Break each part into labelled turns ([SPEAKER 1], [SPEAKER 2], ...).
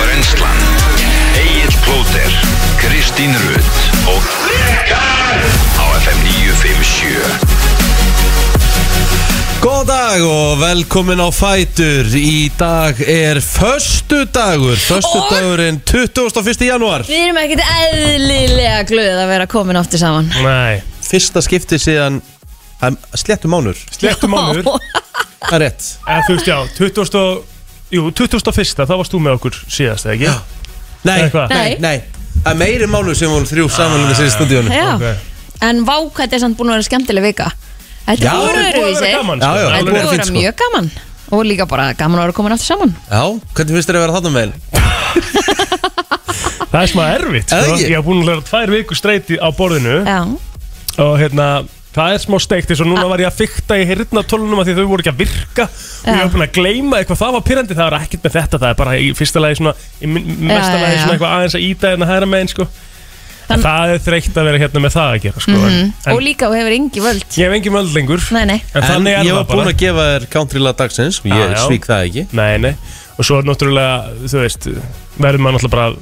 [SPEAKER 1] Brennslan Egil Plóter Kristín Rutt og Rikar á FM 957
[SPEAKER 2] Góðan dag og velkomin á Fætur Í dag er Föstu dagur Föstu dagurinn 21. janúar
[SPEAKER 3] Við erum ekkert eðlilega glöð að vera komin ofti saman
[SPEAKER 4] Nei,
[SPEAKER 2] Fyrsta skipti síðan um, Slettu mánur
[SPEAKER 4] slettum mánur
[SPEAKER 2] Það er rétt
[SPEAKER 4] Eða þú veist já, 20 og, Jú, 21. þá varst þú með okkur síðast, eða ekki?
[SPEAKER 2] Nei,
[SPEAKER 4] Nei, hvað?
[SPEAKER 2] nei, nei Það er meiri mánur sem voru þrjú samanlega
[SPEAKER 4] Ah.
[SPEAKER 2] sér í stúdíunum
[SPEAKER 3] Já,
[SPEAKER 4] Ok.
[SPEAKER 3] en vá hvað þetta er samt búin að vera skemmtileg vika
[SPEAKER 2] Já,
[SPEAKER 3] Þetta er búin
[SPEAKER 2] þetta er
[SPEAKER 3] að vera
[SPEAKER 4] búið að vera gaman, sko.
[SPEAKER 2] Já, já,
[SPEAKER 3] Þetta er
[SPEAKER 2] þetta er
[SPEAKER 3] búin að vera
[SPEAKER 2] fínt, sko.
[SPEAKER 3] mjög gaman Og líka bara gaman að vera komin aftur saman
[SPEAKER 2] Já, hvernig finnst þér að vera þarna með
[SPEAKER 4] Það er smá erfitt,
[SPEAKER 2] Eða
[SPEAKER 4] sko
[SPEAKER 2] ekki?
[SPEAKER 4] Ég hef búin að læra tvær vikur streyti á borðinu
[SPEAKER 3] Já,
[SPEAKER 4] Og hérna, það er smá steikt Þess að núna var ég að fykta í hirnatólunum að Því þau voru ekki að virka Og ég
[SPEAKER 3] Já.
[SPEAKER 4] hef búin að gleyma eitthvað, það var pyrrandi Það var ekkert með þetta, það er bara í fyrsta lagi svona Í min- mesta
[SPEAKER 3] já,
[SPEAKER 4] lagi
[SPEAKER 3] já.
[SPEAKER 4] svona eitthvað aðeins að íta En að hæra megin, sko
[SPEAKER 3] Þann-
[SPEAKER 4] En það er þreytt að vera hérna með það að gera, sko
[SPEAKER 3] mm.
[SPEAKER 4] en,
[SPEAKER 3] og
[SPEAKER 4] en,
[SPEAKER 3] líka þú hefur engi völd
[SPEAKER 4] Ég hef engin möld lengur
[SPEAKER 3] Nei, nei.
[SPEAKER 4] En
[SPEAKER 2] En
[SPEAKER 4] þannig er
[SPEAKER 2] ég var
[SPEAKER 4] það
[SPEAKER 2] búin
[SPEAKER 4] bara
[SPEAKER 2] að gefa þér country lag dagsins og
[SPEAKER 4] Já,
[SPEAKER 2] Ég
[SPEAKER 4] já.
[SPEAKER 2] svík það ekki
[SPEAKER 4] Nei, nei, og svo er náttúrulega, þú veist, verður maður náttúrulega bara að-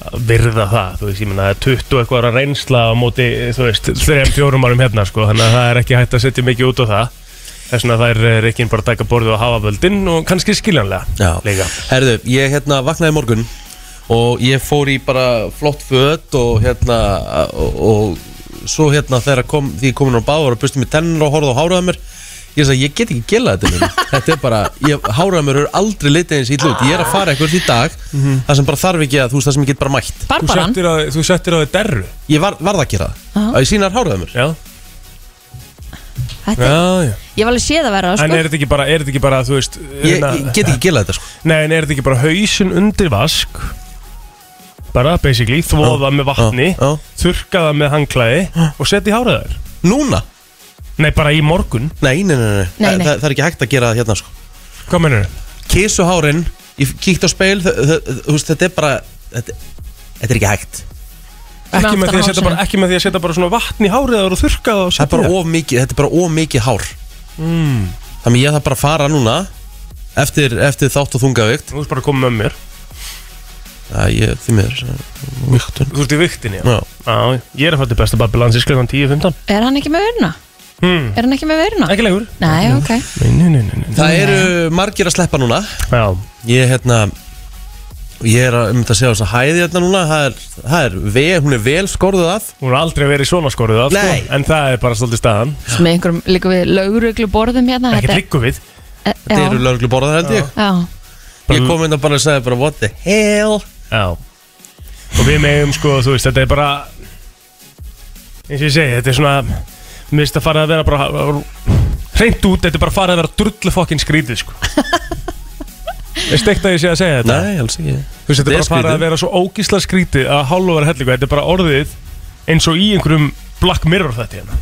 [SPEAKER 4] að virða það, þú veist, ég meina það er 20 eitthvað ára reynsla á móti, þú veist, 3-4 árum hérna, sko, þannig að það er ekki hægt að setja mikið út á það, þess vegna það er reikinn bara að taka borðið og hafa völdin og kannski skiljanlega
[SPEAKER 2] Já,
[SPEAKER 4] líka.
[SPEAKER 2] herðu, ég hérna vaknaði í morgun og ég fór í bara flott föt og hérna og, og svo hérna þegar kom, því ég komin á báður og busti mér tennur og horfði og háraði mér ég sagði, ég get ekki gila þetta mér þetta er bara, ég, háraði mér er aldrei litið eins í hlut, ég er að fara eitthvað í dag það sem bara þarf ekki að, þú veist, það sem ég get bara mætt
[SPEAKER 4] Þú
[SPEAKER 3] Barbaran
[SPEAKER 4] settir, á, þú settir á þig derru.
[SPEAKER 2] ég var, varð að gera það,
[SPEAKER 3] Aha.
[SPEAKER 2] að ég sínar háraði mér
[SPEAKER 4] Já,
[SPEAKER 3] þetta,
[SPEAKER 4] já, já.
[SPEAKER 3] Ég var alveg séð að vera
[SPEAKER 4] En
[SPEAKER 3] sko.
[SPEAKER 4] er þetta ekki bara, er þetta ekki bara, þú veist,
[SPEAKER 2] ég,
[SPEAKER 4] hérna-
[SPEAKER 2] ég get ekki gila þetta sko
[SPEAKER 4] Nei, en er þetta ekki bara hausin undir vask Bara basically Þvoða með vatni
[SPEAKER 2] já, já.
[SPEAKER 4] Þurka það með hangklæði Og setja í háraðar
[SPEAKER 2] núna,
[SPEAKER 4] Nei, bara í morgun
[SPEAKER 2] nei, nei, nei, nei,
[SPEAKER 3] Nei, nei.
[SPEAKER 2] Þa, það er ekki hægt að gera það hérna sko
[SPEAKER 4] Hvað mennur þau?
[SPEAKER 2] kísuhárin ég kíkt á speil þ- þ- þ- þú veist, þetta er bara þetta, þetta er ekki hægt
[SPEAKER 4] Ekki með,
[SPEAKER 3] aftan
[SPEAKER 4] því að
[SPEAKER 3] á
[SPEAKER 4] setja bara, ekki með því að setja bara svona vatn í háraðar Og þurka það
[SPEAKER 2] það
[SPEAKER 4] og
[SPEAKER 2] er
[SPEAKER 4] setja
[SPEAKER 2] bara of mikið, þetta er bara of mikið hár þannig ég þarf bara að fara núna eftir, eftir þátt og þungavíkt
[SPEAKER 4] Þú ert bara að koma með mér
[SPEAKER 2] það ég, því miður víktun
[SPEAKER 4] Þú ert í viktinni
[SPEAKER 2] Já.
[SPEAKER 4] já Ég er að fara til besta babbilans í sklugan 10-15
[SPEAKER 3] Er hann ekki með veruna?
[SPEAKER 4] hmm.
[SPEAKER 3] Er hann ekki með veruna?
[SPEAKER 4] Ekki lengur
[SPEAKER 3] Nei, ok
[SPEAKER 4] Nei, nei, nei, nei, nei.
[SPEAKER 2] það eru margir að sleppa núna
[SPEAKER 4] Já,
[SPEAKER 2] ég er hérna ég er að, um þetta að segja þess að hæði hérna núna það er, það er vel, hún er vel skorðuð að
[SPEAKER 4] hún er aldrei verið svona skoruð af sko,
[SPEAKER 2] Nei.
[SPEAKER 4] En það er bara svolítið staðan
[SPEAKER 3] Svo með einhverjum líka við lauruglu borðum hérna
[SPEAKER 4] Ekki tryggum við
[SPEAKER 3] þetta
[SPEAKER 2] þetta eru
[SPEAKER 3] já,
[SPEAKER 2] lögreglu borðað held ég
[SPEAKER 3] já,
[SPEAKER 2] ég kom inn og bara sagði bara what the hell
[SPEAKER 4] Já Og við megum sko, þú veist, þetta er bara eins og ég segi, þetta er svona mér finnst að fara að vera bara hreint út, þetta er bara að fara að vera drullu fokkin skrítið sko Veist eitt að ég sé að segja þetta
[SPEAKER 2] nei, alls ekki
[SPEAKER 4] Þú veist, þetta er bara að fara
[SPEAKER 2] skrítið.
[SPEAKER 4] að vera svo ógísla skrítið að hálfa vera hellingu, þetta er bara orðið eins og í einhverjum Black Mirror þetta hérna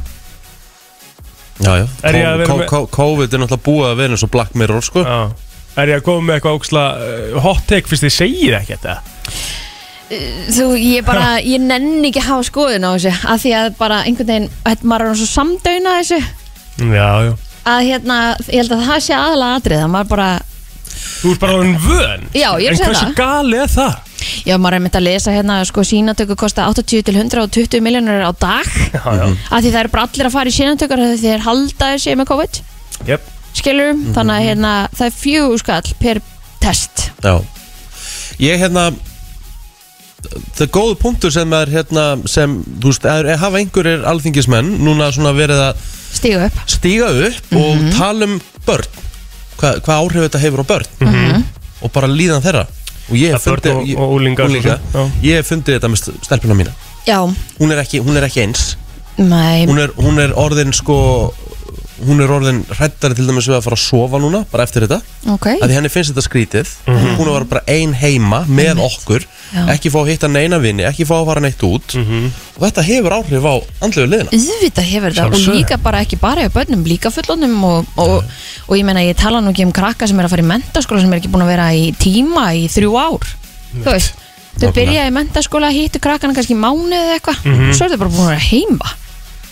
[SPEAKER 2] Já, já,
[SPEAKER 4] Er ég að vera
[SPEAKER 2] Kó-
[SPEAKER 4] með-
[SPEAKER 2] kó- kó- COVID er náttúrulega búið að vera eins og Black Mirror sko.
[SPEAKER 4] Já Er ég að koma með eitthvað ógísla uh, hot take fyrst þið segið ekki þetta?
[SPEAKER 3] þú, ég bara, ég nenni ekki að hafa skoðun á þessu, að því að bara einhvern veginn, þetta maður er orðinn svo samdöina þessu,
[SPEAKER 4] Já, já
[SPEAKER 3] að hérna ég held að það sé aðalega atrið, að maður bara
[SPEAKER 4] Þú ert bara orðin vön
[SPEAKER 3] Já, ég er að
[SPEAKER 4] En
[SPEAKER 3] segja
[SPEAKER 4] hversu
[SPEAKER 3] það.
[SPEAKER 4] gali er það?
[SPEAKER 3] já, maður er mynd að lesa hérna, sko, sínatöku kosta 80 til 120 miljónur á dag
[SPEAKER 4] Já, já
[SPEAKER 3] að því það eru bara allir að fara í sínatökur þegar þeir halda þessi með COVID
[SPEAKER 4] Jep.
[SPEAKER 3] skilur,
[SPEAKER 4] Mhm.
[SPEAKER 3] þannig að hérna það er fjögur skall per test
[SPEAKER 2] Já Ég hérna Það er góðu punktur sem er hérna sem, þú veist, er, er, hafa einhverjir alþingismenn núna svona verið að
[SPEAKER 3] stígu upp
[SPEAKER 2] stíga upp og tala um börn Hva, hvað áhrif þetta hefur á börn og bara líðan þeirra og ég hef
[SPEAKER 4] Ja, börn
[SPEAKER 2] fundið
[SPEAKER 4] og-
[SPEAKER 2] ég-
[SPEAKER 4] og unglinga,
[SPEAKER 2] unglinga.
[SPEAKER 4] svo sem,
[SPEAKER 2] ég hef fundið þetta með st- stelpuna mína
[SPEAKER 3] já,
[SPEAKER 2] hún er ekki, hún er ekki eins
[SPEAKER 3] nei,
[SPEAKER 2] hún er, hún er orðin sko hún er orðin hrættari til dæmis við að fara að sofa núna bara eftir þetta
[SPEAKER 3] ok
[SPEAKER 2] að því henni finnst þetta skrítið hún var bara ein heima með okkur
[SPEAKER 3] Já.
[SPEAKER 2] ekki fá að hitta neina vini, ekki fá að fara neitt út og þetta hefur áhrif á andlegu liðina
[SPEAKER 3] Íðvitað hefur þetta og
[SPEAKER 4] Sjálfsögðu.
[SPEAKER 3] líka bara ekki bara hjá börnum, líka fullonum og, og, og ég meina ég tala nú ekki um krakka sem er að fara í mentaskóla sem er ekki búin að vera í tíma í þrjú ár þú veist,
[SPEAKER 2] Nákvæmlega.
[SPEAKER 3] þau
[SPEAKER 2] Mhm.
[SPEAKER 3] byrja í mentaskóla hittu krakkana kannski mánuð eða eitthvað svo er þau bara búin að vera heima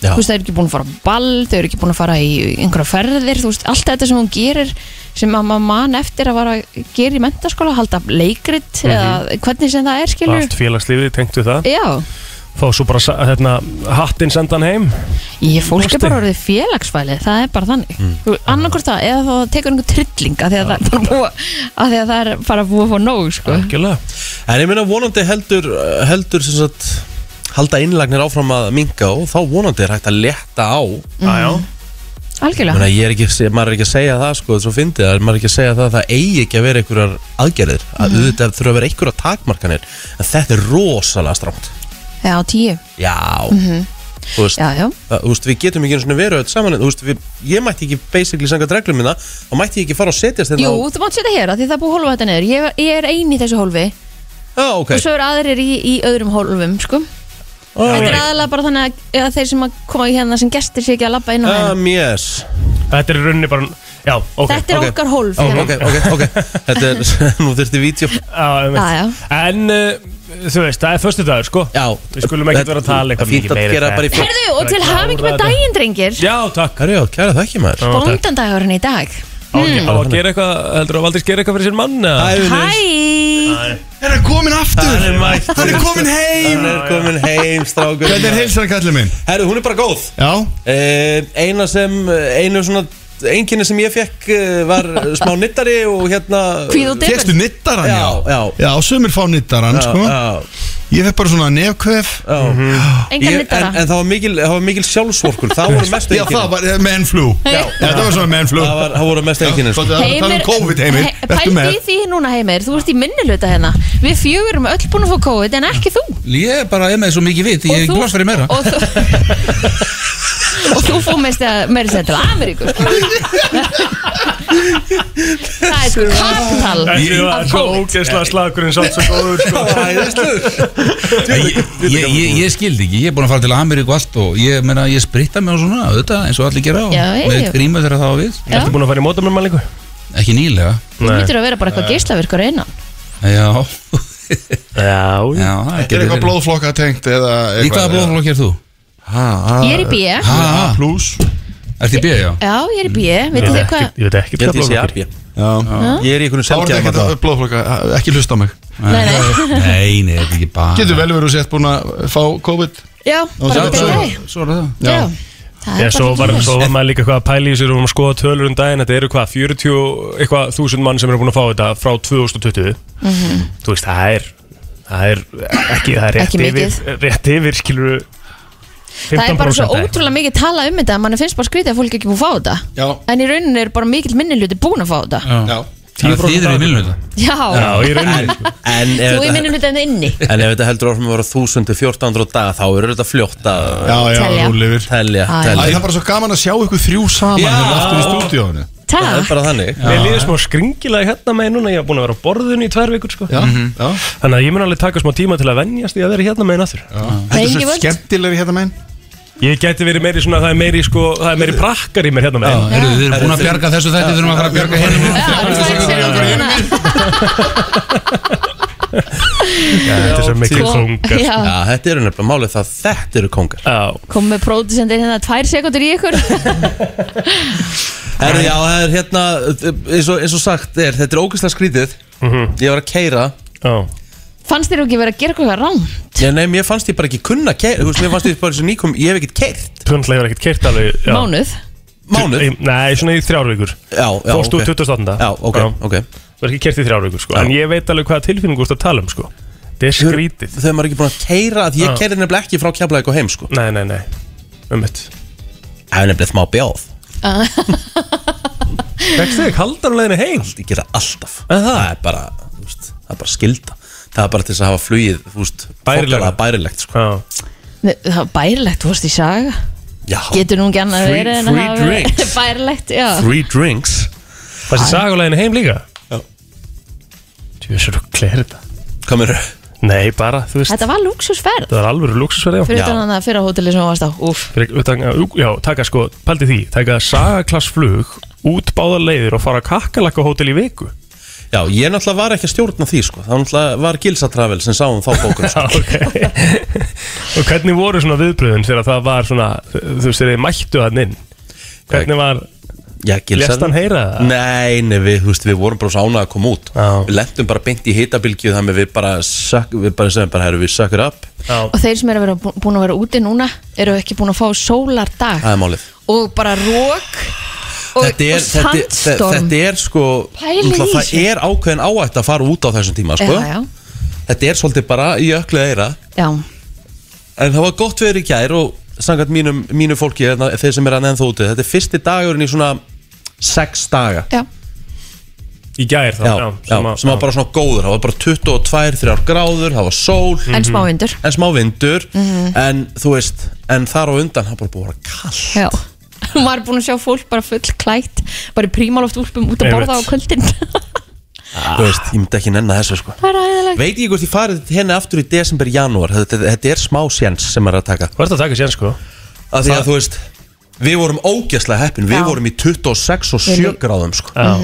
[SPEAKER 2] Já.
[SPEAKER 3] þú veist, þau eru ekki búin að fara á ball þau eru ekki búin að fara í einhverja ferðir þú veist, allt þetta sem hún gerir sem að maður man eftir að vara að gera í mentaskóla halda leikrit
[SPEAKER 2] Mhm.
[SPEAKER 3] eða hvernig sem það er skilur
[SPEAKER 4] Allt félagslífið tengt við það
[SPEAKER 3] Já,
[SPEAKER 4] Fá svo bara sa- hérna, hattinn sendan heim
[SPEAKER 3] ég fólk
[SPEAKER 4] Kosti.
[SPEAKER 3] er bara orðið félagsfælið, það er bara þannig mm. annarkvort það, eða þá tekur einhver trillinga því að, það er bara búið, að því að það er bara búið að fá nóg sko.
[SPEAKER 4] Algjörlega
[SPEAKER 2] En ég meina vonandi heldur, eh, heldur sem sagt halda innlagnir áfram að minga og þá vonandi er hægt að letta á ég
[SPEAKER 3] Mm.
[SPEAKER 4] Jájá
[SPEAKER 3] algjörlega
[SPEAKER 2] meina, ég er ekki, að segja- maður er ekki að segja það sko, svo fyndi það, maður er ekki að segja það að það eigi ekki að vera einhverjar aðgerðir að auðvitað þurfa að vera einhverjar takmarkanir en þetta er rosalega stramt
[SPEAKER 3] Já, tíu,
[SPEAKER 2] Já Þú veist,
[SPEAKER 3] já, já,
[SPEAKER 2] það- þú veist, við getum ekki einu sinni verið öll saman Þú veist, við, ég mætti ekki basically sanga dreglum minna og mætti ég ekki fara og setjast hérna
[SPEAKER 3] jú,
[SPEAKER 2] á-
[SPEAKER 3] þú mátt setja hér af því það er búið að hólfa þetta niður, ég, ég er ein í þessu
[SPEAKER 2] Já,
[SPEAKER 3] hólfi
[SPEAKER 2] Ah, ok
[SPEAKER 3] og svo eru aðrir í, í öðrum hólfum sko.
[SPEAKER 2] Ó,
[SPEAKER 3] þetta er aðalega bara þannig að, að þeir sem að koma í hérna sem gestir sé ekki að labba inn á hérna
[SPEAKER 2] Um, yes
[SPEAKER 4] Þetta er í rauninni bara Já, ok
[SPEAKER 3] Þetta er
[SPEAKER 2] ok.
[SPEAKER 3] okkar hólf
[SPEAKER 2] Ó,
[SPEAKER 3] hérna.
[SPEAKER 2] Ok, ok, ok Þetta er, nú þurfti vídeo
[SPEAKER 4] Já, einmitt.
[SPEAKER 3] Ah, Já, já.
[SPEAKER 4] En uh, þú veist, það er förstu dagur sko
[SPEAKER 2] Já
[SPEAKER 4] Við skulum ekkert vera að tala eitthvað
[SPEAKER 2] Fínt
[SPEAKER 4] mikið
[SPEAKER 2] að
[SPEAKER 4] meira
[SPEAKER 2] gera
[SPEAKER 4] en
[SPEAKER 2] bara í
[SPEAKER 4] þetta.
[SPEAKER 2] fyrir
[SPEAKER 3] Herðu, og til
[SPEAKER 4] Klára
[SPEAKER 3] hafing með
[SPEAKER 4] þetta.
[SPEAKER 3] daginn, drengir
[SPEAKER 4] Já, takk
[SPEAKER 2] Herri, já, kæra það ekki maður
[SPEAKER 3] Bóndandagurinn í dag
[SPEAKER 4] Á hérna. að gera eitthvað, heldur að Valdís gera eitthvað fyrir sér mann eða?
[SPEAKER 3] Hæ
[SPEAKER 5] Er hann komin aftur?
[SPEAKER 2] Hann er mættur.
[SPEAKER 5] Hann er komin heim
[SPEAKER 2] Hann er komin heim, strákur
[SPEAKER 5] Hvernig er heilsan kallið minn?
[SPEAKER 2] Herru, hún er bara góð
[SPEAKER 5] Já
[SPEAKER 2] Eh, Eina sem, einu svona Einkinni sem ég fekk eh, var smá nittari og hérna
[SPEAKER 3] Kvíð og
[SPEAKER 5] Fyrstu
[SPEAKER 3] dipur
[SPEAKER 5] nittaran
[SPEAKER 2] Já, já.
[SPEAKER 5] Já, sumir fá nittaran
[SPEAKER 2] Já,
[SPEAKER 5] sko
[SPEAKER 2] já,
[SPEAKER 5] Ég fekk bara svona nefkvef
[SPEAKER 2] já.
[SPEAKER 4] Mhm.
[SPEAKER 3] Engan
[SPEAKER 2] Ég- en,
[SPEAKER 3] nittara
[SPEAKER 2] en það var mikil, það var mikil sjálfsvorkun Það voru mest
[SPEAKER 5] Já,
[SPEAKER 2] einkinni
[SPEAKER 5] það var eh, man flu Já, þetta var svona man flu
[SPEAKER 2] Það var- það voru mest einkennin, sko.
[SPEAKER 5] Það var um COVID heimir
[SPEAKER 3] He-
[SPEAKER 5] Þetta
[SPEAKER 3] Pældu
[SPEAKER 5] með
[SPEAKER 3] í því núna heimir, þú ert í minni hluta hérna Við fjögur erum öll búin að fá COVID en ekki þú
[SPEAKER 6] Ég er bara er með svo mikið vit, ég er
[SPEAKER 3] þú-
[SPEAKER 6] ekki lost fyrir meira
[SPEAKER 3] Og þú, og þú fór meist að meira sér til Ameríku sko. Það er sko kapital
[SPEAKER 4] Þessi
[SPEAKER 3] af
[SPEAKER 4] var svo
[SPEAKER 3] COVID.
[SPEAKER 4] ógeðslega slagurinn samt svo góður sko
[SPEAKER 6] ég, ég, ég, ég skildi ekki, ég er búin að fara til Ameríku og allt og ég, meina, ég spritta mig og svona auðvitað eins og allir gera og
[SPEAKER 3] Já, já,
[SPEAKER 6] með
[SPEAKER 3] já.
[SPEAKER 6] grímu þegar það var við
[SPEAKER 3] Já,
[SPEAKER 4] Ertu búin að fara í mótamörmælingu?
[SPEAKER 6] ekki nýlega,
[SPEAKER 3] Þú myndir að vera bara eitthvað geislavirkur innan
[SPEAKER 6] já,
[SPEAKER 4] Já
[SPEAKER 6] já það
[SPEAKER 5] Er eitthvað blóðflokka tengt eða
[SPEAKER 6] Í hvaða blóðflokk er þú?
[SPEAKER 3] Ég er í B Já,
[SPEAKER 6] Ha,
[SPEAKER 5] A
[SPEAKER 6] ha,
[SPEAKER 5] plus
[SPEAKER 6] ertu í B, já
[SPEAKER 3] ég er í B Vitið þið hvað
[SPEAKER 4] Ég veit ekki
[SPEAKER 2] Ég held ég sé
[SPEAKER 4] blóðflokkur.
[SPEAKER 2] abbi
[SPEAKER 5] Já
[SPEAKER 2] Ég er í einhvern
[SPEAKER 5] Það var þetta
[SPEAKER 2] selgjaðum
[SPEAKER 5] ekkert að blóðflokka Ekki hlusta á mig
[SPEAKER 3] Nei, nei.
[SPEAKER 6] Nei, nei, þetta er ekki bara
[SPEAKER 5] Getur vel verið sett búin að fá COVID
[SPEAKER 3] Já, bara
[SPEAKER 5] svo-
[SPEAKER 3] byrja
[SPEAKER 5] svo-
[SPEAKER 3] leið.
[SPEAKER 6] Svo er það
[SPEAKER 3] Já, það
[SPEAKER 4] Já,
[SPEAKER 3] er
[SPEAKER 4] svo var,
[SPEAKER 3] bara
[SPEAKER 4] svo var maður líka eitthvað að pæla í sér og við varum að skoða tölur um daginn, þetta eru hvað 40 og eitthvað þúsund mann sem eru búin að fá þetta frá 2020 Þú veist, það er það er ekki, það er rétt
[SPEAKER 3] Mhm. Ekki mikið.
[SPEAKER 4] yfir rétt yfir, skilur við
[SPEAKER 3] Það er bara svo
[SPEAKER 4] 15%
[SPEAKER 3] ótrúlega mikið tala um þetta að mann finnst bara skrítið að fólk ekki búið að fá þetta
[SPEAKER 5] Já.
[SPEAKER 3] En í rauninni er bara mikill minnilöti búin að fá þetta
[SPEAKER 5] Já
[SPEAKER 6] Þannig að
[SPEAKER 4] 10%
[SPEAKER 6] þið eru í
[SPEAKER 4] af-
[SPEAKER 6] minnum
[SPEAKER 3] Já,
[SPEAKER 4] Já, í rauninni sko.
[SPEAKER 2] En ef
[SPEAKER 3] þú er
[SPEAKER 2] þetta-
[SPEAKER 3] minnilöti en það inni
[SPEAKER 2] en ef þetta heldur áfram að vera 1000 til 1400 daga þá eru þetta fljótt að
[SPEAKER 5] Já, já,
[SPEAKER 3] Telja.
[SPEAKER 5] hún lifir
[SPEAKER 2] telja,
[SPEAKER 3] Æ.
[SPEAKER 5] Æ,
[SPEAKER 2] telja.
[SPEAKER 5] það er bara svo gaman að sjá ykkur þrjú saman
[SPEAKER 2] Já.
[SPEAKER 5] hérna aftur í stúdíónu
[SPEAKER 2] Það er
[SPEAKER 3] Takk,
[SPEAKER 2] bara þannig
[SPEAKER 4] Mér líður smá skringilega hérna með núna, ég er búin að vera á borðinu í tvær vikur sko.
[SPEAKER 5] Já,
[SPEAKER 6] Mhm.
[SPEAKER 5] já
[SPEAKER 4] Þannig að ég mun alveg taka smá tíma til að venjast í að vera hérna með einn aftur
[SPEAKER 5] Þetta er
[SPEAKER 3] engi
[SPEAKER 5] svo
[SPEAKER 3] völd.
[SPEAKER 5] skemmtilegri hérna megin
[SPEAKER 4] Ég gæti verið meiri svona, það er meiri, sko, það er meiri prakkar í mér hérna með einn
[SPEAKER 6] Eru þið búin að bjarga þessu þetta, þurfum að fara að bjarga henni
[SPEAKER 3] Já, tvær sekúndur hérna.
[SPEAKER 4] Þetta er svo mikil
[SPEAKER 3] Sko,
[SPEAKER 4] kongar
[SPEAKER 3] já,
[SPEAKER 2] Já, þetta eru nefnilega málið það þetta eru kongar
[SPEAKER 4] Já,
[SPEAKER 3] Kom með pródusendir hérna tvær sekundur í ykkur
[SPEAKER 2] Herri, já, það er hérna, eins og, eins og sagt er, þetta er ógeðslega skrítið Ég var að keira
[SPEAKER 4] já
[SPEAKER 3] Fannst þér ekki verið að gera eitthvað rám?
[SPEAKER 2] Ég, nei, mér fannst ég bara ekki kunna keira Þú veist, mér fannst ég bara þessu nýkom, ég hef ekkert keirt
[SPEAKER 4] Tvöndlega hefur ekkert keirt alveg já.
[SPEAKER 3] Mánuð
[SPEAKER 2] Mánuð,
[SPEAKER 4] Í- Nei, svona í þrjár vikur
[SPEAKER 2] já, já,
[SPEAKER 4] Fórst úr 28.
[SPEAKER 2] Já, ok,
[SPEAKER 4] Já.
[SPEAKER 2] ok
[SPEAKER 4] Þú er ekki kert í þrjár vikur sko.
[SPEAKER 2] Já.
[SPEAKER 4] En ég veit alveg hvaða tilfinningu þú ert að tala um sko. Það er skrítið
[SPEAKER 2] Þau maður ekki búin að keira, að ég
[SPEAKER 4] Já.
[SPEAKER 2] keiri nefnilega ekki frá kjaflaðið og heim, sko
[SPEAKER 4] Nei, nei, nei Um Ummitt
[SPEAKER 2] Það er nefnilega smá bjóð
[SPEAKER 4] Vekst þig kaldar á leiðinu heim
[SPEAKER 2] ég gera alltaf það er bara, þú veist, það er bara skilda það er bara til þess að hafa flugið þú veist,
[SPEAKER 4] Bærilega.
[SPEAKER 2] þokkalega bærilegt sko.
[SPEAKER 4] Já,
[SPEAKER 3] Nei, Það var bærilegt, þú varst í saga
[SPEAKER 2] já,
[SPEAKER 3] Getur nú ekki annað
[SPEAKER 2] Free-
[SPEAKER 3] verið en að
[SPEAKER 2] free
[SPEAKER 3] hafa verið
[SPEAKER 2] drinks.
[SPEAKER 3] Bærilegt, já
[SPEAKER 2] three drinks
[SPEAKER 4] það sé sag á leiðinu heim líka Já Þú veist að þú klæðir þetta
[SPEAKER 2] hvað mér,
[SPEAKER 4] Nei, bara, þú veist
[SPEAKER 3] Þetta var luxusferð
[SPEAKER 4] Það er alveg lúksusverði á
[SPEAKER 3] Fyrir
[SPEAKER 2] Já.
[SPEAKER 3] utan þannig að fyrra hóteli sem þú varst á Úf,
[SPEAKER 4] Fyrir- utan- Já, taka sko, paldi því Taka sagaklassflug út báðar leiðir og fara að kakkalakka hótel í viku
[SPEAKER 2] já, ég náttúrulega um var ekki að stjórna því sko. það var náttúrulega var Gilsa Travel sem sáum þá bókun sko.
[SPEAKER 4] Ok Og hvernig voru svona viðbröðun þegar það var svona Þú veist, þegar þið mættu hann inn Hvernig var,
[SPEAKER 2] Já, Gils-
[SPEAKER 4] Lést hann heyra það?
[SPEAKER 2] Nei, nei, við, þú veist, við vorum bara svo ánað að koma út
[SPEAKER 4] Já.
[SPEAKER 2] Við lentum bara beint í hitabilgju Þannig við bara, suck, við bara segjum bara, herru, við sucker up
[SPEAKER 4] já,
[SPEAKER 3] Og þeir sem eru að vera bú- búin að vera úti núna eru ekki búin að fá sólar dag
[SPEAKER 2] Það er málið
[SPEAKER 3] og bara rók og, og
[SPEAKER 2] Þetta er, þetta,
[SPEAKER 3] sandstorm
[SPEAKER 2] þetta, þetta er sko
[SPEAKER 3] Pælið í
[SPEAKER 2] náttúrulega, Það
[SPEAKER 3] þessu.
[SPEAKER 2] er ákveðin áætt að fara út á þessum tíma sko.
[SPEAKER 3] Já, já,
[SPEAKER 2] Þetta er svolítið bara í öklu eira
[SPEAKER 3] já,
[SPEAKER 2] En það var gott verið í gær og sangat mínum, mínu fólki, hérna, þeir sem er að nefn þó úti Þetta er fyrsti dagurinn í svona sex daga
[SPEAKER 3] já.
[SPEAKER 4] í gær þá
[SPEAKER 2] Já, já, sem,
[SPEAKER 4] að-
[SPEAKER 2] var bara svona góður, það var bara 22-3 gráður, það var sól
[SPEAKER 3] en smá undur
[SPEAKER 2] en smá vindur
[SPEAKER 3] Mhm.
[SPEAKER 2] en þú veist, en þar á undan það er bara búið að vera kall
[SPEAKER 3] Já maður er búin að sjá fólk bara full klætt bara í prímaloft úlpum út að borða á
[SPEAKER 4] Einmitt.
[SPEAKER 3] kvöldin Ah.
[SPEAKER 2] þú veist, ég myndi ekki nennan þessu sko
[SPEAKER 3] það er aðeinslega
[SPEAKER 2] veit ég hvort ég farið henni aftur í desember, janúar þetta, þetta er smá sjens sem er að taka
[SPEAKER 4] Hvað er þetta að taka sér sko?
[SPEAKER 2] af því að þú veist, við vorum ógæslega heppin við
[SPEAKER 3] Já.
[SPEAKER 2] vorum í 26 og 7
[SPEAKER 3] Við-
[SPEAKER 2] gráðum sko
[SPEAKER 4] Já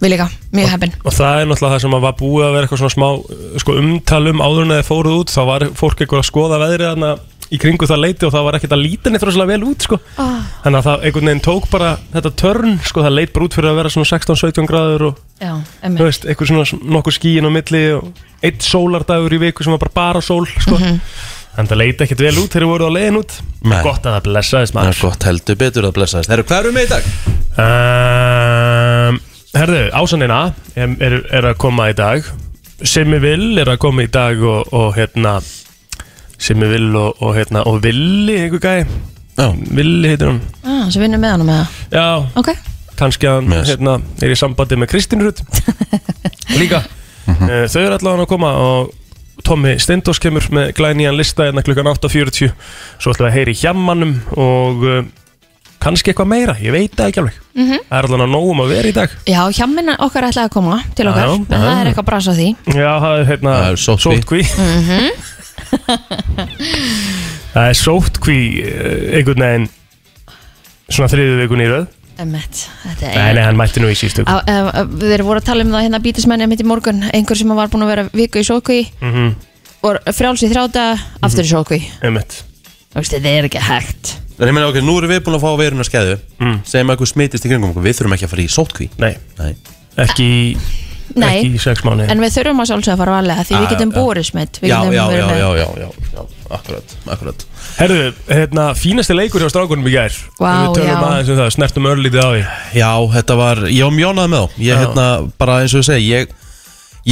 [SPEAKER 3] við líka, mjög heppin
[SPEAKER 4] Og það er náttúrulega það sem að var búið að vera eitthvað svona smá uh, sko, umtalum áður en þeir fóruð út þá var fólk eitthvað að skoða veðrið þarna í kringu það leiti og það var ekkert að líta neitt rosalega vel út sko. þannig að það einhvern veginn tók bara þetta törn, sko, það leit bara út fyrir að vera svona 16-17 gráður og
[SPEAKER 3] já,
[SPEAKER 4] þú
[SPEAKER 3] emmi,
[SPEAKER 4] veist, eitthvað svona nokkuð skíin á milli og eitt sólardagur í viku sem var bara bara sól sko. en það leit ekkert vel út þegar voruð á leiðin út
[SPEAKER 2] Nei.
[SPEAKER 4] gott að það
[SPEAKER 2] það
[SPEAKER 4] blessaðist
[SPEAKER 2] er
[SPEAKER 4] maður
[SPEAKER 2] gott heldur betur að blessaðist herru, hvað erum við í dag?
[SPEAKER 4] Um, herðu, ásanina er, er, er að koma í dag Simmi Vill er að koma í dag og, og hérna Simmi Vill og, og hérna og Villi einhver gæ
[SPEAKER 2] Já.
[SPEAKER 4] Villi heitir hún
[SPEAKER 3] ah, svo vinnum við hann með það
[SPEAKER 4] Já,
[SPEAKER 3] ok,
[SPEAKER 4] kannski að hann
[SPEAKER 2] Yes.
[SPEAKER 4] hérna, er í sambandi með Kristín Rutt Líka
[SPEAKER 2] Mhm.
[SPEAKER 4] uh, Þau eru allavega að koma og Tommi Steindós kemur með glænían lista hérna klukkan 8.40 Svo ætlum við að heyri hjammanum og uh, kannski eitthvað meira, ég veit það ekki alveg Það er allavega nógum að vera í dag
[SPEAKER 3] já, hjamminn okkar ætlaði að koma til okkar,
[SPEAKER 4] Já,
[SPEAKER 3] en það er eitthvað að brasa á því
[SPEAKER 4] Já, það er hérna
[SPEAKER 2] Það er sóttkví.
[SPEAKER 4] sóttkví. Það er sóttkví eh, einhvern veginn svona þriðu vikun í röð
[SPEAKER 3] emmitt, þetta
[SPEAKER 4] Nei, nei,
[SPEAKER 3] er
[SPEAKER 4] hann mætti nú í sístu
[SPEAKER 3] Á- ef- ef- Þeir voru að tala um það hérna bítismenni mitt í morgun, einhver sem var búin að vera viku í sókví
[SPEAKER 4] Mhm.
[SPEAKER 3] og frjáls í þrjáta, aftur
[SPEAKER 2] Mhm.
[SPEAKER 3] í sókví
[SPEAKER 4] Einmitt.
[SPEAKER 3] Þú veist, þetta er ekki hægt
[SPEAKER 2] En ég meina, ok, nú erum við búin að fá veruna skeðu mm. segjum að eitthvað smitist í kringum okkur, við þurfum ekki að fara í sótkví
[SPEAKER 4] Nei,
[SPEAKER 2] Nei.
[SPEAKER 4] ekki í,
[SPEAKER 3] Nei.
[SPEAKER 4] ekki í sex mánu
[SPEAKER 3] En við þurfum að sjálfsögða að fara varlega því við
[SPEAKER 2] Ah, Já,
[SPEAKER 3] getum
[SPEAKER 2] já.
[SPEAKER 3] borið smitt við
[SPEAKER 2] Já,
[SPEAKER 3] getum
[SPEAKER 2] já, já,
[SPEAKER 3] verið með-
[SPEAKER 2] já, já, já, já, akkurat, akkurat
[SPEAKER 4] Herðu, hérna, fínasti leikur hjá strákunum í gær
[SPEAKER 3] Vá,
[SPEAKER 4] Við tölum
[SPEAKER 3] já.
[SPEAKER 4] aðeins um það, snertum örlítið á því
[SPEAKER 2] Já, þetta var, ég var mjónað með þá Ég
[SPEAKER 4] Já.
[SPEAKER 2] hérna, bara eins og ég segi Ég,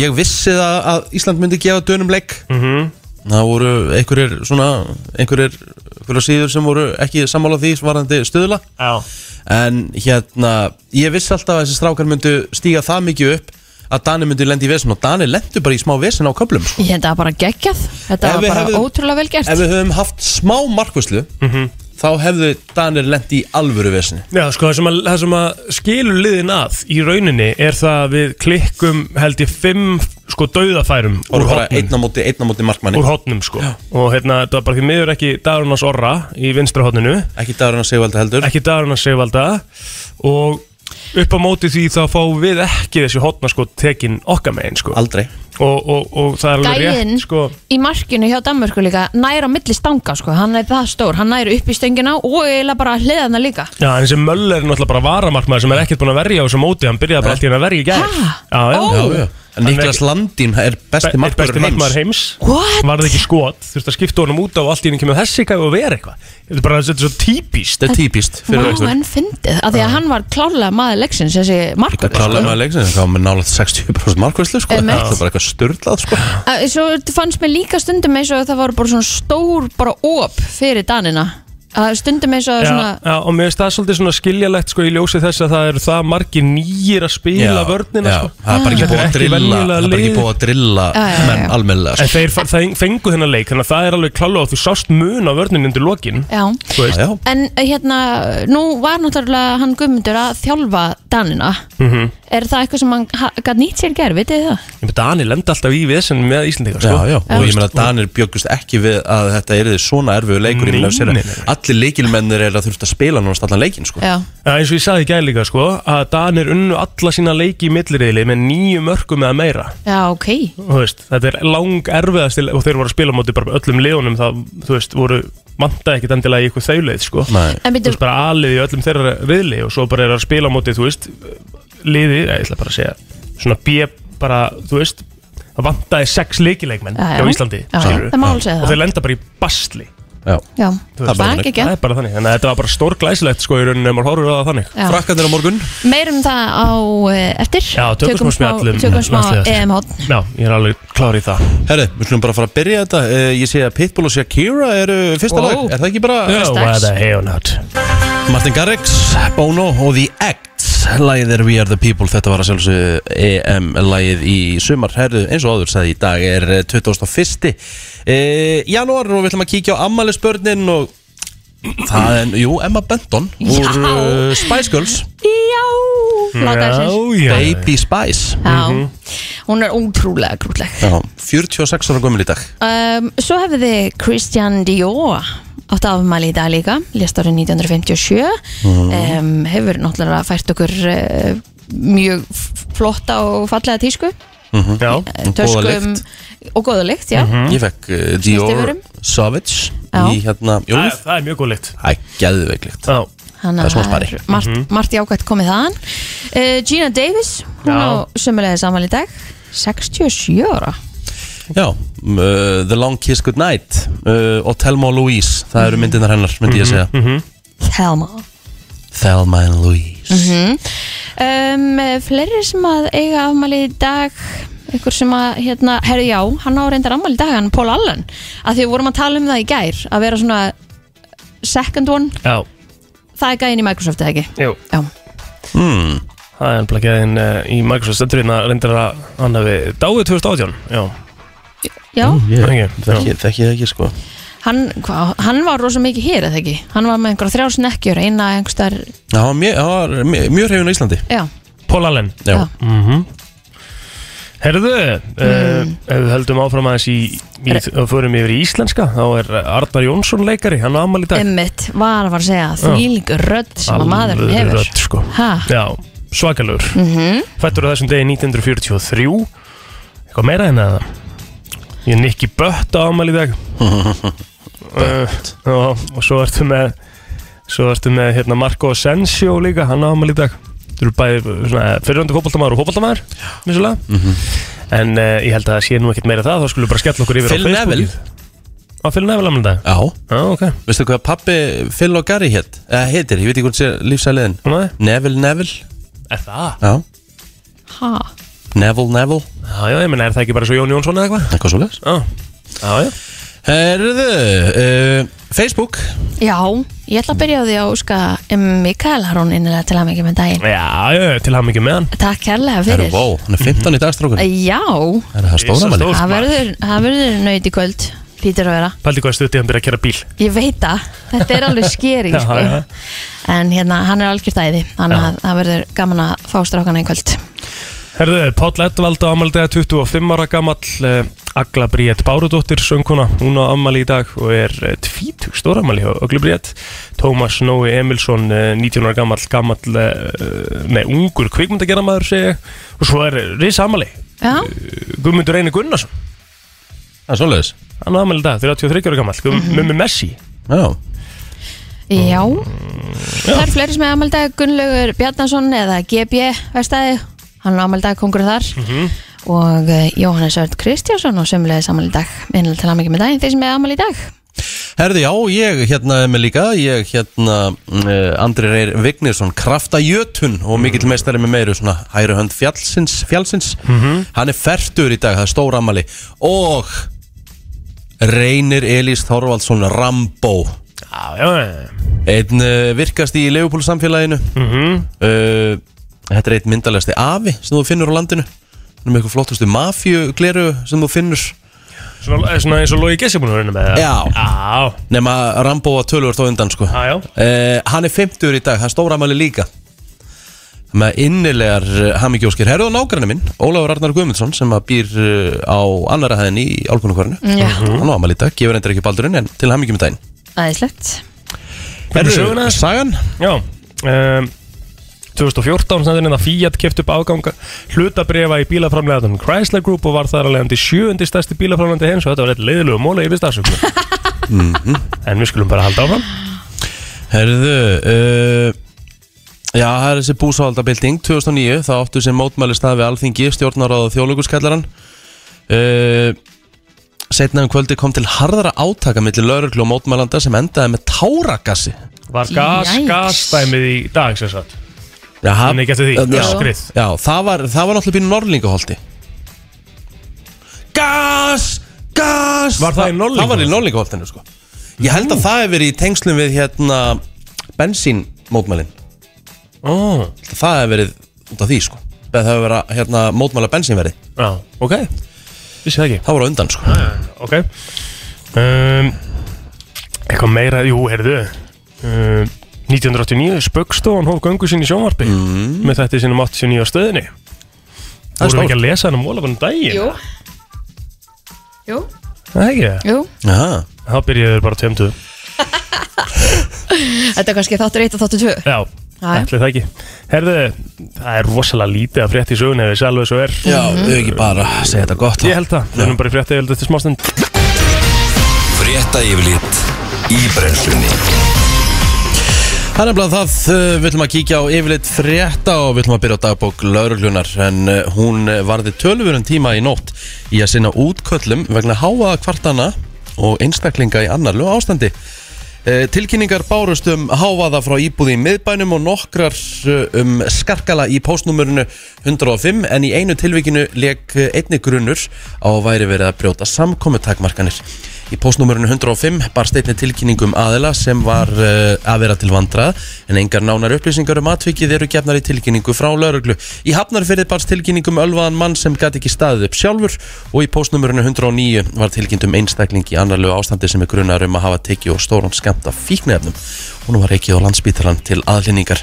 [SPEAKER 2] ég vissi það að Ísland myndi gefa dönum leik
[SPEAKER 4] Mhm.
[SPEAKER 2] Það voru einhverjir svona einhverjir, einhverjir síður sem voru ekki sammála því svarandi stuðla
[SPEAKER 4] Já
[SPEAKER 2] En hérna, ég vissi alltaf að þessi strákar myndu stíga það mikið upp að Dani myndi lendi í vesen og Dani lendu bara í smá vesen á köflum sko.
[SPEAKER 3] Ég held að það bara geggjað Þetta
[SPEAKER 2] Ef
[SPEAKER 3] var
[SPEAKER 2] við
[SPEAKER 3] bara
[SPEAKER 2] hefðum-
[SPEAKER 3] ótrúlega vel gert
[SPEAKER 2] Ef við höfum haft smá markvæslu
[SPEAKER 4] Mhm.
[SPEAKER 2] þá hefðu Dani lendi í alvöru veseni
[SPEAKER 4] Já, sko, það sem, að, það sem að skilur liðin að í rauninni er það að við klikkum held ég fimm sko dauðafærum
[SPEAKER 2] og
[SPEAKER 4] úr
[SPEAKER 2] bara
[SPEAKER 4] hotnum.
[SPEAKER 2] einn á móti, einn á móti markmanni
[SPEAKER 4] úr hotnum sko og hérna, þetta var bara því miður ekki Dagrun hans Orra í vinstra hotninu
[SPEAKER 2] ekki dagurinn að segja heldur
[SPEAKER 4] ekki Dagrun hans Sigvalda og upp á móti því þá fáum við ekki þessi hotna sko tekin okkar megin sko og,
[SPEAKER 2] aldrei
[SPEAKER 4] og, og það er alveg
[SPEAKER 3] Gæinn
[SPEAKER 4] rétt sko
[SPEAKER 3] í markinu hjá Danmörku líka nær á milli stanga sko, hann er það stór hann nær upp í stöngina og eiginlega bara hliðana líka
[SPEAKER 4] Já, en þessi Möller er náttúrulega bara varamarkmaður sem er ekkert búinn að verja á þessu móti, hann byrjaði bara alltaf inn að verja í gær
[SPEAKER 3] Ha?
[SPEAKER 4] Já, já,
[SPEAKER 3] Ó.
[SPEAKER 2] Já, já.
[SPEAKER 4] Hann er
[SPEAKER 2] Niklas
[SPEAKER 4] ekki-
[SPEAKER 2] Landín er besti
[SPEAKER 4] Be- besti
[SPEAKER 2] markmaður heims
[SPEAKER 4] markmaður heims
[SPEAKER 3] What?
[SPEAKER 4] varði ekki skot, þurfti að skipta honum út á og allt í henni kemur þessi gæfi og vera eitthvað þetta er bara þetta er svo típist
[SPEAKER 2] Þetta er típist fyrir Ah.
[SPEAKER 3] Má
[SPEAKER 2] leikstur
[SPEAKER 3] enn fyndið, af því að hann var klálega maður leiksins þessi sko. markur
[SPEAKER 2] Klálega með leiksin Það var með nálega 60% markvæslu sko.
[SPEAKER 3] Einmitt.
[SPEAKER 2] Það var bara eitthvað styrlað sko.
[SPEAKER 3] Svo fannst mér líka stundum eins og það var bara svona stór bara op fyrir Danina Að stundum eins og
[SPEAKER 4] Já,
[SPEAKER 3] svona
[SPEAKER 4] já, og mér finnst það svolítið svona skiljalegt sko í ljósi þess að það eru það margir nýjir að spila
[SPEAKER 2] Já,
[SPEAKER 4] vörnina
[SPEAKER 2] já.
[SPEAKER 4] sko.
[SPEAKER 2] Það er bara ekki
[SPEAKER 4] Þetta er
[SPEAKER 2] búið að
[SPEAKER 4] ekki
[SPEAKER 2] drilla
[SPEAKER 4] venjulega
[SPEAKER 2] Það er bara ekki
[SPEAKER 4] lið.
[SPEAKER 2] búið að drilla
[SPEAKER 3] Já, já, já,
[SPEAKER 2] menn
[SPEAKER 3] já.
[SPEAKER 2] almennilega
[SPEAKER 4] En
[SPEAKER 2] sko.
[SPEAKER 4] þeir, fa- þeir fengu þennan leik þannig að það er alveg klála og þú sást mun á vörninu undir lokin
[SPEAKER 3] Já,
[SPEAKER 4] þú veist.
[SPEAKER 2] Já, já.
[SPEAKER 3] eh,
[SPEAKER 4] Mhm.
[SPEAKER 3] en hérna, nú var náttúrulega hann Guðmundur að þjálfa Danina mm er það eitthvað sem hann gæt nýtt sér í gær, vitið þið það?
[SPEAKER 4] Ég með Dani lenda alltaf í vesen með Íslendingar sko.
[SPEAKER 2] Já, já, og ég
[SPEAKER 4] Þú
[SPEAKER 2] meina
[SPEAKER 4] veist,
[SPEAKER 2] að Danir bjöggust ekki við að þetta er svona erfiðu leikur ég meina að
[SPEAKER 4] Nei,
[SPEAKER 2] sér
[SPEAKER 4] nei,
[SPEAKER 2] að
[SPEAKER 4] nei.
[SPEAKER 2] allir leikilmennir er að þurft að spila náttúrulega allan leikin sko.
[SPEAKER 3] Já,
[SPEAKER 4] Já, eins og ég sagði í gæl líka sko, að Danir unnu alla sína leiki í millirriðli með nýju mörgum eða meira
[SPEAKER 3] já, ok
[SPEAKER 4] Þú veist, þetta er lang erfiðast og þeir voru að spila á móti bara öllum liðunum það, þú veist, voru vantaði ekkit endilega í eitthvað þauleið sko.
[SPEAKER 2] Nei.
[SPEAKER 3] En
[SPEAKER 4] þú
[SPEAKER 3] byrju,
[SPEAKER 4] veist bara aðlið í öllum þeirra riðli og svo bara er að spila á móti, þú veist liði, ég ætla bara að segja svona B, bara, þú veist það vantaði sex leikileikmenn
[SPEAKER 3] Já, já.
[SPEAKER 4] hjá Íslandi
[SPEAKER 3] Já, já,
[SPEAKER 4] skilurðu.
[SPEAKER 3] það má alveg segja
[SPEAKER 4] og
[SPEAKER 3] það.
[SPEAKER 4] þeir lenda bara í basli
[SPEAKER 2] Já.
[SPEAKER 3] já,
[SPEAKER 4] Þú
[SPEAKER 3] það
[SPEAKER 4] veist,
[SPEAKER 3] er ekki ekki
[SPEAKER 4] það er bara þannig, þannig að þetta var bara stórglæsilegt sko í rauninni ef maður horfir á það þannig
[SPEAKER 3] Já.
[SPEAKER 2] Frakkandir á morgun
[SPEAKER 3] Meirum það á eh, eftir
[SPEAKER 4] Já, tökum smá spjallum
[SPEAKER 3] Tökum smá E
[SPEAKER 4] landsliðið.
[SPEAKER 3] EM-hátn
[SPEAKER 4] Já, ég er alveg klár í það
[SPEAKER 2] Herri, við slumum bara að fara að byrja þetta Eh, Ég sé að Pitbull og Shakira eru fyrsta
[SPEAKER 3] Wow.
[SPEAKER 2] lag Er það ekki bara
[SPEAKER 4] Já,
[SPEAKER 3] strax.
[SPEAKER 4] why the hell not
[SPEAKER 2] Martin Garrix, Bono og The Act Lagið er We Are The People Þetta var að sjálfsög EM-lagið í sumar Herru, eins og áður sagði í dag er eh, 21. Eh, janúar og við ætlum að kíkja á ammælisbörnin og það er, jú, Emma Benton úr
[SPEAKER 3] Já.
[SPEAKER 2] eh, Spice Girls
[SPEAKER 3] Já, láta þessi
[SPEAKER 4] já Mhm.
[SPEAKER 2] Baby Spice
[SPEAKER 3] Já, hún er ótrúlega grútleg
[SPEAKER 2] Já, 46 ára gömul í dag
[SPEAKER 3] um, Svo hefði þið Christian Dior átt afmæli í dag líka, lest árið 1957
[SPEAKER 2] Mhm.
[SPEAKER 3] um, hefur náttúrulega fært okkur uh, mjög f- flotta og fallega tísku
[SPEAKER 4] Já,
[SPEAKER 3] eh,
[SPEAKER 2] Og Mhm. góða lykt.
[SPEAKER 3] og góða lykt, já
[SPEAKER 2] Ég fekk uh, Dior
[SPEAKER 3] Snyrtivörum.
[SPEAKER 2] Savage
[SPEAKER 3] Já.
[SPEAKER 2] í hérna
[SPEAKER 4] það er-
[SPEAKER 2] jólf
[SPEAKER 4] það er mjög góð lykt
[SPEAKER 2] Það er geðveiklegt
[SPEAKER 4] Já,
[SPEAKER 3] Þannig
[SPEAKER 2] Það er smá
[SPEAKER 3] að það er
[SPEAKER 2] spari. Mhm.
[SPEAKER 3] margt, margt jákvæmt komið þaðan uh, Gina Davis, hún
[SPEAKER 4] Já.
[SPEAKER 3] á sömulegði saman í dag 67 ára
[SPEAKER 2] Já, uh, The Long Kiss Goodnight uh, og Thelma og Louise Það eru myndirnar hennar, myndi ég að segja
[SPEAKER 4] Mhm.
[SPEAKER 3] Thelma
[SPEAKER 2] Thelma and Louise
[SPEAKER 4] Mhm.
[SPEAKER 3] um, eh, Fleiri sem að eiga afmæli í dag ykkur sem að, hérna, herri já hann á reyndar afmæli í dag, hann Paul Allen að því við vorum að tala um það í gær að vera svona second one
[SPEAKER 4] já,
[SPEAKER 3] það er gæðin í Microsoft eða ekki
[SPEAKER 4] jú
[SPEAKER 3] já,
[SPEAKER 4] Það er ennbla geðin uh, í Microsoft Stöndurinn að reyndar að hann hafi dáið 2018 Já,
[SPEAKER 3] já
[SPEAKER 2] Mhm.
[SPEAKER 4] yeah. ekki
[SPEAKER 2] Þekki þekki það ekki sko
[SPEAKER 3] hann, hva, hann var rosa mikið hér eða ekki hann var með einhverja þrjá snekkjur eina einhverstar,
[SPEAKER 2] Það var mjög, það var mjög, mjög hrifin á Íslandi
[SPEAKER 3] já,
[SPEAKER 4] Paul Allen
[SPEAKER 2] Já,
[SPEAKER 3] Já.
[SPEAKER 4] Herðu, mm. ef við höldum áfram aðeins í, í og förum yfir í íslenska þá er Arnar Jónsson leikari, hann á ammali í dag
[SPEAKER 3] ummitt var að fara að segja þvílík rödd sem að maður
[SPEAKER 4] Alvöru
[SPEAKER 3] hefur
[SPEAKER 4] rödd, sko.
[SPEAKER 3] ha,
[SPEAKER 4] Já, svakalur mm -hmm. Fættur á þessum degi 1943 Eitthvað meira en að Ég er Nicky Bött á ammali í dag Bött uh, Og svo ertu með Svo ertu með hérna, Marco Asensio líka Hann á ammali í dag Þú eru bæði fyriröndu fótboltamaður og fótboltamaður Vissulega En uh, ég held að það sé nú ekkert meira það Þá skulum við bara skella okkur yfir
[SPEAKER 2] Phil
[SPEAKER 4] á Facebookið Á Phil Neville ammali í dag
[SPEAKER 2] já
[SPEAKER 4] Já, ok
[SPEAKER 2] Veistu hvað pappi Phil og Gary hétt? Eh, heitir, ég veit ekki hvort sé lífsæliðin
[SPEAKER 4] Nei.
[SPEAKER 2] Neville Neville
[SPEAKER 4] Er það?
[SPEAKER 2] Já,
[SPEAKER 3] ha,
[SPEAKER 2] Neville Neville
[SPEAKER 4] Já, já, ég menna, er það ekki bara svo Jón Jónsson eða eitthvað?
[SPEAKER 2] Eitthvað svo leis
[SPEAKER 4] Já, já, já
[SPEAKER 2] Herðu, uh, Facebook
[SPEAKER 3] já ég ætla að byrja á því að óska um Mikael Harón innilega til að mikið með daginn
[SPEAKER 4] Já, já, til hann ekki með hann
[SPEAKER 3] takk kærlega
[SPEAKER 2] Herru,
[SPEAKER 3] fyrir
[SPEAKER 2] vó, hann er 15 í dagstrókun
[SPEAKER 3] já,
[SPEAKER 2] Er það stóramæli?
[SPEAKER 4] Stórt
[SPEAKER 3] það
[SPEAKER 4] maður.
[SPEAKER 3] verður, það verður nöyt í kvöld hlýtur að vera,
[SPEAKER 4] Paldi hvað stutti hann byrja að kera bíl
[SPEAKER 3] ég veit það þetta er alveg skeri
[SPEAKER 4] Já,
[SPEAKER 3] sko.
[SPEAKER 4] já.
[SPEAKER 3] en hérna, hann er algjört æði þannig
[SPEAKER 4] Já.
[SPEAKER 3] að það verður gaman að fá strákana í kvöld
[SPEAKER 4] Herðu, Páll Edvald á ammaldega 25 ára gamall eh, Agla Bríett Bárudóttir sönguna, hún á ammali í dag og er eh, tvítug stóra ammali hjá Öglu Bríett Tómas Nói Emilsson eh, 19 ára gamall, gamall eh, nei, ungur kvikmyndagerðamaður segi ég. og svo er Risa ammali
[SPEAKER 3] já,
[SPEAKER 4] Guðmundur Einar Gunnarsson,
[SPEAKER 2] Það er svo leis
[SPEAKER 4] hann á ammali í dag 33 ára gamall, Guð-
[SPEAKER 3] Mm-hmm.
[SPEAKER 4] Mummi Messi
[SPEAKER 2] Já,
[SPEAKER 3] Já, það er fleiri sem er amaldag Gunnlaugur Bjarnason eða GB Vestæði, hann er amaldag kongur þar
[SPEAKER 4] Mhm.
[SPEAKER 3] og uh, Jóhannes Örd Kristjásson og sömulegði samaldag innlega til amaldag með daginn, þeir sem er amaldag í dag
[SPEAKER 2] Herði, já, ég hérna er með líka, ég hérna uh, Andri Reyr Vignisson, kraftajötun og mikill meistari með meiru svona hægri hönd fjallsins, fjallsins. hann er færtur í dag, það er stór ammali og Reynir Elís Þorvaldsson Rambo
[SPEAKER 4] Já, já, já, Mhm.
[SPEAKER 2] einn uh, virkast í Leopold samfélaginu uh, þetta er einn myndalegasti afi sem þú finnur á landinu hann er með eitthvað flottustu mafju gleru sem þú finnur
[SPEAKER 4] svona, eh, svona eins og Lói Gessi búin að reyna með það
[SPEAKER 2] Já.
[SPEAKER 4] Já,
[SPEAKER 2] nema Rambo var tölvöld á undan sko
[SPEAKER 4] já, já
[SPEAKER 2] Uh, hann er 50 í dag, það er stóramæli líka með innilegar hamingjóskir herðu á nágrannu minn, Ólafur Arnar Guðmundsson sem að býr eh, á annara hæðinni í álkunarkvarinu
[SPEAKER 3] Já.
[SPEAKER 2] hann á amal í dag, gefur endur ekki baldurinn en til hamingjum í daginn
[SPEAKER 3] Æðislegt
[SPEAKER 4] Hvernig er söguna?
[SPEAKER 2] sagan?
[SPEAKER 4] Já um, 2014 sem þetta Fiat keft upp afganga hlutabrifa í bílaframlegaðan Chrysler Group og var þar alveg til sjöundi stærsti bílaframlegandi hins og þetta var eitt leiðilegu móla yfir starfsögnum En við skulum bara halda áfram
[SPEAKER 2] Herðu uh, Já, það er þessi búsáhaldabilding 2009, það áttu sem mótmæli stafi Alþingi, stjórnaráð og þjóðlökuskallaran uh, Setna um kvöldi kom til harðara átaka milli lauruglu og mótmælanda sem endaði með táragassi
[SPEAKER 4] Var gas,
[SPEAKER 3] Jæks.
[SPEAKER 4] gasdæmið í dag sem sagt
[SPEAKER 2] Já,
[SPEAKER 4] Þannig ekki eftir því,
[SPEAKER 2] já,
[SPEAKER 4] öskrið.
[SPEAKER 2] já það, var, það var náttúrulega býr Norlingaholti Gas, gas
[SPEAKER 4] Var það í Norðlingaholti?
[SPEAKER 2] Það var í Norlingaholtinu sko Ég held að það hefur verið í tengslum við hérna bensínmótmælin
[SPEAKER 4] oh.
[SPEAKER 2] það hefur verið út af því sko það hefur verið að hérna, mótmála bensínverði
[SPEAKER 4] Já, ok Vissi það ekki
[SPEAKER 2] það voru á undan sko
[SPEAKER 4] Ok um, Eitthvað meira, jú, heyrðu um, 1989 Spöggstofan hóf göngu sín í sjónvarpi með þetta sínum 89 á stöðinni
[SPEAKER 2] Það Mhm. er
[SPEAKER 4] Þú
[SPEAKER 2] stórt.
[SPEAKER 4] voru ekki að lesa hann um Ólafur um daginn
[SPEAKER 3] Jú Jú,
[SPEAKER 4] Það er ekki
[SPEAKER 3] Jú.
[SPEAKER 2] Aha.
[SPEAKER 4] Þá byrjuðu bara tveimtu
[SPEAKER 3] Þetta er kannski þáttur 1 og þáttur 2
[SPEAKER 4] Já,
[SPEAKER 3] já.
[SPEAKER 4] ætli það ekki Heyrðu, það er rosalega lítið að frétt í sögunni ef þessi alveg svo er
[SPEAKER 2] já, mm -hmm. ekki bara að segja þetta gott
[SPEAKER 4] Ég held það, við erum bara í frétti eftir þetta smástund
[SPEAKER 1] Frétta yfirlit í brennslunni
[SPEAKER 2] Það er nefnilega það, uh, við ætlum að kíkja á yfirleitt frétta og við ætlum að byrja á dagbók lauruglunar en uh, hún uh, varði tölvurinn tíma í nótt í að sinna útköllum vegna háaða kvartana og einstaklinga í annarlu ástandi. Uh, Tilkynningar bárust um hávaða frá íbúði í miðbænum og nokkrar uh, um skarkala í postnúmurinu 105 en í einu tilvikinu leik einni grunnur á að væri verið að brjóta samkomutakmarkanir. Í postnúmerinu 105 barst einni tilkynningum aðila sem var uh, að vera til vandrað en engar nánar upplýsingar um atvikið eru gefnar í tilkynningu frá lauruglu. Í Hafnarfyrði barst tilkynningum ölvaðan mann sem gæti ekki staðið upp sjálfur og í postnúmerinu 109 var tilkynnt um einstakling í annarlegu ástandi sem er grunar um að hafa tekið og stóran skamta fíknefnum. Hún var ekki á landsbítalan til aðlýningar.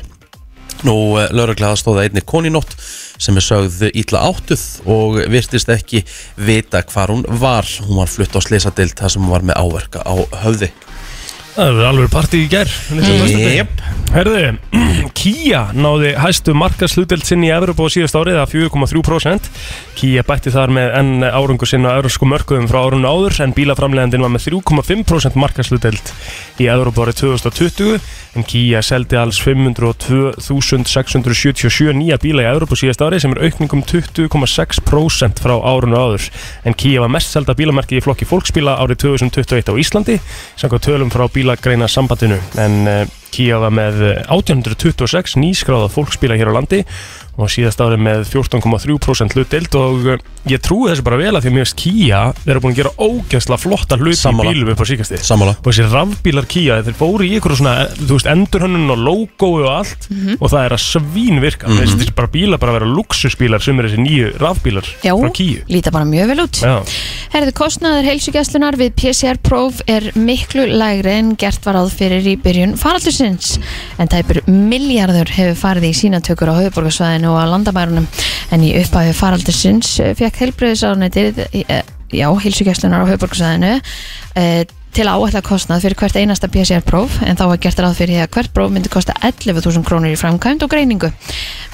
[SPEAKER 2] Nú, lauruglega aðstóða einni koninótt sem er sögð ítla áttuð og virtist ekki vita hvar hún var. Hún var flutt á slisadeild þar sem hún var með áverka á höfði.
[SPEAKER 4] Það er alveg partí í gær
[SPEAKER 2] Jep.
[SPEAKER 4] Herðu, Kia náði hæstu markasluteld sinn í Evropa á síðast árið að 4,3% Kia bætti þar með enn árangur sinn á evropsku mörkuðum frá árun áður en bílaframlegandinn var með 3,5% markasluteld í Evropa árið 2020 en Kia seldi alls 502.677 nýja bíla í Evropa á síðast árið sem er um aukningum 20,6% frá árun áður en Kia var mest selda bílamarki í flokki fólksbíla árið 2021 á Íslandi samkvæmt tölum frá bílagreina sambandinu en uh, Kia var með eh, 1826 nýskráða fólksbíla hér á landi og síðast árið með 14,3% hlutdeild og eh, ég trúi þessu bara vel að því að mér veist Kia eru búin að gera ógæsla flotta hluti
[SPEAKER 2] Sammála.
[SPEAKER 4] í bílum upp á síkastíð
[SPEAKER 2] Sammála.
[SPEAKER 4] og þessi rafbílar Kia þeir fóru í ykkur svona, eh, þú veist, endurhönnun og logou og allt og það er að svín virka mm -hmm. þessi bara bílar bara að vera luxusbílar sem eru þessi nýju rafbílar
[SPEAKER 3] Já,
[SPEAKER 4] frá Kia
[SPEAKER 3] líta bara mjög vel út
[SPEAKER 4] Já.
[SPEAKER 3] Herðu kostnaður heilsugæslunar við PCR-próf er miklu lægri en gert var áð fyrir í byrjun faraldusins en tæpur miljardur hefur farið í sínatökur á höfuborgarsvæðinu og á landamærunum en í eh, upphæfi faraldusins fekk helbriðisárnætið eh, já, heilsugæslunar á höfuborgarsvæðinu eh, til að áætla kostnað fyrir hvert einasta PCR-próf en þá var gert ráð fyrir því að hvert próf myndi kosta 11.000 krónur í framkvæmd og greiningu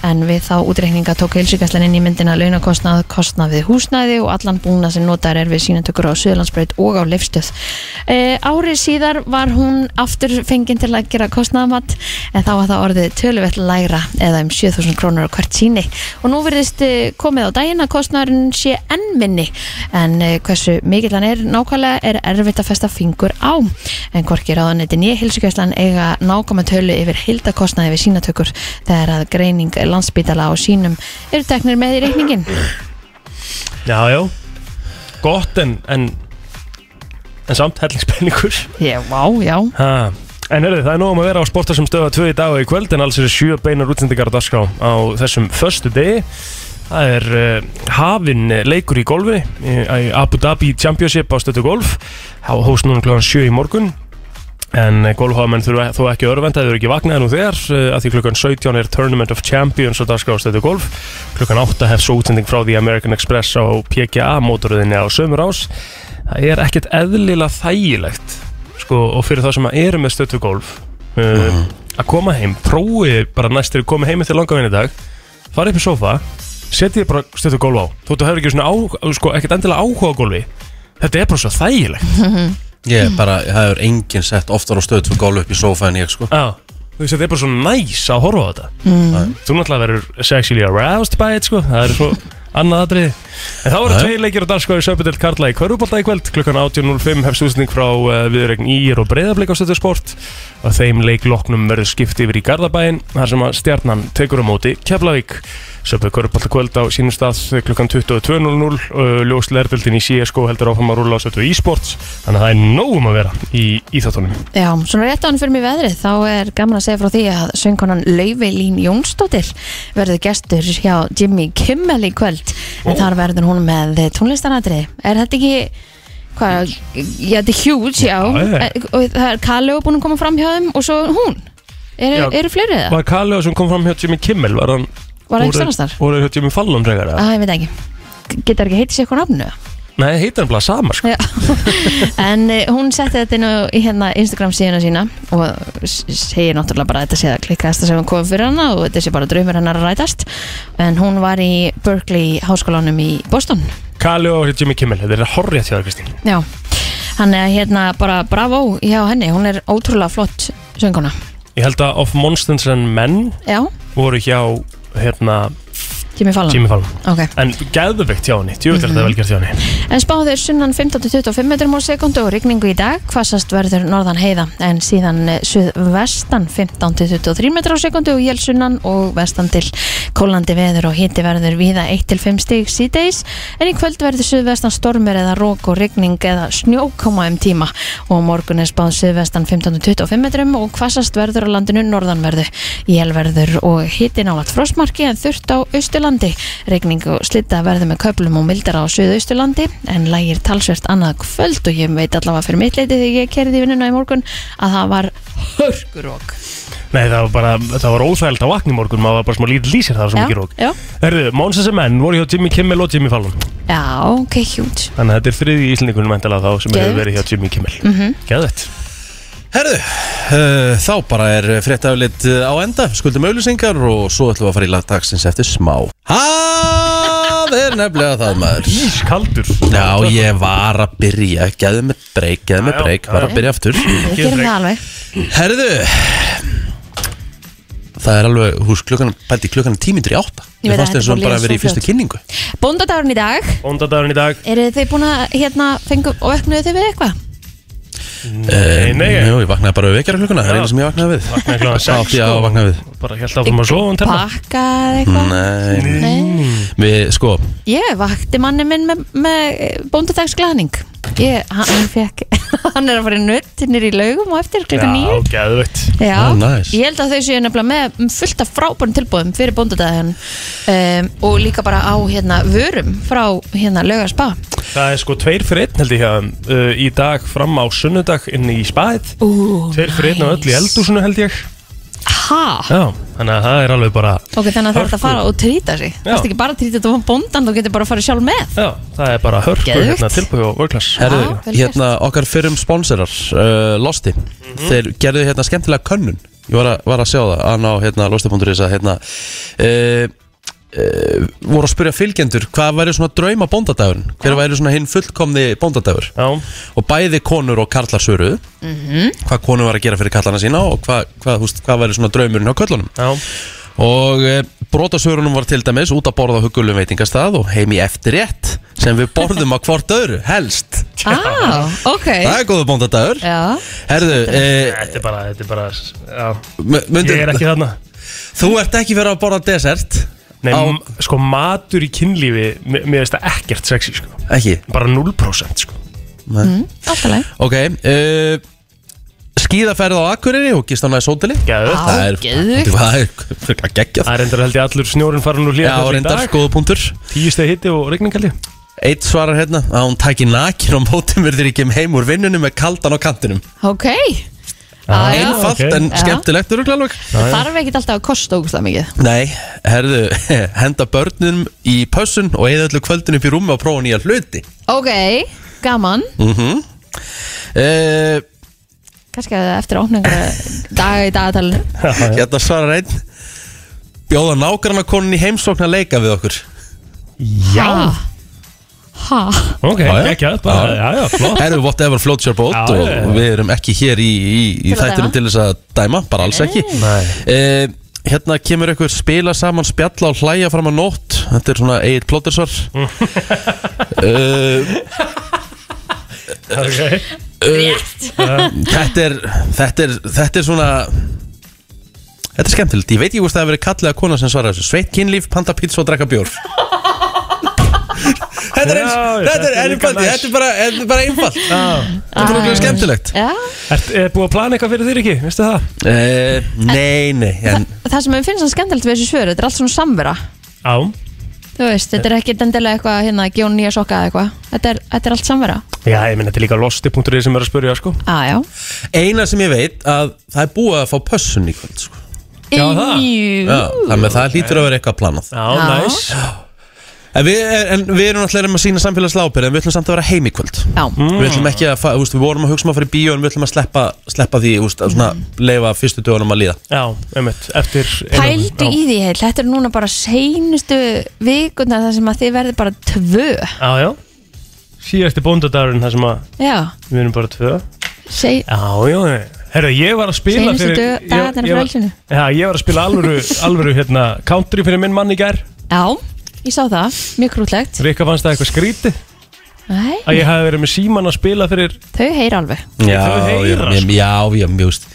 [SPEAKER 3] en við þá útreikninga tók heilsugæslan inn í myndina launakostnað, kostnað við húsnæði og allan búna sem notar er við sínatökur á Suðlandsbreyt og á Leifstöð e, Árið síðar var hún aftur fenginn til að gera kostnaðamatt en þá var það orðið töluvert lægra eða um 7.000 krónur á hvert síni og nú verðist eh, komið á daginn að kostnaðurinn sé enn minni en eh, hversu mikill hann er nákvæmlega er erfitt að festa fingur á en hvorki ráðanetti nýja hilsugjöfslan eiga nákvæma tölu yfir hildakostnaði við sínatökur þegar að greining landsbítala á sínum eru teknir með í reikningin
[SPEAKER 4] Já, já Gott en En, en samt hellingspenningur
[SPEAKER 3] Já, vá, já
[SPEAKER 4] ha. En hörðu, það er nóg um að vera á sportar sem stöða tvö í dag og í kvöld en alls eru sjö beinar útsendingar á dagskrá á þessum föstu degi Það er uh, hafinn leikur í golfi eh, í, í Abu Dhabi Championship á stöðu golf Há hóst núna kl. 7 í morgun En golfháðamenn þurfa þó ekki örvenda, þau eru ekki vaknaði nú þegar eh, að því klukkan 17 er Tournament of Champions og dagskráðstættu golf. Klukkan 8 hefst svo útsending frá því American Express á PGA mótoröðinni á sömur ás. Það er ekkert eðlilega þægilegt sko, og fyrir það sem að eru með stöttu golf uh, að koma heim, prófið bara næst þegar komið heim eftir langavinni dag farið upp í sofa, setið þið bara stöttu golf á þóttu hefur ekki svona á, sko, ekkert endilega áhuga á golfi þetta er bara svo þægilegt
[SPEAKER 2] Ég bara, það er enginn sett oftar á stöð fyrir gólu upp í sófa en ég sko
[SPEAKER 4] Já, þú veist, þetta er bara svo næs að horfa á þetta mm. Þú náttúrulega verður sexually aroused by it, sko Það er svo annað aðrið En þá eru
[SPEAKER 2] Já.
[SPEAKER 4] tvei leikir á dagskói Söpudelt Karla í Körubólda í kvöld Klukkan 18.05 hefst útsending frá uh, viðregn Ír og Breiðablík á stöðu sport Og þeim leikloknum verður skipt yfir í Garðabæin Þar sem að stjarnan tekur á móti Keflavík Söpudelt Körubólda kvöld á sínum stað klukkan 22.00 uh, Ljós lærdeldin í CSGO heldur áfram að rúla á stöðu e-sports Þannig að það er nógum að vera í íþáttunum
[SPEAKER 3] Já, svona rétt á hann fyrir mig veðrið þá er gaman að segja frá því að söngkonan Lauvelín Jónsdóttir verður gestur hjá Jimmy Kimmel í kvöld en þar verður hún með tónlistanatri er þetta ekki hvað, já þetta er huge, já,
[SPEAKER 4] Já, já.
[SPEAKER 3] og það er Kaleo búin að koma fram hjá þeim og svo hún eru,
[SPEAKER 4] Já.
[SPEAKER 3] eru fleiri það?
[SPEAKER 4] Var Kaleo sem kom fram hjá Jimmy Kimmel Var hann
[SPEAKER 3] Var það ekki
[SPEAKER 4] voru-
[SPEAKER 3] stannast þar?
[SPEAKER 4] Voru hjá Jimmy Fallon frekar eða?
[SPEAKER 3] Æ, ég veit ekki getur ekki heitið sér eitthvað nafnu
[SPEAKER 4] Nei, heitir hann bara sama sko.
[SPEAKER 3] Já. en uh, hún setti þetta inn á í hérna Instagram síðuna sína og s- segir náttúrulega bara að þetta sé að klikkaðast sem hún kom fyrir hana og þetta sé bara draumur hennar að rætast en hún var í Berkeley háskólanum í Boston
[SPEAKER 4] Kaleo hjá Jimmy Kimmel Þetta er horrið hjá þér Kristín
[SPEAKER 3] já, hann er hérna bara bravo hjá henni, hún er ótrúlega flott sönguna,
[SPEAKER 4] Ég held að Of Monsters and Men
[SPEAKER 3] já,
[SPEAKER 4] voru hjá hérna,
[SPEAKER 3] Jimmy Fallon
[SPEAKER 4] Jimmy Fallon
[SPEAKER 3] ok,
[SPEAKER 4] En geðveikt hjá henni, djúvill er þetta
[SPEAKER 3] Mhm.
[SPEAKER 4] velgjart hjá henni
[SPEAKER 3] en spáður sunnan 15-25 metrum á sekundu og rigningu í dag hvassast verður norðan heiða en síðan eh, suðvestan 15-23 metrum á sekundu og jél sunnan og vestan til kólandi veður og hiti verður víða 1-5 stig síðdeis en í kvöld verður suðvestan stormur eða rók og rigning eða snjókoma um tíma og á morgun er spáð suðvestan 15-25 metrum og hvassast verður á landinu norðanverðu jél verður og hiti nálat frostmarki en þurft á austurlandi Regning og slitta verður með köplum og mildara á suðausturlandi en lægir talsvert annað kvöld og ég veit allavega fyrir mitt leiti þegar ég kerði í vinnuna í morgun að það var hörgurók.
[SPEAKER 4] Nei, það var bara, það var óþægild á vakni morgun Maður var bara smá lítið lýsir það var svo
[SPEAKER 3] Já,
[SPEAKER 4] mikið rók
[SPEAKER 3] já.
[SPEAKER 4] Herðu, Monsters and Men voru hjá Jimmy Kimmel og Jimmy Fallon
[SPEAKER 3] Já, ok, hjút.
[SPEAKER 4] Þannig að þetta er þriði í Íslendingunum endala þá sem hefur
[SPEAKER 3] Geðveikt. Mhm.
[SPEAKER 4] verið hjá Jimmy Kimmel mm -hmm.
[SPEAKER 2] Herðu, uh, þá bara er fréttaflitt á enda, skuldum auðlýsingar og svo ætlum við að fara í lagdagsins eftir smá Það er nefnilega það maður
[SPEAKER 4] Ískaldur
[SPEAKER 2] Já, ég var að byrja, geðu mig breyk, geðu mig
[SPEAKER 4] Já, já,
[SPEAKER 2] breyk,
[SPEAKER 4] já,
[SPEAKER 2] var
[SPEAKER 4] já.
[SPEAKER 2] að byrja aftur
[SPEAKER 3] Við gerum það alveg.
[SPEAKER 2] Herðu Það er alveg, hús, klukkan, pælti klukkan tímindur í átta
[SPEAKER 3] Ég veit
[SPEAKER 2] Mér
[SPEAKER 3] að
[SPEAKER 2] fannst
[SPEAKER 3] þetta
[SPEAKER 2] eins og
[SPEAKER 3] fór
[SPEAKER 2] hún bara
[SPEAKER 3] líða
[SPEAKER 2] að vera í
[SPEAKER 3] svo
[SPEAKER 2] fyrstu
[SPEAKER 3] fljótt.
[SPEAKER 2] kynningu
[SPEAKER 3] Bóndadagurinn í dag,
[SPEAKER 4] Óndadagurinn í dag
[SPEAKER 3] eru þið búin að hérna fengum og öknuðu þið við eitthvað?
[SPEAKER 4] Nei, nei, nei.
[SPEAKER 2] Eh, Jú, ég vaknaði bara við vekjara klukkuna, það er
[SPEAKER 4] Já.
[SPEAKER 2] eina sem ég vaknaði við
[SPEAKER 4] Vaknaði klukkan
[SPEAKER 2] Hvað
[SPEAKER 4] sex,
[SPEAKER 2] átti ég að
[SPEAKER 4] sko.
[SPEAKER 2] vaknaði við?
[SPEAKER 4] Bara held áfram að sofa um telma
[SPEAKER 3] Pakka eða eitthvað?
[SPEAKER 2] Nei,
[SPEAKER 3] Nei.
[SPEAKER 2] við, sko,
[SPEAKER 3] Ég vakti manni minn með, með bóndadagsglæðning. Ég, hann, hann fekk, hann er að fara í nutt hinn í laugum og eftir klukkan nýju.
[SPEAKER 4] Já, geðveitt
[SPEAKER 3] Já,
[SPEAKER 2] Ah, nice.
[SPEAKER 3] ég held að þau séu nefnilega með fullt af frábærum tilbúðum fyrir bóndadaginn um, og líka bara á hérna vörum frá hérna lögarspa
[SPEAKER 4] Það er sko tveir fyrir einn held ég hjá þeim uh, Í dag fram á sunnudag inn í spæð
[SPEAKER 3] Ú,
[SPEAKER 4] Tveir fyrir einn á öll í eldúsinu held ég
[SPEAKER 3] ha?
[SPEAKER 4] Já, þannig að það er alveg bara
[SPEAKER 3] Ok, þannig að það er
[SPEAKER 4] Hörku.
[SPEAKER 3] að fara og trýta sig Það er ekki bara að trýta þetta á bóndan, þú getur bara að fara sjálf með
[SPEAKER 4] Já, það er bara hörku
[SPEAKER 3] Geðveikt.
[SPEAKER 4] hérna, tilbúið og workclass
[SPEAKER 2] herðu,
[SPEAKER 3] Já, vel gert.
[SPEAKER 2] hérna, okkar fyrrum sponsorar, uh, Losti Þeir gerðu hérna skemmtilega könnun Ég var að, var að sjá það, hann á hérna, losti.is að hérna uh, Uh, voru að spyrja fylgjendur hvað væri svona drauma bóndadagurinn hver væri svona hinn fullkomni bóndadagur
[SPEAKER 4] Já,
[SPEAKER 2] og bæði konur og karlar svöruðu
[SPEAKER 3] Mhm.
[SPEAKER 2] hvað konur var að gera fyrir karlarna sína og hvað, hvað, húst, hvað væri svona draumurinn á köllunum
[SPEAKER 4] já,
[SPEAKER 2] og e, brotasvörunum var til dæmis út að borða á hugulum veitingastað og heim í eftirrétt sem við borðum á hvort öðru helst
[SPEAKER 3] ah, ok
[SPEAKER 2] það er góðu bóndadagur
[SPEAKER 3] Já,
[SPEAKER 2] herðu, e,
[SPEAKER 4] þetta er bara, þetta er bara já. Ég er
[SPEAKER 2] myndir,
[SPEAKER 4] ekki þarna
[SPEAKER 2] þú ert ekki verið að borða desert
[SPEAKER 4] Nei,
[SPEAKER 2] Á-
[SPEAKER 4] m- sko matur í kynlífi Mér mér finnst það ekkert sexy sko
[SPEAKER 2] ekki,
[SPEAKER 4] Bara 0% sko
[SPEAKER 3] alltaf leið
[SPEAKER 2] ok e, skíðaferð á Akureyri og gist á næs hóteli
[SPEAKER 4] Geðveikt
[SPEAKER 3] Á,
[SPEAKER 2] það er,
[SPEAKER 3] geðveikt.
[SPEAKER 2] það er, það er geggjað
[SPEAKER 4] Það er reyndar held ég allur snjórin farin úr hlýja
[SPEAKER 2] Já, reyndar sko. skoðu punktur
[SPEAKER 4] Tíu steg hitti og regning held ég
[SPEAKER 2] Eitt svarar hérna að hún tæki nakin og mótum verður ekki heim úr vinnunum með kaldan á kantinum
[SPEAKER 3] Ok, Já, já.
[SPEAKER 2] Einfalt
[SPEAKER 4] ok.
[SPEAKER 2] en
[SPEAKER 3] Já.
[SPEAKER 2] skemmtilegt eru alveg
[SPEAKER 3] Það þarf ekkert alltaf að kosta ógustlega mikið
[SPEAKER 2] Nei, herðu, henda börnum í pössun og eða öllu kvöldin upp í rúmi og prófa nýja hluti
[SPEAKER 3] Ok, gaman
[SPEAKER 4] Mhm.
[SPEAKER 2] uh,
[SPEAKER 3] Kannski að eftir opningar dag í dagatalinu
[SPEAKER 2] Hérna svarar einn Bjóða nágrannakonin í heimsókn að leika við okkur
[SPEAKER 4] Já,
[SPEAKER 3] Ha,
[SPEAKER 4] ok,
[SPEAKER 2] Já, já.
[SPEAKER 4] ekki að bara,
[SPEAKER 2] Já.
[SPEAKER 4] já, já, flott
[SPEAKER 2] Herðu, whatever floats your boat
[SPEAKER 4] Já,
[SPEAKER 2] og
[SPEAKER 4] já, já.
[SPEAKER 2] við erum ekki hér í, í, í
[SPEAKER 3] Til að
[SPEAKER 2] þættinum
[SPEAKER 3] dæma.
[SPEAKER 2] til þess að dæma, bara alls ekki uh, Hérna kemur ykkur spila saman spjalla og hlæja fram að nótt Þetta er svona eigin plótersvar uh,
[SPEAKER 4] okay.
[SPEAKER 2] þetta er, þetta er, þetta er svona Þetta er skemmtilegt, ég veit ekki hvort það hefur verið kallið að kona sem svara þessu Sveitt kynlíf, panta pizza og drekka bjór Þetta er eins,
[SPEAKER 4] Já, já,
[SPEAKER 2] þetta er
[SPEAKER 4] þetta er líka
[SPEAKER 2] einfalt,
[SPEAKER 4] næs. Ah.
[SPEAKER 2] þetta er bara, þetta er bara einfalt Þetta er bara örugglega skemmtilegt
[SPEAKER 3] já
[SPEAKER 4] Ert er búið að plana eitthvað fyrir þér ekki, veistu það?
[SPEAKER 2] uh,
[SPEAKER 4] Eh,
[SPEAKER 2] Nei, nei, en
[SPEAKER 3] Það sem ég finnst það skemmtilegt við þessu svöru Þetta er allt svona samvera
[SPEAKER 4] Já,
[SPEAKER 3] Þú veist, þetta er ekki dendilega eitthvað hérna að gefa hún nýja sokka eða eitthvað þetta er, þetta er allt samvera
[SPEAKER 4] já, ég minn, þetta er líka losti.ri sem er að spyrja, sko
[SPEAKER 3] ah, Já,
[SPEAKER 2] eina sem ég veit að það er búið að fá pössun í kvöld sko.
[SPEAKER 3] já
[SPEAKER 4] Já, það.
[SPEAKER 2] Já, þannig að það hlýtur að vera eitthvað planað
[SPEAKER 4] Já,
[SPEAKER 3] Já.
[SPEAKER 4] næs
[SPEAKER 2] en við, en við erum náttúrulega um að sína samfélagslábyrð en við ætlum samt að vera heim í kvöld
[SPEAKER 3] Já,
[SPEAKER 4] Mm.
[SPEAKER 2] við ætlum ekki að, fa- þú veist, við vorum að hugsa um að fara í bíó en við ætlum að sleppa, sleppa því, þú veist, að svona leifa fyrstu dögunum að líða
[SPEAKER 4] Já, einmitt, eftir
[SPEAKER 3] pældu í því heil Þetta er núna bara seinustu vikundar þar sem að þið verði bara tvö
[SPEAKER 4] Já, já Síðasti bóndadagurinn þar sem að
[SPEAKER 3] Já,
[SPEAKER 4] við erum bara tvö
[SPEAKER 3] seg,
[SPEAKER 4] Já, já, herru, ég var að spila
[SPEAKER 3] Seinustu
[SPEAKER 4] fyrir
[SPEAKER 3] dö- dagarnir
[SPEAKER 4] ég- ég
[SPEAKER 3] frá
[SPEAKER 4] var-
[SPEAKER 3] Elsinu.
[SPEAKER 4] Já, ég var að spila alvöru, alvöru, hérna, country fyrir minn mann í gær
[SPEAKER 3] já Ég sá það, mjög krútlegt
[SPEAKER 4] Rikka fannst það eitthvað skríti
[SPEAKER 3] Nei,
[SPEAKER 4] að ég hafi verið með síman að spila fyrir
[SPEAKER 3] Þau heyra alveg
[SPEAKER 2] já, já,
[SPEAKER 4] þau heyra, sko.
[SPEAKER 2] já, já, já, mjög veist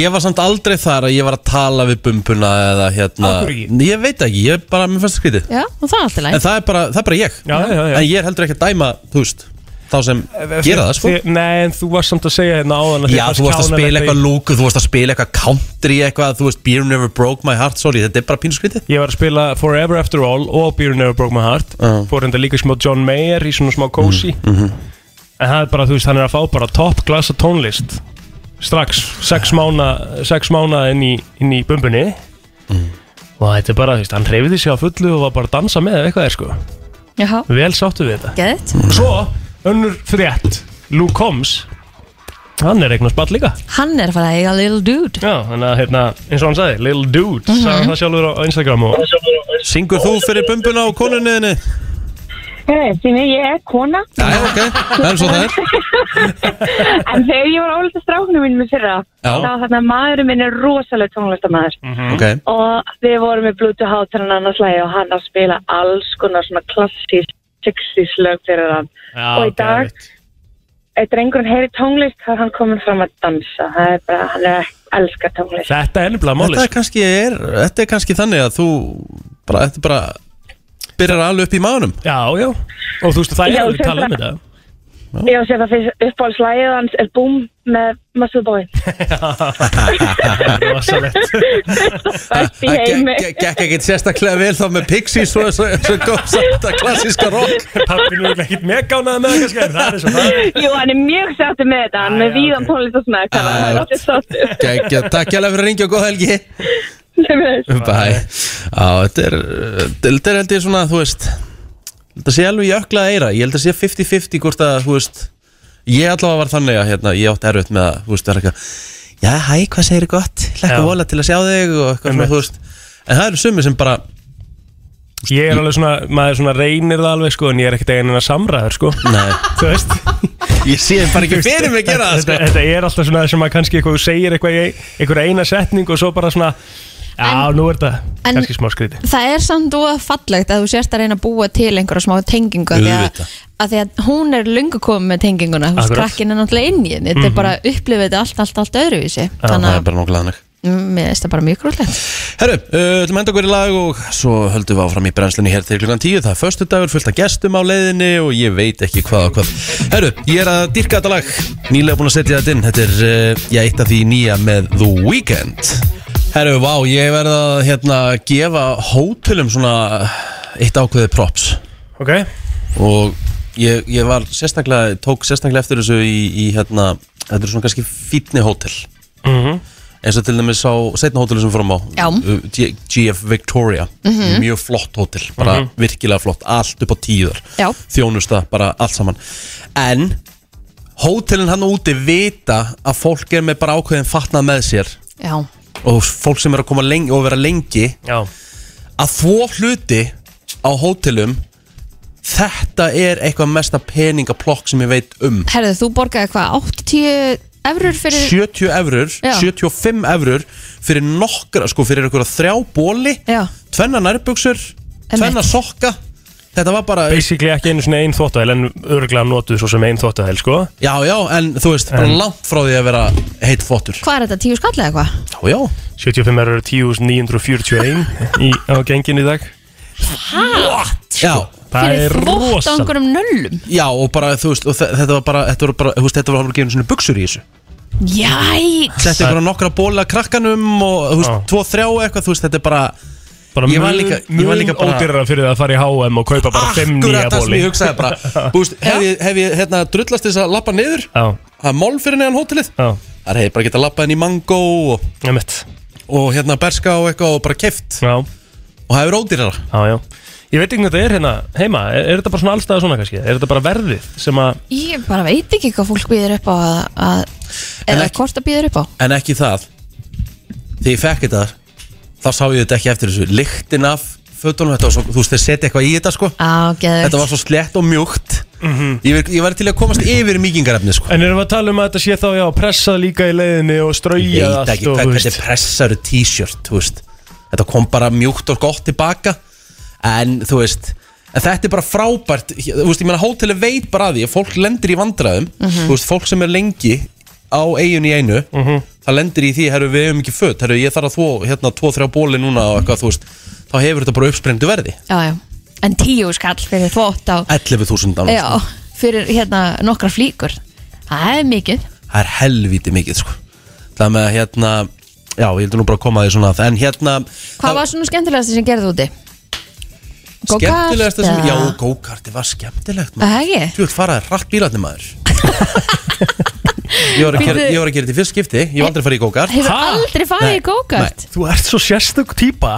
[SPEAKER 2] Ég var samt aldrei þar að ég var að tala við bumbuna eða hérna
[SPEAKER 4] Af hverju ekki?
[SPEAKER 2] Ég veit ekki, ég bara, mér fannst það skrítið
[SPEAKER 3] Já, og það er alltaf
[SPEAKER 2] En
[SPEAKER 3] læg
[SPEAKER 2] það er bara, það er bara ég
[SPEAKER 4] Já, Eh, já, já.
[SPEAKER 2] En ég er heldur ekki að dæma, þú veist, þá sem gera það sko
[SPEAKER 4] Þi- Nei, en þú varst samt að segja hérna áðan að
[SPEAKER 2] Já,
[SPEAKER 4] þér
[SPEAKER 2] þú varst að
[SPEAKER 4] kjánalegt
[SPEAKER 2] spila eitthvað
[SPEAKER 4] ég-
[SPEAKER 2] lúku, þú varst að spila eitthvað country eitthvað, þú veist, Beer Never Broke My Heart, sorry, þetta er bara pínu skrítið.
[SPEAKER 4] Ég var að spila Forever After All og Beer Never Broke My Heart
[SPEAKER 2] Já.
[SPEAKER 4] Fór hérna líka smá John Mayer í svona smá cozy En það er bara, þú veist, hann er að fá bara top glasa tónlist Strax, sex mána, sex mána inn í, inn í bumbunni Og þetta er bara, þú veist, hann hreyfiði sig á fullu og var bara að dansa með ef eitthvað er sko
[SPEAKER 3] Jaha,
[SPEAKER 4] Vel sáttu við þetta
[SPEAKER 3] geðið
[SPEAKER 4] Svo, önnur frétt, Luke Combs Hann er eignast ball líka
[SPEAKER 3] Hann er að fara að eiga little dude
[SPEAKER 4] Já, þannig að hérna, eins og hann sagði, Little Dude mm sagði það sjálfur á á Instagram og
[SPEAKER 2] Syngur þú fyrir bumbuna og konunniðinni?
[SPEAKER 7] Heyrðu, Því miður ég er kona,
[SPEAKER 2] Já, já, ok, það er svo það er.
[SPEAKER 7] en þegar ég var álita stráknum mínum í fyrra,
[SPEAKER 2] Já.
[SPEAKER 7] þá þarna maðurinn minn er rosalega tónlistamæður
[SPEAKER 4] Mm.
[SPEAKER 2] Ok,
[SPEAKER 7] og við vorum í Bluetooth hátarann annars lagi og hann að spila alls konar svona klassís, 60s lög fyrir hann.
[SPEAKER 4] Já,
[SPEAKER 7] og í dag,
[SPEAKER 4] geðveikt.
[SPEAKER 7] ef drengurinn heyri tónlist, þá er hann komin fram að dansa. Það er bara, hann er elskar tónlist.
[SPEAKER 4] Þetta er nefnilega máli
[SPEAKER 2] þetta er kannski, er, þetta er kannski þannig að þú bara, þetta er bara, byrjar alveg upp í maðunum.
[SPEAKER 4] Já, já, og þú veistu það er
[SPEAKER 7] Já,
[SPEAKER 4] alveg
[SPEAKER 7] sem
[SPEAKER 4] talað um
[SPEAKER 7] sagt.
[SPEAKER 4] þetta
[SPEAKER 7] Ég á að segja það fyrst uppáhaldslægið hans er Boom með Muscle Boy.
[SPEAKER 4] Það er rosalegt
[SPEAKER 7] Best í heimi.
[SPEAKER 2] Gekk ekkert sérstaklega vel þá með Pixies og þessu- þessu góð samt að klassíska rock.
[SPEAKER 4] Pappin er ekkert mjög gánað með það kannski en það er eins og það er.
[SPEAKER 7] Jú, hann er mjög sáttur með þetta, hann er
[SPEAKER 4] já,
[SPEAKER 7] með víðan
[SPEAKER 4] ok.
[SPEAKER 7] tónlist og smæk, þannig að hann er allir sáttur.
[SPEAKER 2] Gekk, takk hjálpa fyrir að ringja og góð helgi.
[SPEAKER 7] Sömuleiðis.
[SPEAKER 2] Bæ. Já, þetta er, þetta er held ég svona, þú veist, þetta sé alveg jöklað eira, ég held að sé 50-50 hvort að, þú veist, ég allavega var þannig að, hérna, ég átti erfitt með að, þú veist, vera eitthvað, já, hæ, hvað segir þið gott,
[SPEAKER 4] Já.
[SPEAKER 2] hlekka vola til að sjá þig og eitthvað svona,
[SPEAKER 4] Einmitt.
[SPEAKER 2] þú veist, en það eru sumir sem bara,
[SPEAKER 4] Ég er alveg svona, maður svona reynir það alveg sko en ég er ekkert eigin en að samræður sko
[SPEAKER 2] nei,
[SPEAKER 4] Þú veist
[SPEAKER 2] ég sé þeim bara ekki fyrir mig að gera það,
[SPEAKER 4] Þetta,
[SPEAKER 2] sko.
[SPEAKER 4] þetta er alltaf svona sem að kannski eitthvað þú segir eitthvað í einhver eina setning og svo bara svona Já, nú er þetta
[SPEAKER 3] en-
[SPEAKER 4] kannski smá skríti
[SPEAKER 3] Það er samt og fallegt að þú sérst að reyna að búa til einhverja smá tengingu af því að,
[SPEAKER 2] Auðvitað.
[SPEAKER 3] að því að hún er lungu komið með tenginguna þú veist,
[SPEAKER 4] Akkurat.
[SPEAKER 3] krakkin er náttúrulega inn í henni þetta er bara upplifið þetta allt, allt, allt öðruvísi
[SPEAKER 2] Mhm. Það
[SPEAKER 3] þannig
[SPEAKER 2] er
[SPEAKER 3] að
[SPEAKER 2] bara nokkulega þannig.
[SPEAKER 3] mm, mér finnst það bara mjög grúllegt
[SPEAKER 2] Herru, uh, ætlum að henda okkur í lag og svo höldum við áfram í brennslunni hér til klukkan 10 Það er förstu dagur fullt af gestum á leiðinni og ég veit ekki hvað og hvað Herru, ég er að dyrka þetta lag Nýlega búin að setja þetta inn Þetta er, uh, ég eitt af því nýja með The Weeknd Herru, vá, ég verð að hérna, gefa hótelum svona eitt ákveðið props
[SPEAKER 4] Ok,
[SPEAKER 2] og ég, ég var sérstaklega, tók sérstaklega eftir þessu í, í hérna, þetta er svona kannski fítni hótel eins og til dæmis á setna hóteli sem við fórum á
[SPEAKER 3] Já. Mhm.
[SPEAKER 2] uh, G- GF Victoria mjög flott hótel, bara virkilega flott allt upp á tíður,
[SPEAKER 3] Já.
[SPEAKER 2] þjónusta bara allt saman en hótelin hann úti vita að fólk er með bara ákveðin fatnað með sér
[SPEAKER 3] já,
[SPEAKER 2] og fólk sem er að koma lengi og vera lengi
[SPEAKER 4] Já,
[SPEAKER 2] að þvó hluti á hótelum þetta er eitthvað mesta peningaplokk sem ég veit um
[SPEAKER 3] herðu, þú borgaði hvað 80 eurur fyrir
[SPEAKER 2] 70 eurur,
[SPEAKER 3] Já.
[SPEAKER 2] 75 eurur fyrir nokkra, sko fyrir einhverja þrjá bóli,
[SPEAKER 3] Já.
[SPEAKER 2] tvenna nærbuksur tvenna sokka þetta var bara,
[SPEAKER 4] basically ekki einu svona einn þóttaðil en örgulega notuð svo sem einn þóttaðil sko
[SPEAKER 2] já já en þú veist, bara langt frá því að vera heitt þvottur,
[SPEAKER 3] hvað er þetta, 10 skall eða eitthvað?
[SPEAKER 2] já já
[SPEAKER 4] 75 eru 10.941 í, á gengin í dag
[SPEAKER 2] já,
[SPEAKER 4] Það er
[SPEAKER 3] þvott á
[SPEAKER 4] rosa
[SPEAKER 3] einhverjum nöllum
[SPEAKER 2] já og bara þú veist, og þe- þetta var bara þetta var bara, þú veist, þetta var alveg gefinu svona buksur í þessu
[SPEAKER 3] Jæk
[SPEAKER 2] þetta er bara nokkra bóla krakkanum og þú veist,
[SPEAKER 4] Já.
[SPEAKER 2] tvo þrjá eitthvað, þú veist, þetta er bara
[SPEAKER 4] bara
[SPEAKER 2] Ég var líka- ég var líka bara-
[SPEAKER 4] ódýrara fyrir það að fara í H&M og kaupa bara 5 nýja
[SPEAKER 2] akkurat það sem
[SPEAKER 4] bóli
[SPEAKER 2] ég hugsaði bara, þú veist, hef ég, hef ég hérna drullast þess að lappa niður,
[SPEAKER 4] Já,
[SPEAKER 2] það er mál fyrir neðan hótelið
[SPEAKER 4] já,
[SPEAKER 2] Það hefði bara getað lappað inn í mango og,
[SPEAKER 4] ég mitt
[SPEAKER 2] og hérna berska og eitthvað og bara keft
[SPEAKER 4] Já,
[SPEAKER 2] og það er ódýrara
[SPEAKER 4] já, já Ég veit ekki hvað þetta er hérna heima Er, er þetta bara svona allstaða svona kannski? Er þetta bara verðið sem að
[SPEAKER 3] Ég bara veit ekki hvað fólk býður upp á að, að,
[SPEAKER 2] En
[SPEAKER 3] eða
[SPEAKER 2] ekki-
[SPEAKER 3] hvort það býður upp á
[SPEAKER 2] En ekki það Þegar ég fekk þetta þá sá ég þetta ekki eftir þessu Lyktin af fötunum þetta var svo, þú veist þeir setja eitthvað í þetta sko
[SPEAKER 3] Á, geðveikt
[SPEAKER 2] Þetta var svo slett og mjúkt ég, var, ég var til að komast yfir mýkingarefni sko
[SPEAKER 4] En erum við að tala um að þetta sé þá já, pressað líka í leiðinni og
[SPEAKER 2] Ég
[SPEAKER 4] strauja
[SPEAKER 2] veit ekki hvað hvernig pressaru t-shirt þú veist. Þetta kom bara mjúkt og gott tilbaka En þú veist En þetta er bara frábært Þú veist, ég meina hóteli veit bara að því að Fólk lendir í vandræðum
[SPEAKER 3] Mhm.
[SPEAKER 2] Þú veist, fólk sem er lengi á eigin í einu Það lendir í því, herru, við hefum ekki fött Herru, ég þarf að þvó, hérna, tvo, þrjá bóli núna og eitthvað, þú veist Þá hefur þetta bara uppsprengdu verði
[SPEAKER 3] Já, já En 10 skall fyrir þvott á
[SPEAKER 2] 11.000 dánast
[SPEAKER 3] Já, fyrir hérna nokkra flíkur Það er mikið
[SPEAKER 2] það er helvítið mikið sko. það með að hérna já, ég heldur nú bara að koma að því svona að- en hérna,
[SPEAKER 3] Hvað var svona skemmtilegast sem gerði úti? Go-kart
[SPEAKER 2] skemmtilegast sem,
[SPEAKER 3] eða-
[SPEAKER 2] já, go-karti var skemmtilegt
[SPEAKER 3] Það er ekki?
[SPEAKER 2] þú veit faraði rætt bílarni maður ég var að gera, ég var að gera þetta í fyrst skipti ég var aldrei að fara í go-kart
[SPEAKER 3] Hefur
[SPEAKER 4] Ha?
[SPEAKER 3] aldrei farið
[SPEAKER 2] Nei,
[SPEAKER 3] í go-kart?
[SPEAKER 4] Þú ert svo sérstök típa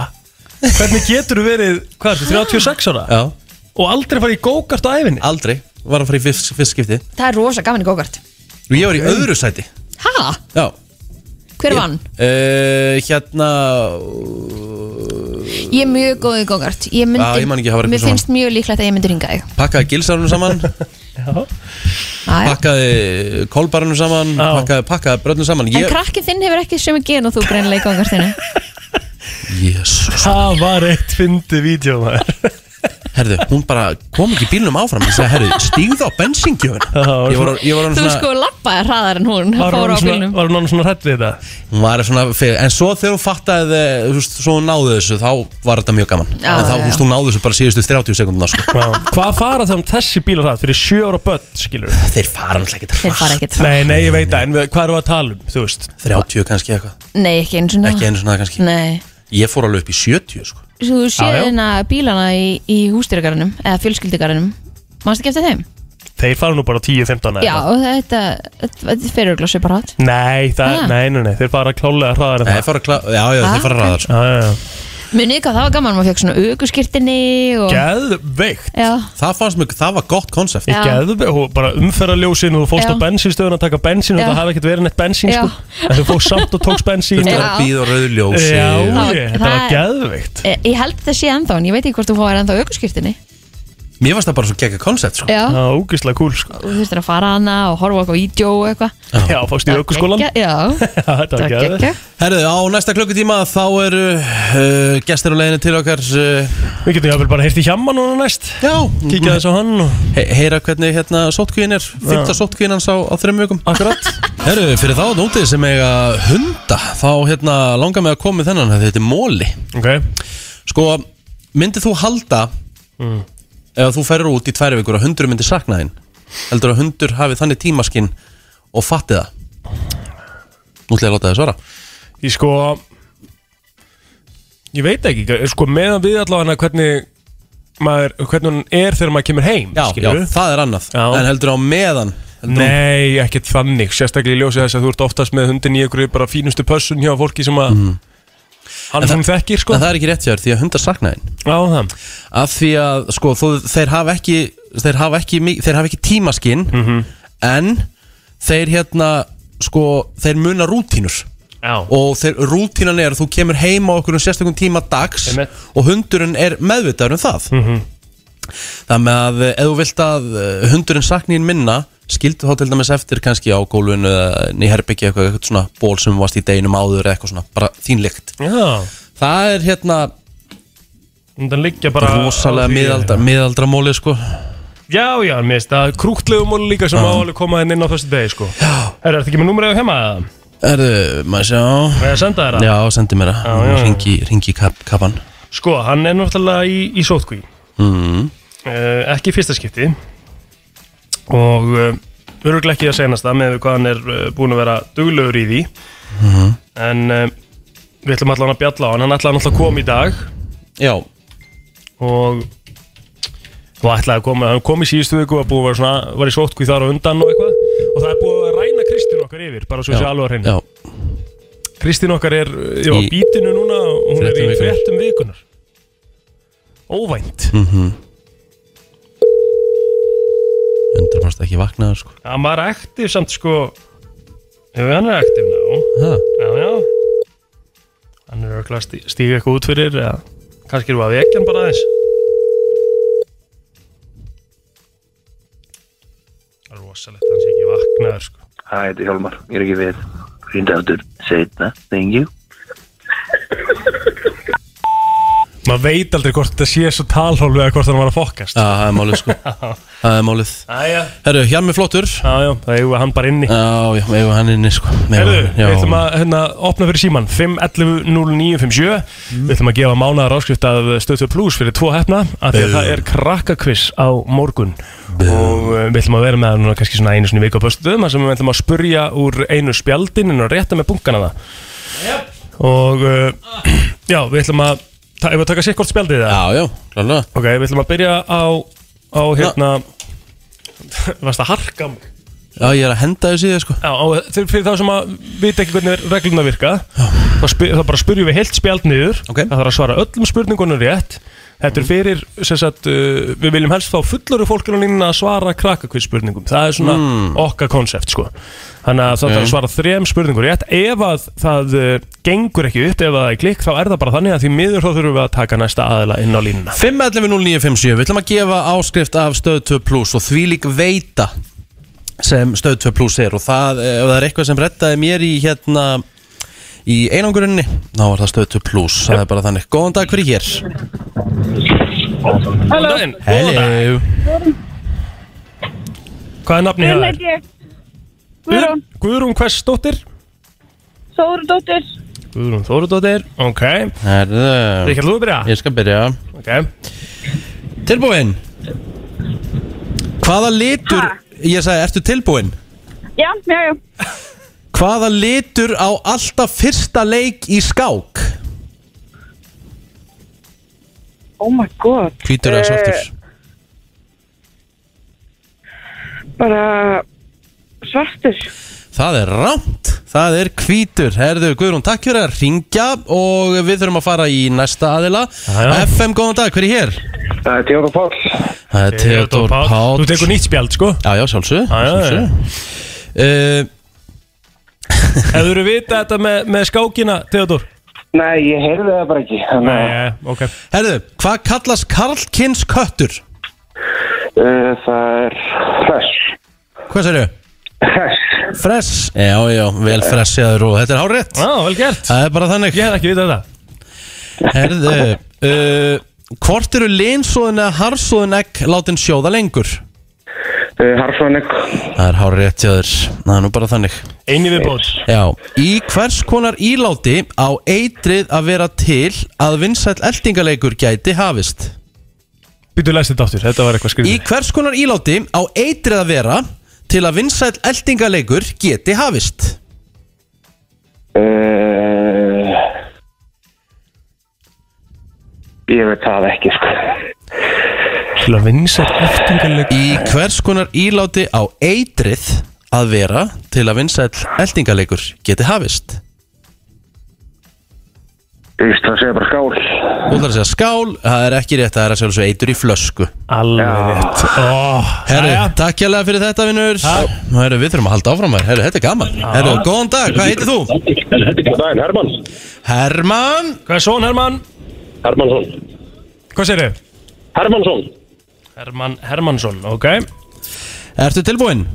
[SPEAKER 4] Hvernig getur þú verið, hvað er þetta, 36 ára?
[SPEAKER 2] já,
[SPEAKER 4] Og aldrei farið í gókart á æfinni?
[SPEAKER 2] aldrei, var að fara í fyrst, fyrst skipti
[SPEAKER 3] Það er rosa gaman í go-kart
[SPEAKER 2] og ég var í öðru sæti
[SPEAKER 3] Ha?
[SPEAKER 2] já,
[SPEAKER 3] Hver vann?
[SPEAKER 2] uh, hérna
[SPEAKER 3] Ég er mjög góð í go-kart Ég myndi,
[SPEAKER 2] Já, ég man ekki hafa verið
[SPEAKER 3] mér
[SPEAKER 2] eitthvað
[SPEAKER 3] finnst mjög líklegt að ég myndi ringa þig
[SPEAKER 2] pakkaði gilsarunum saman
[SPEAKER 3] Æ,
[SPEAKER 2] pakkaði kolbarunum saman
[SPEAKER 4] Já.
[SPEAKER 2] pakkaði, pakkaði brönnum saman
[SPEAKER 3] En krakkið þinn hefur ekki sömu gen og þú greinlega í gangartinu
[SPEAKER 2] jésus
[SPEAKER 4] Það var eitt fyndið vídeo maður
[SPEAKER 2] herðu, hún bara kom ekki bílnum áfram ég sagði, herðu, stígðu á bensingjöfun
[SPEAKER 4] Já,
[SPEAKER 2] ég var, ég var orðin
[SPEAKER 3] Þú
[SPEAKER 2] svona,
[SPEAKER 3] sko lappaði hraðar en hún
[SPEAKER 4] Var
[SPEAKER 3] fór á
[SPEAKER 4] hún svona,
[SPEAKER 3] bílnum
[SPEAKER 4] var hún annars svona hrætt við þetta?
[SPEAKER 2] hún var svona fyrir, en svo þegar hún fattaði eh, þú veist, svo hún náði þessu, þá var þetta mjög gaman
[SPEAKER 3] Já,
[SPEAKER 2] en þá,
[SPEAKER 3] já.
[SPEAKER 2] þú veist, hún náði þessu bara síðustu 30 sekundina sko.
[SPEAKER 4] Já. Hvað fara það um þessi bílar það? Fyrir sjö ára börn, skilur við?
[SPEAKER 2] þeir fara náttúrulega ekkert
[SPEAKER 3] Þeir fara
[SPEAKER 2] hratt,
[SPEAKER 3] ekkert fram
[SPEAKER 4] Nei, nei, ég veit það, en við- hvað erum við að tala um, þú veist?
[SPEAKER 2] 30 kannski eitthvað,
[SPEAKER 3] Nei, ekki eins og ná
[SPEAKER 2] ekki einu svona kannski
[SPEAKER 3] Nei
[SPEAKER 2] ég fór alveg upp í 70 sko.
[SPEAKER 3] Svo þú
[SPEAKER 4] Já,
[SPEAKER 3] séð
[SPEAKER 4] já.
[SPEAKER 3] hérna bílana í, í hústýragarunum eða fjölskyldigarunum Manstu ekki eftir þeim?
[SPEAKER 4] Þeir fara nú bara 10-15
[SPEAKER 3] Já, þetta, þetta fyrir ögla svipar hatt
[SPEAKER 4] Nei, það,
[SPEAKER 3] Ha?
[SPEAKER 4] nei, nei, nei, þeir fara klálega hraðar en
[SPEAKER 2] Nei, þeir
[SPEAKER 4] það
[SPEAKER 2] fara klá, já, já,
[SPEAKER 3] Ah,
[SPEAKER 2] þeir fara ræðar sko.
[SPEAKER 4] Já, já, já
[SPEAKER 3] Munið hvað það var gaman, maður fekk svona auguskirtinni og...
[SPEAKER 4] Geðveikt
[SPEAKER 3] Já,
[SPEAKER 2] það fannst mjög, það var gott konsept
[SPEAKER 3] Já.
[SPEAKER 4] Ég geðveikt, og bara umferðarljósin og þú fórst
[SPEAKER 3] Já.
[SPEAKER 4] á bensinstöðun að taka bensín
[SPEAKER 3] Já.
[SPEAKER 4] og það hafði ekkert verið neitt bensín sko. En þú fórst samt og tókst bensín
[SPEAKER 2] þurfti
[SPEAKER 4] og-
[SPEAKER 2] að
[SPEAKER 3] Já.
[SPEAKER 2] býða
[SPEAKER 4] Já,
[SPEAKER 2] rauðljós
[SPEAKER 3] Það var-
[SPEAKER 4] ég, þetta var
[SPEAKER 3] það-
[SPEAKER 4] geðveikt
[SPEAKER 3] e, ég held það sé ennþá en ég veit ekki hvort þú fáir ennþá auguskirtinni
[SPEAKER 2] mér fannst það bara svo gegga konsept sko.
[SPEAKER 3] Já,
[SPEAKER 4] Það var ógislega kúl sko.
[SPEAKER 3] og þú þurftir að fara hana og horfa á eitthvað vídeo og eitthvað
[SPEAKER 4] Já, fórst í aukurskólan
[SPEAKER 3] Geggjað, Já,
[SPEAKER 4] Þetta var
[SPEAKER 3] það
[SPEAKER 4] geðveikt
[SPEAKER 3] gekkja
[SPEAKER 2] herðu, á næsta klukkutíma þá eru uh, gestir á leiðinu til okkar uh,
[SPEAKER 4] Við getum jáfnvel bara heyrt í hjamma núna næst
[SPEAKER 2] já,
[SPEAKER 4] Kíkja þess á hann og
[SPEAKER 2] He heyra hvernig hérna sótkvíin er fyrta sótkvíin hans á, á þreim vikum
[SPEAKER 4] akkurat
[SPEAKER 2] Herru, fyrir þá nótið sem eiga hunda þá hérna langar mig að koma með þennan þetta er móli
[SPEAKER 4] Ok
[SPEAKER 2] sko, myndið þú halda
[SPEAKER 4] Mm.
[SPEAKER 2] ef þú ferir út í tvær vikur að hundur myndi sakna þín heldur að hundur hafi þannig tímaskinn og fatti það Nú ætla ég að láta þið svara
[SPEAKER 4] Ég sko Ég veit ekki Sko meðan við allavega hvernig maður, Hvernig hún er þegar maður kemur heim
[SPEAKER 2] Já, já,
[SPEAKER 4] skilurðu?
[SPEAKER 2] það er annað
[SPEAKER 4] Já.
[SPEAKER 2] en heldur á meðan
[SPEAKER 4] Nei, ekkert þannig, sérstaklega í ljósi þess að þú ert oftast með hundin í einhverju bara fínustu pössun hjá fólki sem að hann hún þekkir sko
[SPEAKER 2] Mm. En það er ekki rétt hjá þér því að hundar sakna þín
[SPEAKER 4] Já, það
[SPEAKER 2] Af því að sko þó, þeir hafa ekki þeir hafa ekki, mi- þeir hafa ekki tímaskinn
[SPEAKER 4] Mhm.
[SPEAKER 2] en þeir hérna sko þeir muna rútínur
[SPEAKER 4] Já,
[SPEAKER 2] og þeir, rútínan er að þú kemur heim á okkur um sérstakum tíma dags
[SPEAKER 4] Einmitt. Mhm.
[SPEAKER 2] og hundurinn er meðvitaður um það mm -hmm. þannig að eh, ef þú vilt að eh, hundurinn sakniðin minna skildu þá til dæmis eftir kannski á gólfinu eða ný herbyggja eitthvað, eitthvað svona ból sem þú varst í deginum áður eða eitthvað svona bara þínlegt
[SPEAKER 4] já
[SPEAKER 2] það er hérna
[SPEAKER 4] Undan liggja bara á
[SPEAKER 2] rosalega
[SPEAKER 4] því-
[SPEAKER 2] miðaldra, miðaldra móli sko
[SPEAKER 4] Já, já, mér finnst það krútlegum og líka sem á alveg koma þenni inn á þessu degi sko Já Er þetta ekki með númur eða heima eða?
[SPEAKER 2] Erðu, maður sjá
[SPEAKER 4] Eða senda þér það?
[SPEAKER 2] Já, sendi mér
[SPEAKER 4] já, já.
[SPEAKER 2] það Ringi, ringi kap, kapan
[SPEAKER 4] Sko, hann er náttúrulega í, í sótkví
[SPEAKER 2] Mm.
[SPEAKER 4] uh, Ekki í fyrsta skipti Og uh, Öruglega ekki að senast það með hvað hann er uh, búin að vera duglegur í því
[SPEAKER 2] Mhm.
[SPEAKER 4] En uh, við ætlum allan að bjalla á hann Hann ætlaði náttúrulega að koma í dag
[SPEAKER 2] Já,
[SPEAKER 4] Og Og ætlaði að koma Hann kom í síðustu viku að búið að vera svona Var í sótkví þar og undan og eitthvað Og það er búið að ræna Kristín okkar yfir Bara svo
[SPEAKER 2] já,
[SPEAKER 4] sé alveg að hreinu
[SPEAKER 2] já,
[SPEAKER 4] Kristín okkar er uh, já,
[SPEAKER 2] Í-
[SPEAKER 4] í bítinu núna og hún er
[SPEAKER 2] Fréttum
[SPEAKER 4] í
[SPEAKER 2] vikunnar.
[SPEAKER 4] fréttum vikunar Óvænt
[SPEAKER 2] 100% ekki vaknaður sko
[SPEAKER 4] Já, maður er aktiv samt sko Jú, hann er aktiv ná
[SPEAKER 2] ha.
[SPEAKER 4] Já, já Hann er örugglega að stí- stíga eitthvað út fyrir eða kannski eru að vekja hann bara aðeins Það er rosalegt, hann sé ekki vaknaður sko
[SPEAKER 8] Hæ, þetta er Hjálmar, ég er ekki við. Rinda aftur setna, thank you.
[SPEAKER 4] Maður veit aldrei hvort þetta sé svo talhólfi eða hvort hann var að fokkast
[SPEAKER 2] Já, það er málið sko Það er málið
[SPEAKER 4] Æja,
[SPEAKER 2] Herru, Hjalmi flottur Já,
[SPEAKER 4] já, já, það eigum við hann bara inni
[SPEAKER 2] já, eigum hann inni sko Megum-
[SPEAKER 4] Herðu,
[SPEAKER 2] já.
[SPEAKER 4] við ætlum að hérna, opna fyrir síman 5.11.09.57 Við ætlum að gefa mánaðar áskrift af stöðtur pluss fyrir tvo hefna af því að það er krakkakviss á morgun og uh, við ætlum að vera með það núna kannski svona einu sinni í viku á föstuðum þar sem við ætlum að spurja úr einu spjaldin og rétta með bunkana það og uh, já, við ætlum að ta- ef við að taka sikkort spjaldið það
[SPEAKER 2] Já, já, klálega
[SPEAKER 4] ok, við ætlum að byrja á, á hérna varst að harka mig
[SPEAKER 2] Já, ég er að henda þessu í þig sko
[SPEAKER 4] Já, og þeir- fyrir þá sem að vita ekki hvernig regluna virka þá, spyr, þá bara spyrjum við heilt spjald niður
[SPEAKER 2] Ok. Mhm.
[SPEAKER 4] það þarf að svara öllum spurningunum rétt Þetta er fyrir, sem sagt, uh, við viljum helst fá fullori fólkinu línuna að svara krakkakvist spurningum Það er svona
[SPEAKER 2] Mm.
[SPEAKER 4] okkar konsept, sko Þannig að það þarf að svara þrem spurningum rétt Ef að það uh, gengur ekki upp, ef að það er klikk, þá er það bara þannig að því miður þá þurfum við að taka næsta aðila inn á línuna
[SPEAKER 2] 5.11.09.57 Við ætlum að gefa áskrift af Stöð 2 Plus og þvílík veita sem Stöð 2 Plus er og það, eh, ef það er eitthvað sem rettaði mér í hérna í einangurinni, þá var það Stöð 2 Plus það er bara þannig, góðan dag fyrir hér
[SPEAKER 4] Hello. Daginn,
[SPEAKER 2] Hello
[SPEAKER 4] hvað er nafni hér?
[SPEAKER 7] ég. Guðrún.
[SPEAKER 4] Guðrún Hversdóttir
[SPEAKER 7] Sórudóttir.
[SPEAKER 4] Guðrún Þórudóttir Ok,
[SPEAKER 2] Herðu,
[SPEAKER 4] Ríkjald, þú byrja
[SPEAKER 2] ég skal byrja
[SPEAKER 4] Ok
[SPEAKER 2] Tilbúin Hvaða litur Ég sagði, ertu tilbúin?
[SPEAKER 7] Já, já, já.
[SPEAKER 2] Hvaða litur á alltaf fyrsta leik í skák?
[SPEAKER 7] Oh my god.
[SPEAKER 2] Hvítur eða svartur?
[SPEAKER 7] Bara svartur.
[SPEAKER 2] Það er rámt Það er hvítur Herðu, Guðrún, takk fyrir að ringja Og við þurfum að fara í næsta aðila
[SPEAKER 4] já.
[SPEAKER 2] FM, góðan dag, hver er hér?
[SPEAKER 8] Það er Theodor Páll.
[SPEAKER 2] Það er Theodor Páll
[SPEAKER 4] Þú tekur nýtt spjald sko
[SPEAKER 2] Já, já, sjálfsög
[SPEAKER 4] já, já.
[SPEAKER 2] uh,
[SPEAKER 4] Ef þú eru vita þetta með, með skákina Theodor
[SPEAKER 8] Nei, ég heyrði það bara ekki. Þannig að
[SPEAKER 4] Nei, ok
[SPEAKER 2] Herðu, hvað kallast Karlkins köttur?
[SPEAKER 8] uh, það er hress.
[SPEAKER 2] Hvað sér þau?
[SPEAKER 8] Hress.
[SPEAKER 2] Fress Já, já, vel fressiðaður og þetta er hárétt
[SPEAKER 4] Já, vel gert
[SPEAKER 2] Það er bara þannig
[SPEAKER 4] Ég hef ekki vitað þetta
[SPEAKER 2] Herðu, uh, hvort eru linsóðin eða harsóðin egg látin sjóða lengur?
[SPEAKER 8] Uh, Harsonik.
[SPEAKER 2] Það er hár rétt hjá þér, það er nú bara þannig
[SPEAKER 4] Einni við bót
[SPEAKER 2] Já, í hvers konar íláti á eitrið að vera til að vinsæll eldingaleikur gæti hafist?
[SPEAKER 4] Býtu læst þetta áttur, þetta var eitthvað
[SPEAKER 2] Í
[SPEAKER 4] skrifið
[SPEAKER 2] hvers konar íláti á eitrið að vera til að vinsæll eldingaleikur geti hafist?
[SPEAKER 8] Uh, ég veit það ekki, sko.
[SPEAKER 4] Til að vinsa eftingarleik
[SPEAKER 2] Í hvers konar íláti á eitrið að vera til að vinsæll eldingaleikur geti hafist?
[SPEAKER 8] Þú veist, það segja bara skál.
[SPEAKER 2] Þú þarf að segja skál, það er ekki rétt, það er að segja eitur í flösku.
[SPEAKER 4] Alveg rétt Ó,
[SPEAKER 2] Herru,
[SPEAKER 4] jæja.
[SPEAKER 2] takk hérlega fyrir þetta, vinnur. Herru, við þurfum að halda áfram hér. Herru, þetta er gaman. Herru, góðan dag, hvað heitir þú?
[SPEAKER 9] Góðan daginn, Hermann
[SPEAKER 2] Herman.
[SPEAKER 4] Hvað er svon Hermann?
[SPEAKER 9] Hermannsson
[SPEAKER 4] Hvað segir þau?
[SPEAKER 9] Hermannsson
[SPEAKER 4] Hermann Hermannsson, ok
[SPEAKER 2] Ertu tilbúinn?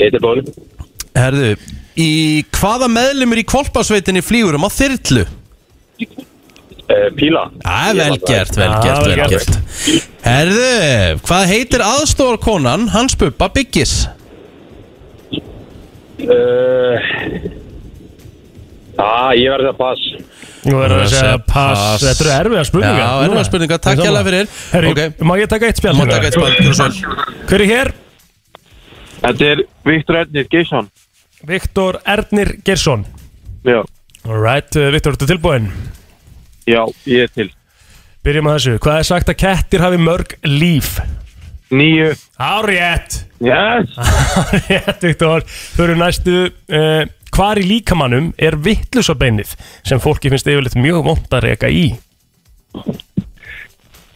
[SPEAKER 9] Ég er búinn
[SPEAKER 2] Herru, í hvaða meðlumur í kvolpasveitinni flýgurum á þyrlu?
[SPEAKER 9] eh, Píla
[SPEAKER 2] Æ, vel gert, vel
[SPEAKER 4] Já,
[SPEAKER 2] gert,
[SPEAKER 4] vel
[SPEAKER 2] vel
[SPEAKER 4] Ah, gert.
[SPEAKER 2] gert. Herðu, hvað heitir aðstofarkonan hans bubba byggis?
[SPEAKER 9] uh, Á, ah, ég verði að pass
[SPEAKER 4] Nú er það að segja pass Þetta eru erfiða spurningar
[SPEAKER 2] Já, erfiðar spurningar. Takk hérlega fyrir.
[SPEAKER 4] Herri,
[SPEAKER 2] Ok.
[SPEAKER 4] má ég taka eitt spjall?
[SPEAKER 2] Má taka eitt spjald, gjörðu svo vel.
[SPEAKER 4] spjall Hver er hér?
[SPEAKER 9] Þetta er Viktor Ednir Geisson
[SPEAKER 4] Viktor Ernir Gersson
[SPEAKER 9] Já,
[SPEAKER 4] Alright, uh, Viktor, ertu tilbúinn?
[SPEAKER 9] já, ég er til
[SPEAKER 4] Byrjum að þessu Hvað er sagt að kettir hafi mörg líf?
[SPEAKER 9] Nýju
[SPEAKER 4] Árétt
[SPEAKER 9] Yes
[SPEAKER 4] Árétt, Viktor Föru næstu uh, Hvar í líkamannum er vittlusabeinið sem fólki finnst yfirleitt mjög vond að reka í?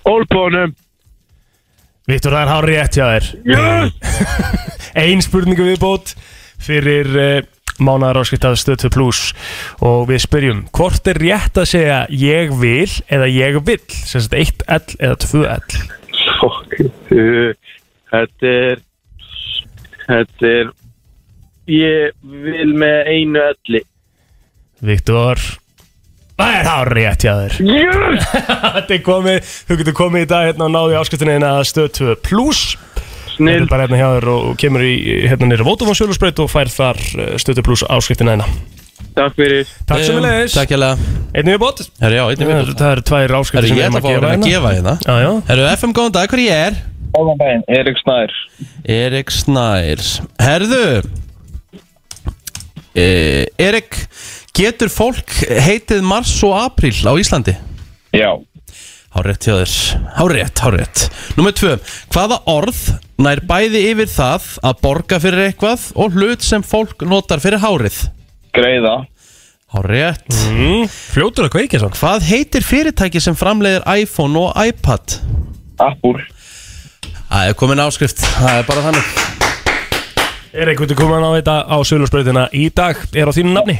[SPEAKER 9] Olbónum
[SPEAKER 4] Viktor, það er hárétt hjá þér
[SPEAKER 9] Yes
[SPEAKER 4] ein spurningu viðbót fyrir uh, mánaðar áskiptað stötu pluss og við spyrjum hvort er rétt að segja ég vil eða ég vill sem sagt eitt ell eða tvö ell
[SPEAKER 9] Fuck uh, Þetta er Þetta er Ég vil með einu elli
[SPEAKER 4] Viktor Það er hár rétt hjá þér
[SPEAKER 9] Yes
[SPEAKER 4] Þetta er komið, þú getur komið í dag hérna og náðu í áskiptinu hérna stöð 2 pluss Þetta
[SPEAKER 9] Snill
[SPEAKER 4] er bara hérna hjá þér og og kemur í hérna nýra Vótafón Sjölusbreyt og fær þar eh, stöð 2 pluss áskiptinu hérna
[SPEAKER 9] Takk fyrir
[SPEAKER 4] Takk sem við leiðis,
[SPEAKER 2] Eh, Takk hérlega.
[SPEAKER 4] einnig við bótt
[SPEAKER 2] Herru, já, einnig við.
[SPEAKER 4] Það eru tvær
[SPEAKER 2] Herru,
[SPEAKER 4] áskiptinu
[SPEAKER 2] ég ætla að fá að reyna að gefa hérna.
[SPEAKER 4] Já, já,
[SPEAKER 2] Herru, FM, góðan dag, hver ég er?
[SPEAKER 8] Góðan daginn, Erik Snær.
[SPEAKER 2] Erik Snærs Herðu e, Erik Getur fólk heitið mars og apríl á Íslandi?
[SPEAKER 8] Já.
[SPEAKER 2] Hárétt hjá þér Hárétt, hárétt Númer tvö Hvaða orð nær bæði yfir það að borga fyrir eitthvað og hlut sem fólk notar fyrir hárið?
[SPEAKER 8] Greiða.
[SPEAKER 2] Hárétt
[SPEAKER 4] mm, fljótur að kveikja svo
[SPEAKER 2] Hvað heitir fyrirtæki sem framleiðir iPhone og iPad?
[SPEAKER 8] Appur.
[SPEAKER 2] Það er komin áskrift Það er bara þannig
[SPEAKER 4] Er einhvern veginn komin á þetta á Sölursbreytina í dag er á þínu nafni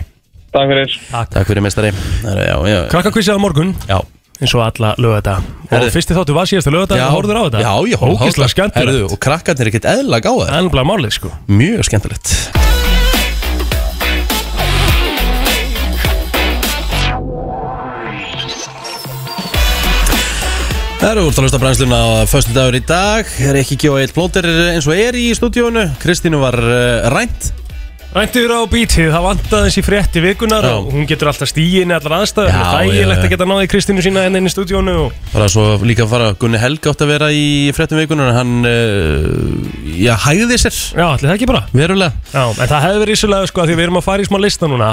[SPEAKER 8] Takk fyrir.
[SPEAKER 2] Takk fyrir mestari Herru, já, já,
[SPEAKER 4] Krakkakvissið á morgun
[SPEAKER 2] já
[SPEAKER 4] eins og alla lögata
[SPEAKER 2] Herðu.
[SPEAKER 4] og fyrsti þáttu var síðasta lögata
[SPEAKER 2] Já.
[SPEAKER 4] og horfður á þetta
[SPEAKER 2] Já, ég horfði á þetta.
[SPEAKER 4] Ógeðslega
[SPEAKER 2] Herðu,
[SPEAKER 4] skemmtilegt
[SPEAKER 2] Og krakkarnir er ekkert eðla gáða
[SPEAKER 4] Það er bara málið sko
[SPEAKER 2] Mjög skemmtilegt Það eru úr talvist að brennsluna á föstu dagur í dag er ekki ekki og eitt plóter eins og er í stúdíónu Kristínu var uh, rænt
[SPEAKER 4] Ræntiður á bítið, það vantaði þessi frétti vikunar
[SPEAKER 2] Já.
[SPEAKER 4] og hún getur alltaf stíginni allar aðstæður
[SPEAKER 2] Já,
[SPEAKER 4] Það er
[SPEAKER 2] já,
[SPEAKER 4] þægilegt
[SPEAKER 2] já.
[SPEAKER 4] að geta náði Kristínu sína enn inn í stúdíónu og...
[SPEAKER 2] bara svo líka að fara Gunni Helg átt að vera í fréttum vikunar en hann uh, já, hægði sér
[SPEAKER 4] Já, allir það ekki bara
[SPEAKER 2] verulega
[SPEAKER 4] Já, en það hefði verið vissulega sko að því við erum að fara í smá lista núna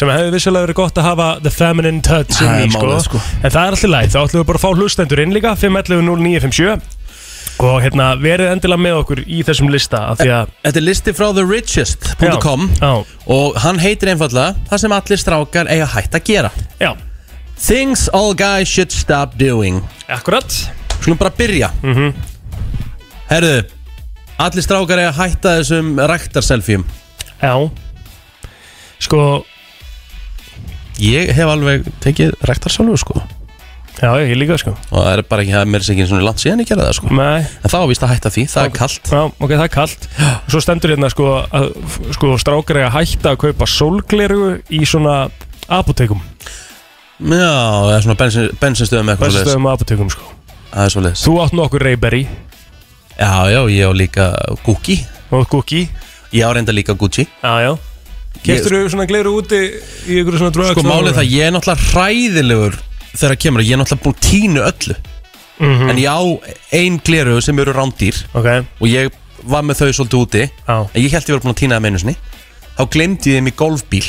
[SPEAKER 4] sem hefði vissulega verið gott að hafa the feminine touch
[SPEAKER 2] Mhm. Það
[SPEAKER 4] inn í
[SPEAKER 2] er
[SPEAKER 4] sko.
[SPEAKER 2] málið, sko.
[SPEAKER 4] en það er alltaf lægt, þá ætlum við bara að fá hlustendur inn líka 511-0957 og hérna verið endilega með okkur í þessum lista af því að
[SPEAKER 2] Þetta er listi frá therichest.com
[SPEAKER 4] Já, já.
[SPEAKER 2] og hann heitir einfallega það sem allir strákar eiga hægt að gera
[SPEAKER 4] Já,
[SPEAKER 2] Things all guys should stop doing
[SPEAKER 4] akkurat
[SPEAKER 2] Skulum bara byrja Herðu Allir strákar eiga að hætta þessum ræktarselfjum
[SPEAKER 4] Já Sko,
[SPEAKER 2] Ég hef alveg tekið ræktarselfu sko Og
[SPEAKER 4] já ég líka sko
[SPEAKER 2] það er bara ekki það er mér sér ekki svona langt síðan ég gerði það sko
[SPEAKER 4] Nei
[SPEAKER 2] En þá er víst að hætta því, það er kallt
[SPEAKER 4] Já, ok, það er kallt Svo stendur hérna sko, að, sko strákar eiga að hætta að kaupa sólgleru í svona apotekum
[SPEAKER 2] Já, það er svona bensin, bensinstöðum eitthvað svo
[SPEAKER 4] Beststöðum apotekum sko
[SPEAKER 2] Það er svo leiðis
[SPEAKER 4] Þú átt nokkur Reyberry
[SPEAKER 2] Já, já, ég á líka Gucci
[SPEAKER 4] og Gucci
[SPEAKER 2] Ég á reynda líka Gucci
[SPEAKER 4] Já, já Keftur þú svona gleru úti í ykkur svona drög
[SPEAKER 2] Sko málið er það, ég er náttúrulega hræðilegur Þegar að kemur, ég er náttúrulega búin að tínu öllu
[SPEAKER 4] Mhm.
[SPEAKER 2] En ég á ein gleru sem eru rándýr
[SPEAKER 4] Ok,
[SPEAKER 2] og ég var með þau svolítið úti
[SPEAKER 4] Já.
[SPEAKER 2] en ég held ég var búin að týna það með einu sinni þá glemdi ég þeim í golfbíl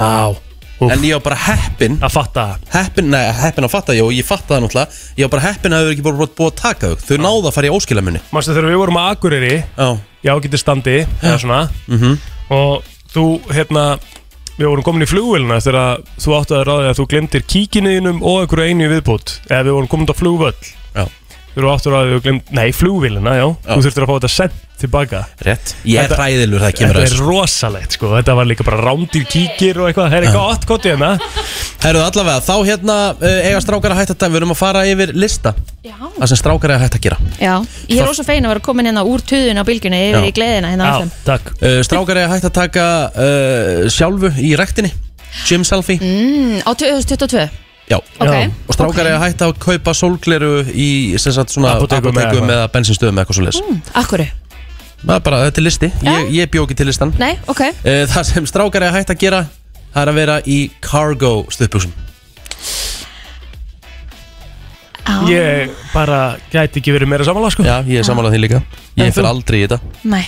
[SPEAKER 4] á Úff.
[SPEAKER 2] En ég var bara heppin
[SPEAKER 4] að fatta það
[SPEAKER 2] Heppin, nei, heppin að fatta ég og ég fatta það náttúrulega Ég var bara heppin að það hefur ekki bara búið að taka þau Þau náðu að fara í óskilamunni
[SPEAKER 4] Manstu þegar við vorum að Akureyri
[SPEAKER 2] Já,
[SPEAKER 4] í ágæti standi eða svona
[SPEAKER 2] Mhm.
[SPEAKER 4] og þú hérna við vorum komin í flugvélina eftir að þú áttu að ráði að þú glemtir kíkinuðinum og einhverju einu í viðbútt eða við vorum komin á flugvöll
[SPEAKER 2] Já.
[SPEAKER 4] þú eru áttu að ráði að þú glemt nei flugvélina já,
[SPEAKER 2] Já.
[SPEAKER 4] þú þurftir að fá þetta sent tilbaka
[SPEAKER 2] rétt Ég er
[SPEAKER 4] Þetta-
[SPEAKER 2] hræðilur það kemur
[SPEAKER 4] þetta
[SPEAKER 2] að
[SPEAKER 4] er
[SPEAKER 2] þessu
[SPEAKER 4] rosalegt sko þetta var líka bara rándýr kíkir og eitthvað það er eitthvað gott gott í hérna
[SPEAKER 2] Herruðu allavega, þá hérna uh, eiga strákar að hætta þetta Við erum að fara yfir lista
[SPEAKER 3] Já.
[SPEAKER 2] Það sem strákar eiga að hætta að gera
[SPEAKER 3] Já, ég er ósa fein að vera komin hérna úr töðun á bylgjunni
[SPEAKER 2] Já.
[SPEAKER 3] yfir í gleðina hérna
[SPEAKER 4] já
[SPEAKER 3] áfram.
[SPEAKER 4] takk
[SPEAKER 2] uh, Strákar eiga að hætta að taka uh, sjálfu í rektinni Gym selfie
[SPEAKER 3] Mm, Á 2022,
[SPEAKER 2] Já
[SPEAKER 3] ok
[SPEAKER 4] Já.
[SPEAKER 2] Og strákar eiga að hætta að kaupa sólgleru í sem sagt, svona
[SPEAKER 4] Apótekum eða
[SPEAKER 2] apotekum
[SPEAKER 4] eitthvað.
[SPEAKER 2] eða bensinstöðum eða eitthvað svo
[SPEAKER 3] Akkurru,
[SPEAKER 2] Það er bara, þetta er listi, ég, ég bjó ekki til listan
[SPEAKER 3] nei, ok
[SPEAKER 2] Eh, Það sem strákar er hægt að gera Það er að vera í cargo stuðbjúsum
[SPEAKER 3] Á,
[SPEAKER 4] ég bara gæti ekki verið meira samanlega sko
[SPEAKER 2] Já, ég er samanlega því líka
[SPEAKER 4] En
[SPEAKER 2] Ég
[SPEAKER 4] þú?
[SPEAKER 2] fyrir aldrei í þetta
[SPEAKER 3] Nei,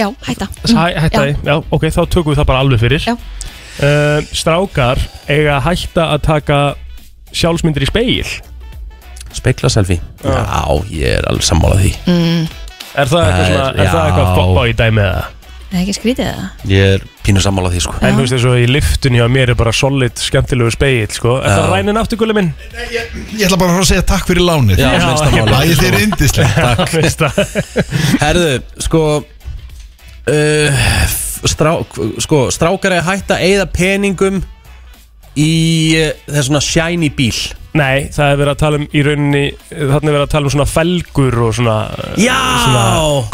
[SPEAKER 3] já, hætta
[SPEAKER 4] Hæ, hætta
[SPEAKER 3] Mm. Já.
[SPEAKER 4] því, já, ok, þá tökum við það bara alveg fyrir
[SPEAKER 3] Já.
[SPEAKER 4] Eh, Strákar eiga að hætta að taka sjálfsmyndir í speil
[SPEAKER 2] Spekla selfie
[SPEAKER 4] Ah.
[SPEAKER 2] Já, ég er alveg sammála því
[SPEAKER 4] Er það eitthvað,
[SPEAKER 2] Það er-
[SPEAKER 4] svona, er það
[SPEAKER 2] já.
[SPEAKER 4] eitthvað foppa í dæmi eða?
[SPEAKER 3] Það er ekki skrítið það
[SPEAKER 2] Ég er pínu sammála því sko
[SPEAKER 4] En þú veist þess að í liftun hjá mér er bara solid, skemmtilegu speil, sko Er það rænin afturgulli minn?
[SPEAKER 5] Ég ætla bara að fara að segja takk fyrir lánið
[SPEAKER 2] Já,
[SPEAKER 4] Já,
[SPEAKER 2] já
[SPEAKER 4] ég
[SPEAKER 2] sammála
[SPEAKER 5] Æ, þið er indislega
[SPEAKER 4] Takk Veist það?
[SPEAKER 2] Herðu, sko uh, strá, Sko, strákar er hægt að eyða peningum Í eh, þessuna shiny bíl
[SPEAKER 4] Nei, það er verið að tala um í rauninni Þannig er verið að tala um svona felgur og svona
[SPEAKER 2] Já
[SPEAKER 4] Svona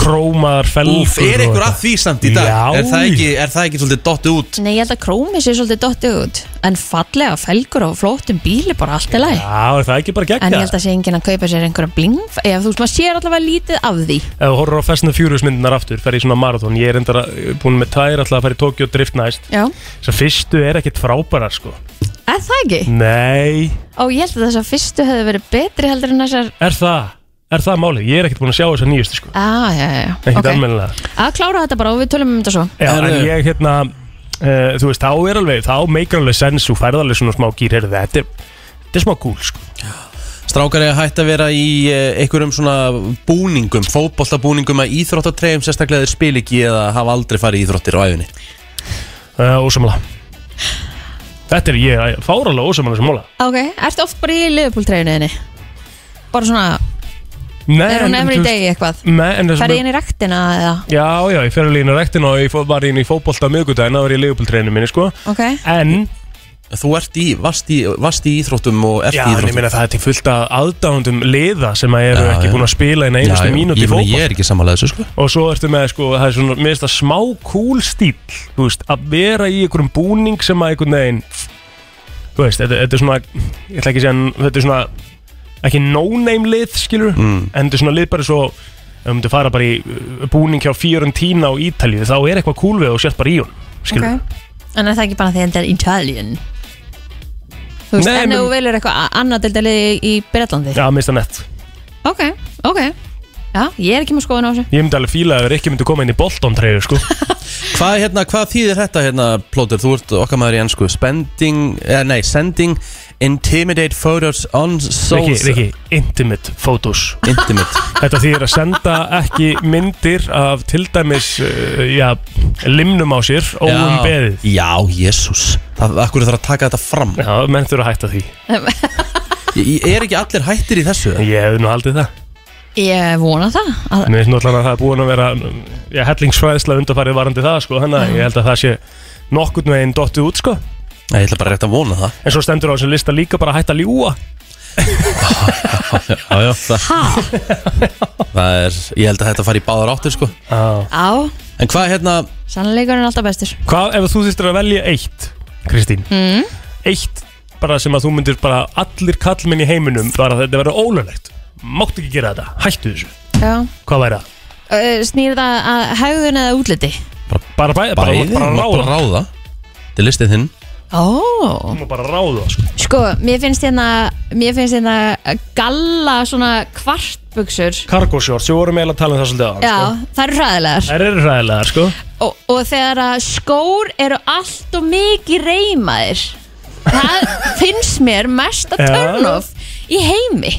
[SPEAKER 4] krómaðar felgur
[SPEAKER 2] Úf, er
[SPEAKER 4] og
[SPEAKER 2] ykkur að
[SPEAKER 4] eitthvað.
[SPEAKER 2] því samt í dag?
[SPEAKER 4] Já.
[SPEAKER 2] Er það ekki, er það ekki svolítið dottið út?
[SPEAKER 3] Nei, ég held að krómi sé svolítið dottið út En fallega felgur og flottum bíli bara allt í lagi
[SPEAKER 4] Já, er það ekki bara gegn
[SPEAKER 3] En ég held að sé enginn að kaupa sér einhverja bling Ef þú veist, maður sér allavega lítið af því
[SPEAKER 4] Ef þú horfður á Fast and the Furious myndinar aftur, fer í svona marathón Ég er endara búin með tær alltaf að fara í Tokyo Drift næst
[SPEAKER 3] Já,
[SPEAKER 4] Svo fyrstu er ekkert frábærar sko
[SPEAKER 3] er það ekki?
[SPEAKER 4] Nei
[SPEAKER 3] Ó, ég held að þessar fyrstu hefðu verið betri heldur en þessar
[SPEAKER 4] Er það, er það málið? Ég er ekkert búin að sjá þess að nýjustu sko
[SPEAKER 3] ah, já, já, já,
[SPEAKER 4] Ekkert
[SPEAKER 3] ok.
[SPEAKER 4] okay. almennilega
[SPEAKER 3] Að klára þetta bara og við tölum um þetta svo
[SPEAKER 4] Já,
[SPEAKER 2] Herðu.
[SPEAKER 4] en ég hérna uh, Þú veist, þá er alveg, þá meikar alveg sens Þú færð alveg svona smá gýr, heyrðu þetta er Þetta er smá cool sko
[SPEAKER 2] Strákar er hægt að vera í eh, einhverjum svona búningum, fótboltabúningum að íþróttatreyjum sérstaklega þeir spil ekki eða hafa aldrei farið í íþróttir á æfinni.
[SPEAKER 4] uh, Ósamala Þetta er ég, ég fár alveg ósamala sem móla
[SPEAKER 3] Ok, ertu oft bara í liðbúltreifinuðinni? Bara svona,
[SPEAKER 4] Nei,
[SPEAKER 3] er hún every day eitthvað?
[SPEAKER 4] Nei,
[SPEAKER 3] Færði
[SPEAKER 4] en
[SPEAKER 3] ég
[SPEAKER 4] þessum
[SPEAKER 3] inn í ræktina eða?
[SPEAKER 4] Já, já, ég fer alveg inn í rektin og ég fór bara inn í fótbolta á miðgudaginn, það var í leifupiltreinu minni, sko.
[SPEAKER 3] Ok,
[SPEAKER 4] En,
[SPEAKER 2] Þú ert í, varst í, varst í íþróttum og ert í
[SPEAKER 4] já, en ég
[SPEAKER 2] íþróttum.
[SPEAKER 4] meina það er til fullt að aðdáðundum liða sem að eru
[SPEAKER 2] Já,
[SPEAKER 4] ekki
[SPEAKER 2] já.
[SPEAKER 4] búin að spila eina einustu
[SPEAKER 2] já,
[SPEAKER 4] mínúti
[SPEAKER 2] ég, meina,
[SPEAKER 4] fótbolta.
[SPEAKER 2] ég er ekki samanlega þessu sko.
[SPEAKER 4] og svo ertu með sko, það er svona, mér finnst það smá cool stíl, þú veist, að vera í einhverjum búning sem að einhvern veginn þú veist, þetta, þetta er svona ég ætla ekki að segja, en þetta er svona ekki no-name lið, skilur
[SPEAKER 2] Mm.
[SPEAKER 4] en þetta er svona lið bara svo ef þú myndir fara bara í uh, búning hjá Fiorentina og Ítalíu, þá er eitthvað cool við og sért bara í hún,
[SPEAKER 3] ok
[SPEAKER 4] skilur
[SPEAKER 3] En er það ekki bara því að þetta er Italian? Þú veist,
[SPEAKER 4] Nei,
[SPEAKER 3] en
[SPEAKER 4] men-
[SPEAKER 3] þú velur eitthvað a- annað deildalið í, í Bretlandi?
[SPEAKER 4] Já, minnst það nett.
[SPEAKER 3] Ok, ok Já, ég er ekki með skoðun á þessu
[SPEAKER 4] Ég myndi alveg fíla að ekki myndi koma inn í Bolton-treyju, sko.
[SPEAKER 2] Hvað, hérna, hvað þýðir þetta hérna plótur? Þú ert okkar maður í ennsku. Spending, eh, nei, sending intimidate photos on
[SPEAKER 4] Rikki,
[SPEAKER 2] souls.
[SPEAKER 4] Rikki, intimate photos.
[SPEAKER 2] Intimate.
[SPEAKER 4] Þetta þýðir að senda ekki myndir af til dæmis uh, já, limnum á sér og um beðið.
[SPEAKER 2] Já, jésús. Það, akkur þarf að taka þetta fram.
[SPEAKER 4] Já, menn þurfa að hætta því.
[SPEAKER 2] Ég, ég er ekki allir hættir í þessu.
[SPEAKER 4] Ég hef nú haldið það.
[SPEAKER 3] Ég vona það að,
[SPEAKER 4] Mér finnst náttúrulega að það er búin að vera mm, já, hellingsfræðsla undarfærið varandi það, sko, þannig að ég held að það sé nokkurn veginn dottið út, sko.
[SPEAKER 2] Nei, ég ætla bara rétt að vona það.
[SPEAKER 4] En svo stendur á þessum lista líka bara að hætta að ljúa.
[SPEAKER 2] Já, já, það, það er, ég held að þetta fari í báðar áttir sko
[SPEAKER 4] Ah.
[SPEAKER 3] Á,
[SPEAKER 2] En hvað er hérna,
[SPEAKER 3] sannleikurinn er alltaf bestur
[SPEAKER 4] Hvað ef þú þurftir að velja eitt, Kristín? Eitt bara sem að þú myndir bara allir kallmenn í heiminum bara þetta verður ólöglegt. Mátt ekki gera þetta, hættu þessu.
[SPEAKER 3] Já
[SPEAKER 4] Hvað væri það?
[SPEAKER 3] Ö, Snýr það að hegðun eða útliti?
[SPEAKER 4] bara bæði, bara,
[SPEAKER 2] bæði,
[SPEAKER 4] bara,
[SPEAKER 2] mátt
[SPEAKER 4] ráða
[SPEAKER 2] ráða Þetta er listið þinn
[SPEAKER 3] Ó
[SPEAKER 4] Þú má bara ráða sko.
[SPEAKER 3] Sko, mér finnst hérna Mér finnst hérna galla svona kvartbuksur
[SPEAKER 4] Cargo shorts, við vorum eiginlega að tala um það svolítið á
[SPEAKER 3] Já, það eru hræðilegar
[SPEAKER 4] Þær eru hræðilegar sko
[SPEAKER 3] og, og þegar að skór eru allt og mikið reymaðir það finnst mér mesta
[SPEAKER 4] Já.
[SPEAKER 3] turn-off í heimi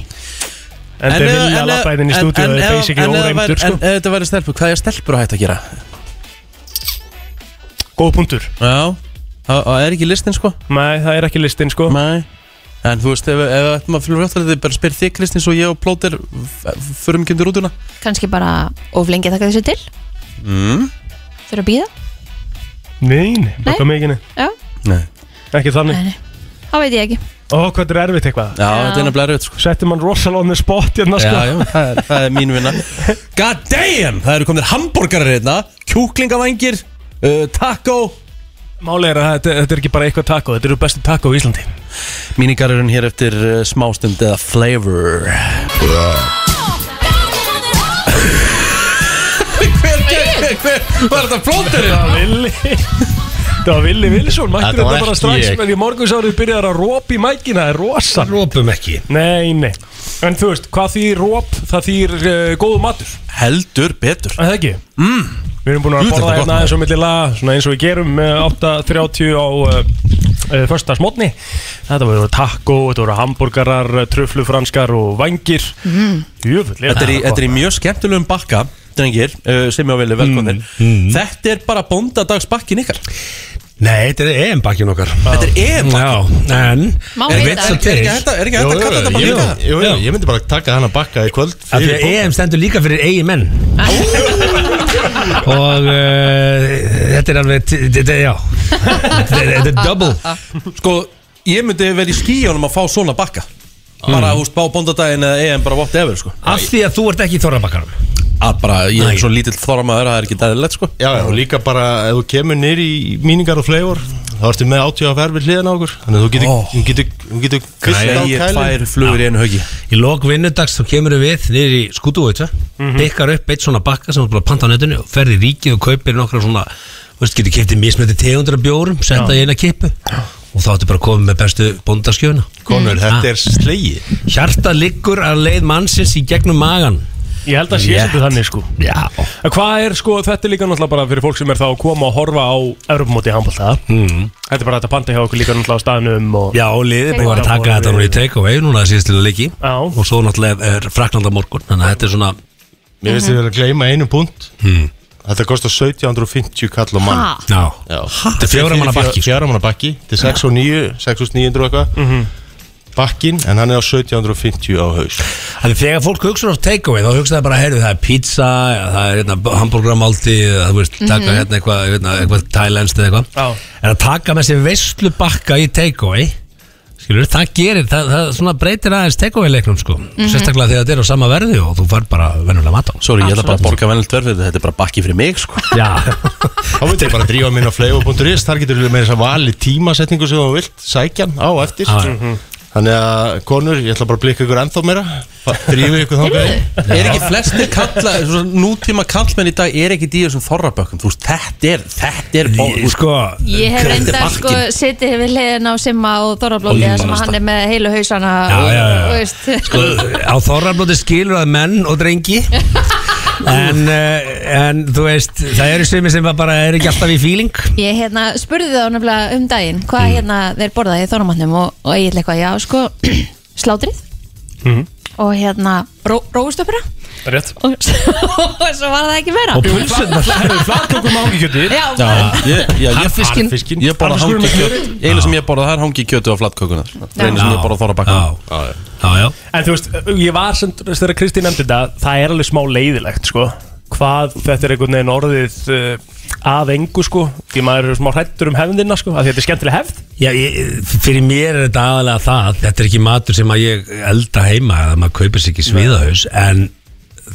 [SPEAKER 4] En þeir vilja lappa hérna inn í stúdíu og
[SPEAKER 2] en-
[SPEAKER 4] þeir
[SPEAKER 2] en-
[SPEAKER 4] basically
[SPEAKER 2] en- en-
[SPEAKER 4] óreimdur
[SPEAKER 2] En
[SPEAKER 4] sko
[SPEAKER 2] ef þetta væri stelpur, hvað er stelpur að hætta að gera?
[SPEAKER 4] Góð punktur
[SPEAKER 2] Já, það það er ekki listin sko
[SPEAKER 4] Nei, það er ekki listin sko
[SPEAKER 2] Nei En þú veist, ef ef við ættum að fylgja rétt að þið bara spyr þig Kristins og ég og Plóter förum ekki undir rútuna
[SPEAKER 3] kannski bara of lengi að taka þessu til mm. þurfa að býða
[SPEAKER 4] Nei, nei, baka mikið
[SPEAKER 3] Já.
[SPEAKER 2] Nei.
[SPEAKER 4] Ekki þannig
[SPEAKER 3] það veit ég ekki
[SPEAKER 4] Ó, hvað þetta er erfitt eitthvað
[SPEAKER 2] Já, þetta er nefnilega rauð sko
[SPEAKER 4] Settir mann rosalega on the spot hérna sko
[SPEAKER 2] Já, já, það er, það er mín vinna God damn, það eru komnir hambúrgarar hérna Kjúklingavængir uh, Taco
[SPEAKER 4] Máli er að þetta, þetta er ekki bara eitthvað taco Þetta eru bestu taco í Íslandi
[SPEAKER 2] Mínigarurinn hér eftir uh, smástund eða flavor Hver, hver, hver, var þetta plóterinn?
[SPEAKER 4] Það var Villi Það var Villi Vilsson Mættur
[SPEAKER 10] Þetta var
[SPEAKER 4] þetta bara
[SPEAKER 10] ekki
[SPEAKER 4] strax
[SPEAKER 10] ég.
[SPEAKER 4] Menn í morgunsárið byrjar að rópa í mækina Það er rosa
[SPEAKER 10] Rópum ekki
[SPEAKER 4] Nei, nei En þú veist, hvað þýr róp Það þýr uh, góðu matur
[SPEAKER 2] Heldur betur
[SPEAKER 4] Er það ekki? Mm. Við erum búin að
[SPEAKER 2] Jú, þetta
[SPEAKER 4] borða
[SPEAKER 2] er gott,
[SPEAKER 4] hérna aðeins og milli laga Svona eins og við gerum eh, 8.30 á uh, uh, Föstarsmótni Þetta voru taco, þetta voru hambúrgarar Tröflufranskar og vangir mm. Jöfull
[SPEAKER 2] Þetta er, í, þetta er í mjög skemmtilegum bakka drengir, uh, sem ég á vilja velkomnir Þetta er bara bóndadagsbakkin ykkar
[SPEAKER 10] Nei, þetta er EM-bakkin okkar
[SPEAKER 2] Þetta er EM
[SPEAKER 10] Já, en
[SPEAKER 3] Má
[SPEAKER 10] Er
[SPEAKER 3] vita.
[SPEAKER 10] veit svo
[SPEAKER 2] Er
[SPEAKER 10] til
[SPEAKER 2] ekki hægt að- er ekki hægt að kalla þetta bara
[SPEAKER 10] Jú,
[SPEAKER 2] líka?
[SPEAKER 10] Jú, jú, Já.
[SPEAKER 9] Ég myndi bara taka hann að bakka í kvöld
[SPEAKER 10] Af því að E EM stendur líka fyrir eigi menn Og uh, þetta er alveg t- Þetta er, já Þetta er- þetta er double
[SPEAKER 2] Sko, ég myndi verið í skíjónum að fá svona bakka Bara, þú veist, bá bóndadaginn eða EM bara whatever, sko
[SPEAKER 10] Af því að þú ert ekki í þorrabakkanum
[SPEAKER 2] að bara, ég
[SPEAKER 10] Nei.
[SPEAKER 2] er svo lítill þormaður að það er ekki dæðilegt sko
[SPEAKER 9] Já, já, og líka bara ef þú kemur nýr í míningar og flavor þá ertu með átjóða ferð við hliðina á okkur þannig að þú getur,
[SPEAKER 2] Ó.
[SPEAKER 9] oh. getur, þú getur kvist á
[SPEAKER 2] Græði
[SPEAKER 9] kælin
[SPEAKER 2] tvær flugur í einu höggi
[SPEAKER 10] Í lok vinnudags þá kemur við niður í skútuvöita
[SPEAKER 4] Mhm.
[SPEAKER 10] Pikkar upp eitt svona bakka sem þú ert búin að panta á netinu og ferð í ríkið og kaupir nokkra svona þú veist, getur kiptið mismöndi tegundra bjórum senda í eina kipu og þá ertu bara komið með bestu bóndaskjöfuna
[SPEAKER 9] Konur,
[SPEAKER 10] Ah.
[SPEAKER 9] þetta er slegi
[SPEAKER 10] Hjarta liggur að leið mannsins í gegnum magan
[SPEAKER 4] Ég held að sé
[SPEAKER 10] Rétt.
[SPEAKER 4] svolítið þannig sko
[SPEAKER 10] Já
[SPEAKER 4] En Hvað er sko, þetta er líka náttúrulega bara fyrir fólk sem er þá að koma og horfa á Europamóti í handbólta Þetta er bara hægt að panta hjá okkur líka náttúrulega á staðnum og
[SPEAKER 10] Mhm. Já, liðið
[SPEAKER 3] Take
[SPEAKER 10] búið að
[SPEAKER 4] away.
[SPEAKER 10] taka þetta núna í take away núna síðustu leiki
[SPEAKER 4] Já.
[SPEAKER 10] og svo náttúrulega er fraknanda morgun þannig að þetta er svona
[SPEAKER 9] Mér finnst þið verið að gleyma einu punkt Þetta kostar 1750 kall og mann
[SPEAKER 3] ha,
[SPEAKER 10] Já,
[SPEAKER 9] Þetta
[SPEAKER 10] er fjögurra manna bakki, sko.
[SPEAKER 9] Fjóra manna bakki, þetta er 6 og 9, 6 og 900 eitthvað Bakkin, en hann er á 1750 á haus
[SPEAKER 10] þannig þegar fólk hugsa á take away þá hugsa það bara, heyrðu, það er pizza ja, það er hérna hambúrgramáldi það veist, taka hérna eitthvað, hérna, eitthvað thailands eða eitthvað,
[SPEAKER 4] Já.
[SPEAKER 10] en að taka með sér veistlu bakka í take away skilur, það gerir, það, það svona breytir aðeins take away leiknum, sko sérstaklega þegar þetta er á sama verði og þú fær bara venjulega mat á
[SPEAKER 2] Sorry, ég ætla bara að borga vennilt verð fyrir þetta, þetta er bara bakki fyrir mig sko
[SPEAKER 10] Já,
[SPEAKER 9] Þá veit ég bara að drífa minn á flavor.is Þar getur við með þess að vali tímasetningu sem þú vilt Sækjan á eftir Mhm.
[SPEAKER 10] Já, já.
[SPEAKER 9] Þannig að konur, ég ætla bara að blika ykkur ennþá meira Drífu ykkur þangað í.
[SPEAKER 2] Er ekki flestir kalla, svona nútíma kallmenn í dag er ekki dýr sem þorrabökkum Þú veist, þetta er, þetta er bó-
[SPEAKER 10] Í- sko
[SPEAKER 3] ég hef
[SPEAKER 2] Þetta er
[SPEAKER 3] reynda
[SPEAKER 2] bakkinn.
[SPEAKER 3] sko sitið við hliðin á Simma og Þorrablóti
[SPEAKER 2] Ó, ég
[SPEAKER 3] sem
[SPEAKER 2] manast
[SPEAKER 3] hann
[SPEAKER 2] það.
[SPEAKER 3] er með heilu hausana
[SPEAKER 10] Já,
[SPEAKER 3] og,
[SPEAKER 10] já, já.
[SPEAKER 3] og veist,
[SPEAKER 10] sko, á þorrablóti skilur að menn og drengi en, eh, en þú veist það eru sumi sem bara er ekki alltaf í Mm. fíling
[SPEAKER 3] Ég hérna spurði þá nefnilega um daginn hvað hérna þeir borðaði í þorramannum og, og ég eitthvað, já sko slátrið
[SPEAKER 10] Mhm.
[SPEAKER 3] og hérna ró, róustöpura
[SPEAKER 4] Rétt
[SPEAKER 3] og, og svo var það ekki meira
[SPEAKER 10] pulsunar
[SPEAKER 4] Flattökum ángjöti
[SPEAKER 3] Já,
[SPEAKER 2] Já, ég, já, ég,
[SPEAKER 10] Harfiskin
[SPEAKER 2] ég, ég borða hangi kjöt Einu sem ég borða, það er hangi kjötu á flatkökunar Einu sem ég borða þorrabökkum
[SPEAKER 10] já, já, já.
[SPEAKER 4] En þú veist, ég var sem þegar Kristi nefndi þetta, það er alveg smá leiðilegt sko. hvað þetta er einhvern veginn orðið uh, að engu sko. því maður er smá hrættur um hefndina sko, af því þetta er skemmtileg hefð
[SPEAKER 10] Já, ég, fyrir mér er þetta aðalega það þetta er ekki matur sem að ég elda heima eða maður kaupir sér ekki sviðahus en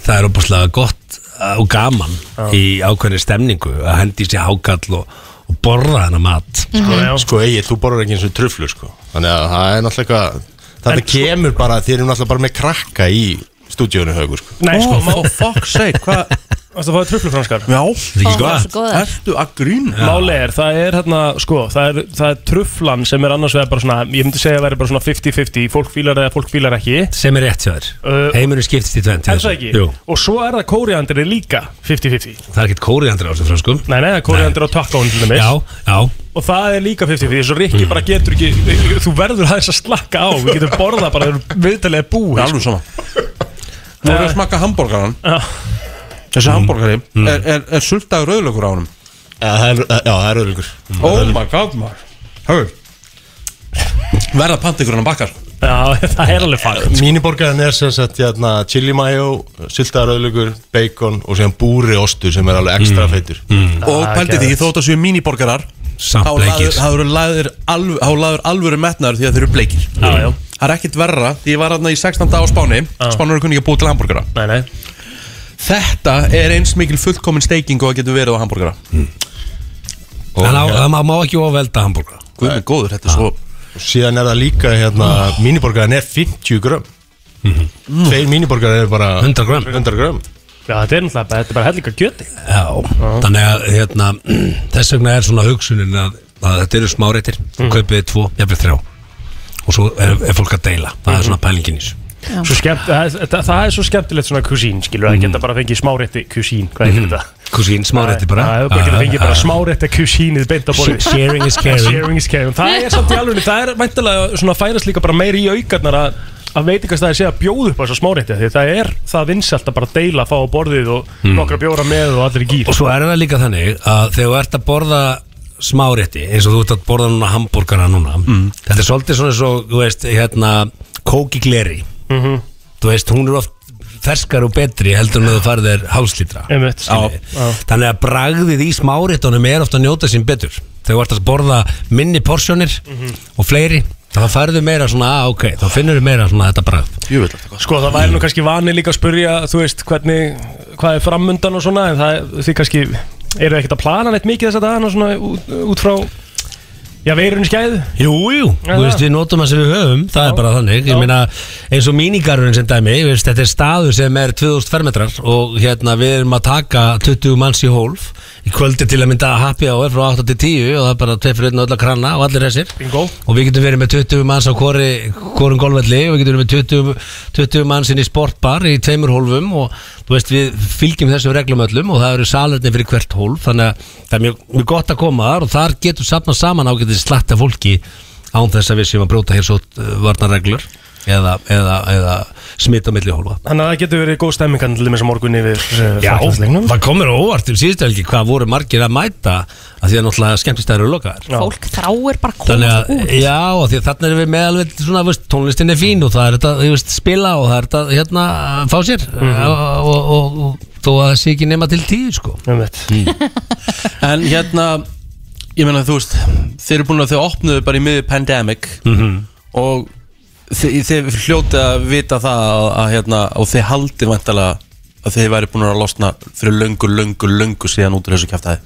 [SPEAKER 10] það er opaslega gott uh, og gaman í ákveðni stemningu að hendi sér hákall og, og borða hennar mat
[SPEAKER 4] sko,
[SPEAKER 9] Sko Egil, þú borður ekki eins og truflur sko Þannig að það er náttúrulega eitthvað Þetta kemur bara, þér eru náttúrulega bara með krakka í stúdíónu haugur sko
[SPEAKER 4] Nei, sko,
[SPEAKER 2] For fuck's sake, hvað
[SPEAKER 4] Varstu að fá truflufranskar?
[SPEAKER 2] Já
[SPEAKER 10] ekki Ó, það er svo gott? góðar.
[SPEAKER 2] Ertu að grín?
[SPEAKER 4] Máli er, það er hérna, sko, það er, það er truflan sem er annars vegar bara svona, ég myndi segja að vera bara svona 50-50, fólk fílar eða fólk fílar ekki.
[SPEAKER 10] Sem er rétt hjá þér
[SPEAKER 4] Uh,
[SPEAKER 10] Heimurinn skiptist í tvend
[SPEAKER 4] Er það ekki?
[SPEAKER 10] Jú,
[SPEAKER 4] Og svo er það kóriandri líka 50-50
[SPEAKER 10] það er ekkert kóriandri á þessu franskum
[SPEAKER 4] Nei, nei, það er kóriandri á takkóin til dæmis
[SPEAKER 10] Já, já Mm.
[SPEAKER 4] Og það er líka 50-50 Svo Rikki bara getur ekki Þú verður aðeins að slakka á Við getum borðað bara þegar við erum viðtalega búið sko.
[SPEAKER 2] Alveg sama Þú voru að smakka hambúrgaran
[SPEAKER 4] Já.
[SPEAKER 2] Þessi hambúrgari er, er, er sultaður rauðlökur á honum
[SPEAKER 9] Mm. Já, það er, já, það er öðrugur
[SPEAKER 2] Oh my god maður Hauður Verða pantingurinn að bakkar
[SPEAKER 9] Mm.
[SPEAKER 4] Já, það er alveg sko, fakt
[SPEAKER 9] Míniborgarinn er sem sagt hérna, chili mayo, syltaðar öðrugur, bacon og síðan búri ostur sem er alveg
[SPEAKER 10] Mm.
[SPEAKER 9] ekstra feitur
[SPEAKER 2] Og
[SPEAKER 9] Ah,
[SPEAKER 2] pældi því, þótt að séu míniborgarar
[SPEAKER 10] Samt
[SPEAKER 2] Þá
[SPEAKER 10] bleikir.
[SPEAKER 2] laður- þá eru lagðir alv- þá laður alvöru metnaður því að þeir eru bleikir
[SPEAKER 4] Já, já,
[SPEAKER 2] Það er ekkert verra því ég var aðna í 16. á Spáni
[SPEAKER 9] Ah.
[SPEAKER 2] Spánur eru kunni ekki að búa til hambúrgara
[SPEAKER 4] nei, nei
[SPEAKER 2] Þetta er eins mikil fullkomin steiking og það getur verið á hambúrgara
[SPEAKER 10] En á- það má- má ekki ofvelda hambúrgar
[SPEAKER 2] Guð
[SPEAKER 9] Eh.
[SPEAKER 2] með góður, þetta er svo
[SPEAKER 9] Og síðan er það líka, hérna, míniborgarinn er 50 grömm Tveir míniborgarinn er bara
[SPEAKER 10] 100 grömm.
[SPEAKER 9] 100 grömm
[SPEAKER 4] Já, þetta er náttúrulega bara, þetta er bara hellinga kjöti
[SPEAKER 10] Já, þannig að hérna, þess vegna er svona hugsunin að, að þetta eru smáreitir, mm. kaupið þið tvo, jafnveg þrjá og svo er, er fólk að deila, það er svona pælingin í þessu
[SPEAKER 4] Svo skemmt, það, það, það er svo skemmtilegt svona kusín, skilur Að
[SPEAKER 10] Mm.
[SPEAKER 4] geta bara fengið smárétti kusín Hvað er þetta?
[SPEAKER 10] Kusín, smáreitir Mm. bara Ah.
[SPEAKER 4] Það er bara geta fengið bara smárétti kusínið beint á borðið
[SPEAKER 10] Sharing is caring
[SPEAKER 4] Sharing is caring Það er samt í alveg Það er væntalega svona færast líka bara meiri í aukarnar að að veitingast að það sé að bjóða upp á þessa smárétti því það er það vinsalt að bara deila fá á borðið og nokkra bjóra með og allir í gýr
[SPEAKER 10] Mm. Og svo er það líka þannig að þegar þú ert að borða smárétti eins og þú ert að borða núna hambúrgana núna þetta er svolítið svona eins og, þú veist, hérna kóki gleri þú veist, hún er oft ferskar og betri heldur en að þú farið er hálslítra
[SPEAKER 4] Einmitt.
[SPEAKER 10] skilurðu. þannig að bragðið í smáréttunum er ofta að njóta sín betur þegar þú ert að borða minni porsjónir og fleiri þá færðu meira svona, að ah, ok, þá finnur meira svona þetta bragð
[SPEAKER 2] Jú, þetta er gott
[SPEAKER 4] Sko það væri nú kannski vani líka að spurja þú veist hvernig, hvað er framundan og svona en það því kannski eru ekkert að plana neitt mikið þess að dagana svona út, út frá já veirun skæð
[SPEAKER 10] Jú, jú, þú veist, við notum það sem við höfum Það er bara þannig, ég meina eins og mínigarurinn sem dæmi, þú veist, þetta er staður sem er 2000 fermetrar og hérna við erum að taka 20 manns í hólf í kvöldi til að mynda happy hour frá 8 til 10 og það er bara tveir fyrir einn og öll að kranna og allir þessir
[SPEAKER 4] Bingo.
[SPEAKER 10] og við getum verið með 20 manns á hvori, hvorum golfvelli og við getum verið með 20, 20 manns inn í sportbar í tveimur hólfum og þú veist, við fylgjum þessum reglum öllum og það eru salerni fyrir hvert hólf þannig að það er mjög, mjög gott að koma þar og þar getum safnað saman ágætið slatta fólki án þess að við séum að bróta hér svo varnarreglur eða, eða, eða smita á milli hólfa
[SPEAKER 4] Þannig að það getur verið góð stemmingan til þess að morgun yfir eh, fæklandslegnum
[SPEAKER 10] það komur á óvart um síðustu helgi hvað voru margir að mæta að því að náttúrulega skemmtistæður eru lokaðar
[SPEAKER 3] Fólk þráir bara að
[SPEAKER 10] Þannig
[SPEAKER 3] komast
[SPEAKER 10] að,
[SPEAKER 3] út
[SPEAKER 10] já, og því að þarna erum við með alveg svona, þú veist, tónlistin er fín og það er þetta, þú veist, spila og það er þetta, hérna, að fá sér
[SPEAKER 4] Mhm.
[SPEAKER 10] og, og, og, og þó að það sé ekki nema til tíu, sko.
[SPEAKER 2] En hérna, ég meina þú veist Þeir eru búin að þau opnuðu bara í miður pandemic
[SPEAKER 10] Mhm.
[SPEAKER 2] Og þið, þið hljótið að vita það að, að, hérna, Og þið haldið vantalega að þið væri búin að losna fyrir löngu, löngu, löngu síðan út úr þessu kæftæði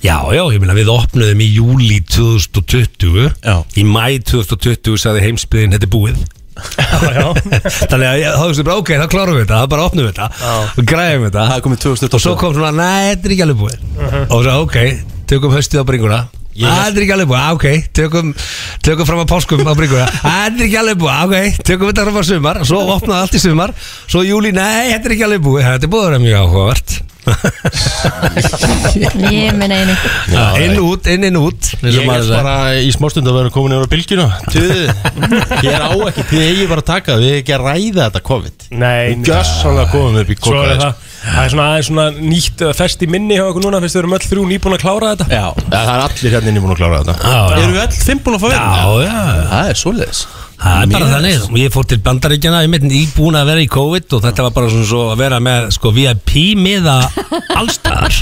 [SPEAKER 10] Já, já, ég meina við opnuðum í júli 2020,
[SPEAKER 2] Já.
[SPEAKER 10] í mæ 2020 sagði heimsbyðin þetta er búið. Þannig að ég- þá þú bara, ok, þá klárum við þetta, þá bara opnum við þetta, við græðum þetta.
[SPEAKER 2] Það er komið
[SPEAKER 10] Og svo
[SPEAKER 2] 2020
[SPEAKER 10] kom svona, nei, þetta er ekki alveg búið Og svo, ok, tökum haustið á bringuna Æ, þetta er ekki alveg búið, "Ah, ok Tökum, tökum fram að páskum á bringuna Æ, þetta er ekki alveg búið, "Ah, ok Tökum þetta fram að sumar, svo opnaði allt í sumar Svo júli, nei, þetta er ekki alveg búið Þetta er búið að vera mjög áhugavert
[SPEAKER 3] Ég minn einu
[SPEAKER 10] Ah, Inn út, inn, inn út eins og
[SPEAKER 9] Ég
[SPEAKER 10] maður
[SPEAKER 9] er
[SPEAKER 10] sagði.
[SPEAKER 9] bara í smástund að vera komin yfir á bylginu Tuðið, ég er á ekki Þið eigið bara að taka það, við eigið ekki að ræða þetta COVID
[SPEAKER 4] Nei,
[SPEAKER 9] Við gjössanlega komum upp í
[SPEAKER 4] svo er
[SPEAKER 9] COVID
[SPEAKER 4] það Það er svona, það er svona nýtt eh, fest í minni hjá okkur núna fyrst við erum öll þrjú nýbúin að klára þetta
[SPEAKER 2] Já,
[SPEAKER 9] Það er allir hérna inni búin að klára þetta
[SPEAKER 10] Já, já.
[SPEAKER 2] erum við öll fimm búin að fá verið?
[SPEAKER 10] Já, já,
[SPEAKER 2] Það er svoleiðis
[SPEAKER 10] það er bara þannig Ég fór til bandaríkjana, ég meitt íbúin að vera í COVID og þetta var bara svona svo að vera með sko, VIP-miða allstaðar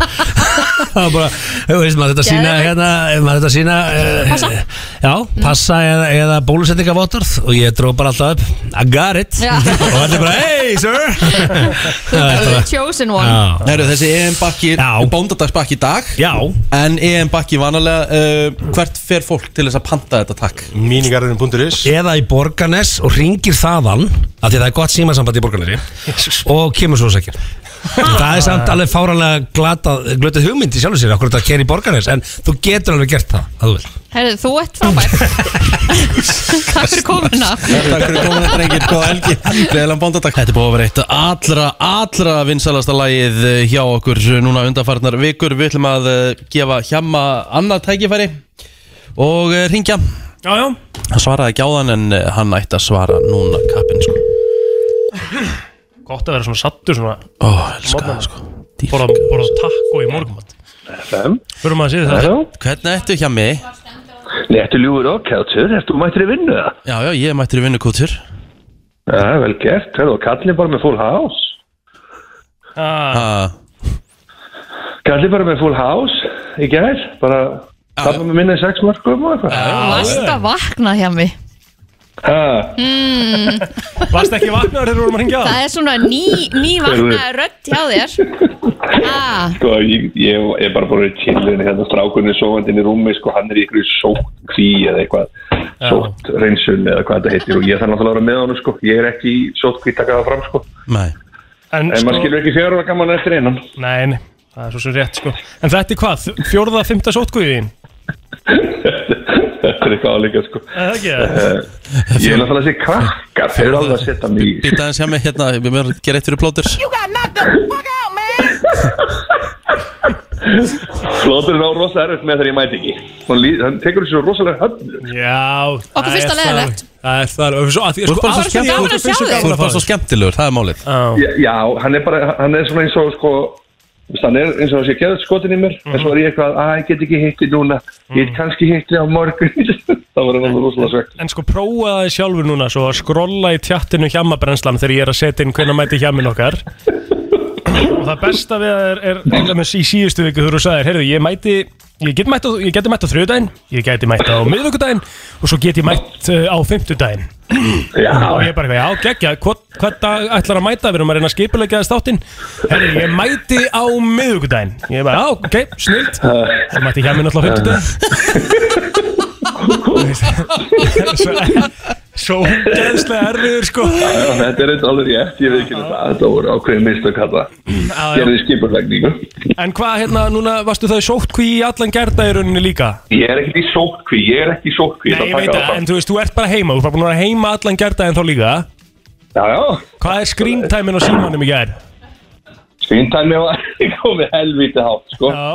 [SPEAKER 10] Það var bara, þú veist, maður þetta sína
[SPEAKER 3] Geðveikt.
[SPEAKER 10] hérna, maður þetta sína uh,
[SPEAKER 3] Passa. Mm.
[SPEAKER 10] Já, passa eða, eða bólusettingavottorð og ég dró bara alltaf upp I got it
[SPEAKER 3] Já.
[SPEAKER 10] og þetta er bara, hey sir
[SPEAKER 3] Þú ert the chosen one
[SPEAKER 10] Já,
[SPEAKER 2] Herru, þessi EM bakki,
[SPEAKER 10] Já.
[SPEAKER 2] bóndadagsbakki í dag
[SPEAKER 10] já
[SPEAKER 2] En EM bakki vanalega uh, Hvert fer fólk til þess að panta þetta takk?
[SPEAKER 9] Mínigarðurinn.is
[SPEAKER 10] eða í Borganes og ringir þaðan af því það er gott símasamband í Borganesi og kemur svo sækir það er samt alveg fáranlega glatað, glötuð hugmynd í sjálfu sér okkur þetta að kera í borgarnes, en þú getur alveg gert það að þú vil
[SPEAKER 3] Herðu, þú ert frábær Takk fyrir komuna
[SPEAKER 2] Takk fyrir komuna drengir, góða helgi Gleðilega bóndatak Þetta er búið að vera eitt allra, allra vinsalasta lagið eh, hjá okkur núna undanfarnar vikur Við ætlum að eh, gefa hjemma annað tækifæri og eh, hringja
[SPEAKER 4] Já, já
[SPEAKER 2] Hann svaraði ekki á þann en eh, hann ætti að svara núna kappin sko
[SPEAKER 4] Gott að vera svona sattur svona
[SPEAKER 2] Ó, elska það sko
[SPEAKER 4] Borða borða taco í morgumat
[SPEAKER 8] FM
[SPEAKER 4] Förum að síða það
[SPEAKER 2] Hvernig ættu hjá mig?
[SPEAKER 8] Nei, ertu ljúfur og kjátur, ertu mættir í vinnu það?
[SPEAKER 2] Já, já, ég er mættur í vinnukútur
[SPEAKER 8] Já, vel gert, hörðu, kallir bara með full house
[SPEAKER 2] ah.
[SPEAKER 8] Kallir bara með full house í gær, bara tapa með minna í sex mörgum og eitthvað
[SPEAKER 3] Vast að vakna hjá mig
[SPEAKER 8] Ha,
[SPEAKER 3] mm,
[SPEAKER 4] Varst ekki vaknaður þegar við vorum að hringja á
[SPEAKER 3] Það er svona ný, ný vaknaði rödd hjá þér ah,
[SPEAKER 8] Sko, ég, ég er bara búin að chillin hérna strákunni sofandi inn í rúmi, sko, hann er í ykkur sótt kví eða eitthvað, sótt reynsun eða hvað þetta heitir og ég þarf náttúrulega að vera með honum, sko, ég er ekki í sótt kví taka það fram, sko,
[SPEAKER 2] Nei
[SPEAKER 4] En, sko-
[SPEAKER 8] en maður skilur ekki fjör og gaman eftir einan.
[SPEAKER 4] Nei, nei, það er svo sem rétt sko En þetta er hvað, fjórða, fymta sótkvíðin?
[SPEAKER 8] Þetta er eitthvað álíka, sko.
[SPEAKER 4] Það ekki
[SPEAKER 8] Uh, ég er náttúrulega að segja krakkar, þeir eru alveg að setja mig í.
[SPEAKER 2] Býta aðeins hjá mig hérna, við verðum að gera eitt fyrir plótur
[SPEAKER 8] Flóturinn á rosa erfitt með þegar ég mæti ekki. Hún lí- Hann tekur þessu rosalega höfnu.
[SPEAKER 4] Já
[SPEAKER 3] Okkur
[SPEAKER 4] það
[SPEAKER 3] finnst
[SPEAKER 4] er
[SPEAKER 3] það leiðilegt.
[SPEAKER 4] þannig. Það er það og svo- að því
[SPEAKER 2] Þú
[SPEAKER 4] að
[SPEAKER 2] ert
[SPEAKER 4] sko,
[SPEAKER 2] bara
[SPEAKER 4] af
[SPEAKER 2] svo
[SPEAKER 4] því að
[SPEAKER 3] gaman
[SPEAKER 4] þú
[SPEAKER 3] að sjá
[SPEAKER 4] finnst svo
[SPEAKER 2] Þú
[SPEAKER 3] þig.
[SPEAKER 4] gaman
[SPEAKER 2] ert
[SPEAKER 4] að
[SPEAKER 2] bara
[SPEAKER 4] fá
[SPEAKER 2] svo skemmtilegur, það er málið
[SPEAKER 4] þig.
[SPEAKER 8] Já, Já, hann er bara, hann er svona eins og, sko, þú veist, hann er eins og sé geðað skotin í mér, en svo er ég eitthvað, að ég get ekki hitti núna, ég get kannski hitti á morgun. það var hann alveg rosalega svegt.
[SPEAKER 4] En sko prófa það sjálfur núna svo að skrolla í tjattinu hjamabrennslan þegar ég er að setja inn hvernig mæti hjamin okkar og það besta við það er, er einlega með í síðustu viku þegar þú sagðir heyrðu ég mæti, ég get mætt á, ég geti mætt á þriðudaginn, ég geti mætt á miðvikudaginn og svo get ég mætt uh, á fymtudaginn
[SPEAKER 8] Já,
[SPEAKER 4] og ég bara eitthvað, já geggja, hvað, hvað dag ætlar að mæta, við erum að reyna að skipulega þess þáttinn heyrðu ég mæti á miðvikudaginn ég bara, já ok, snilt svo mætti hjamin alltaf á fymtudaginn svo úgeðslega erfiður sko
[SPEAKER 8] já, þetta er eitthvað alveg rétt, ég veit ekki það, þetta voru ákveðin mistök þetta.
[SPEAKER 4] Já, já.
[SPEAKER 8] Gerði skipurlegningu.
[SPEAKER 4] En hvað hérna, núna varstu þau sóttkví í allan gærdæðurunni líka?
[SPEAKER 8] Ég er ekkert í sótkví, ég er ekki í sótkví.
[SPEAKER 4] Nei, ég veit það, en þú veist, þú ert bara heima, þú ert bara búin að vera heima allan gærdæðin þá líka
[SPEAKER 8] Já, já,
[SPEAKER 4] Hvað er skrýntæmin á símanum í gær?
[SPEAKER 8] Svintæmi var komið helvítið hátt sko.
[SPEAKER 4] Já,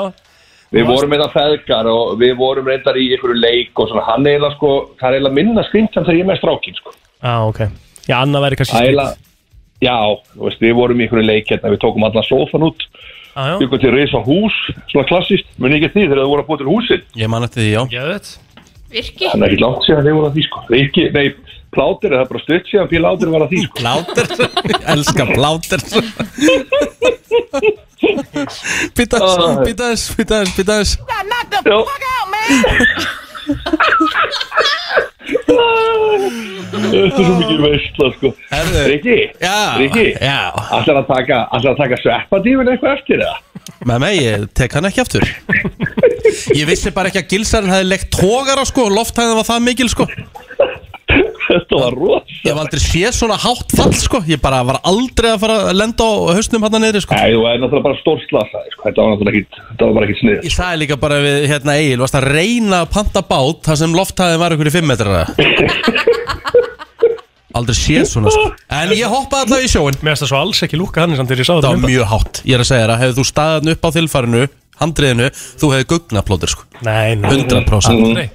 [SPEAKER 8] Við vorum með það feðgar og við vorum reyndar í einhverju leik og svona hann eiginlega sko, það er eiginlega minna svintæm þegar ég er með strákin sko.
[SPEAKER 4] já, ok Já, annað væri kannski
[SPEAKER 8] Það er eiginlega,
[SPEAKER 4] skrýnt
[SPEAKER 8] já, þú veist, við vorum í einhverju leik hérna, við tókum allan sófan út,
[SPEAKER 4] Já, já,
[SPEAKER 8] byggum til reysa hús, svona klassist, muni ekki eftir því þegar þau voru að búa til húsin.
[SPEAKER 2] Ég man eftir því, já
[SPEAKER 4] ég veit
[SPEAKER 3] Virki
[SPEAKER 8] Þannig ekki látt sér að þeir voru að því sko. Reiki, nei, plátir, það er bara stutt sér að fyrir látir var að því sko.
[SPEAKER 2] Pláter, elska pláter Býta
[SPEAKER 8] Æ.
[SPEAKER 2] þess, býta þess, býta þess, býta þess
[SPEAKER 8] Já. Þetta er svo mikið veistla sko.
[SPEAKER 2] Herðu.
[SPEAKER 8] Riki,
[SPEAKER 2] Já,
[SPEAKER 8] Riki,
[SPEAKER 2] já,
[SPEAKER 8] ætlar að taka, ætlar að taka sveppadífin eitthvað eftir það?
[SPEAKER 2] með mig, ég tek hann ekki aftur Ég vissi bara ekki að gilsarinn hefði legt tógara sko, lofthæðin var það mikil sko Ég
[SPEAKER 8] Þetta var rosa
[SPEAKER 2] hef aldrei séð svona hátt fall sko, ég bara var aldrei að fara að lenda á hausnum hann niðri sko
[SPEAKER 8] Nei, þú er náttúrulega bara stórslasaði sko. Þetta var náttúrulega ekki, þetta var bara sko. ekki snið
[SPEAKER 2] Ég sagði líka bara við hérna Egil, varst að reyna að panta bát þar sem lofthæðin var ykkur í 5 metrara Aldrei séð svona sko En ég hoppaði allavega í sjóin
[SPEAKER 4] Mér finnst það svo alls ekki lúka þannig samt þegar ég sá
[SPEAKER 2] Það
[SPEAKER 4] þetta
[SPEAKER 2] var
[SPEAKER 4] mynda
[SPEAKER 2] mjög hátt Ég er að segja þér að hefðu þú staðan upp á þilfarinu Handriðinu, þú hefði gugnapplótir sko
[SPEAKER 4] Nei, nei,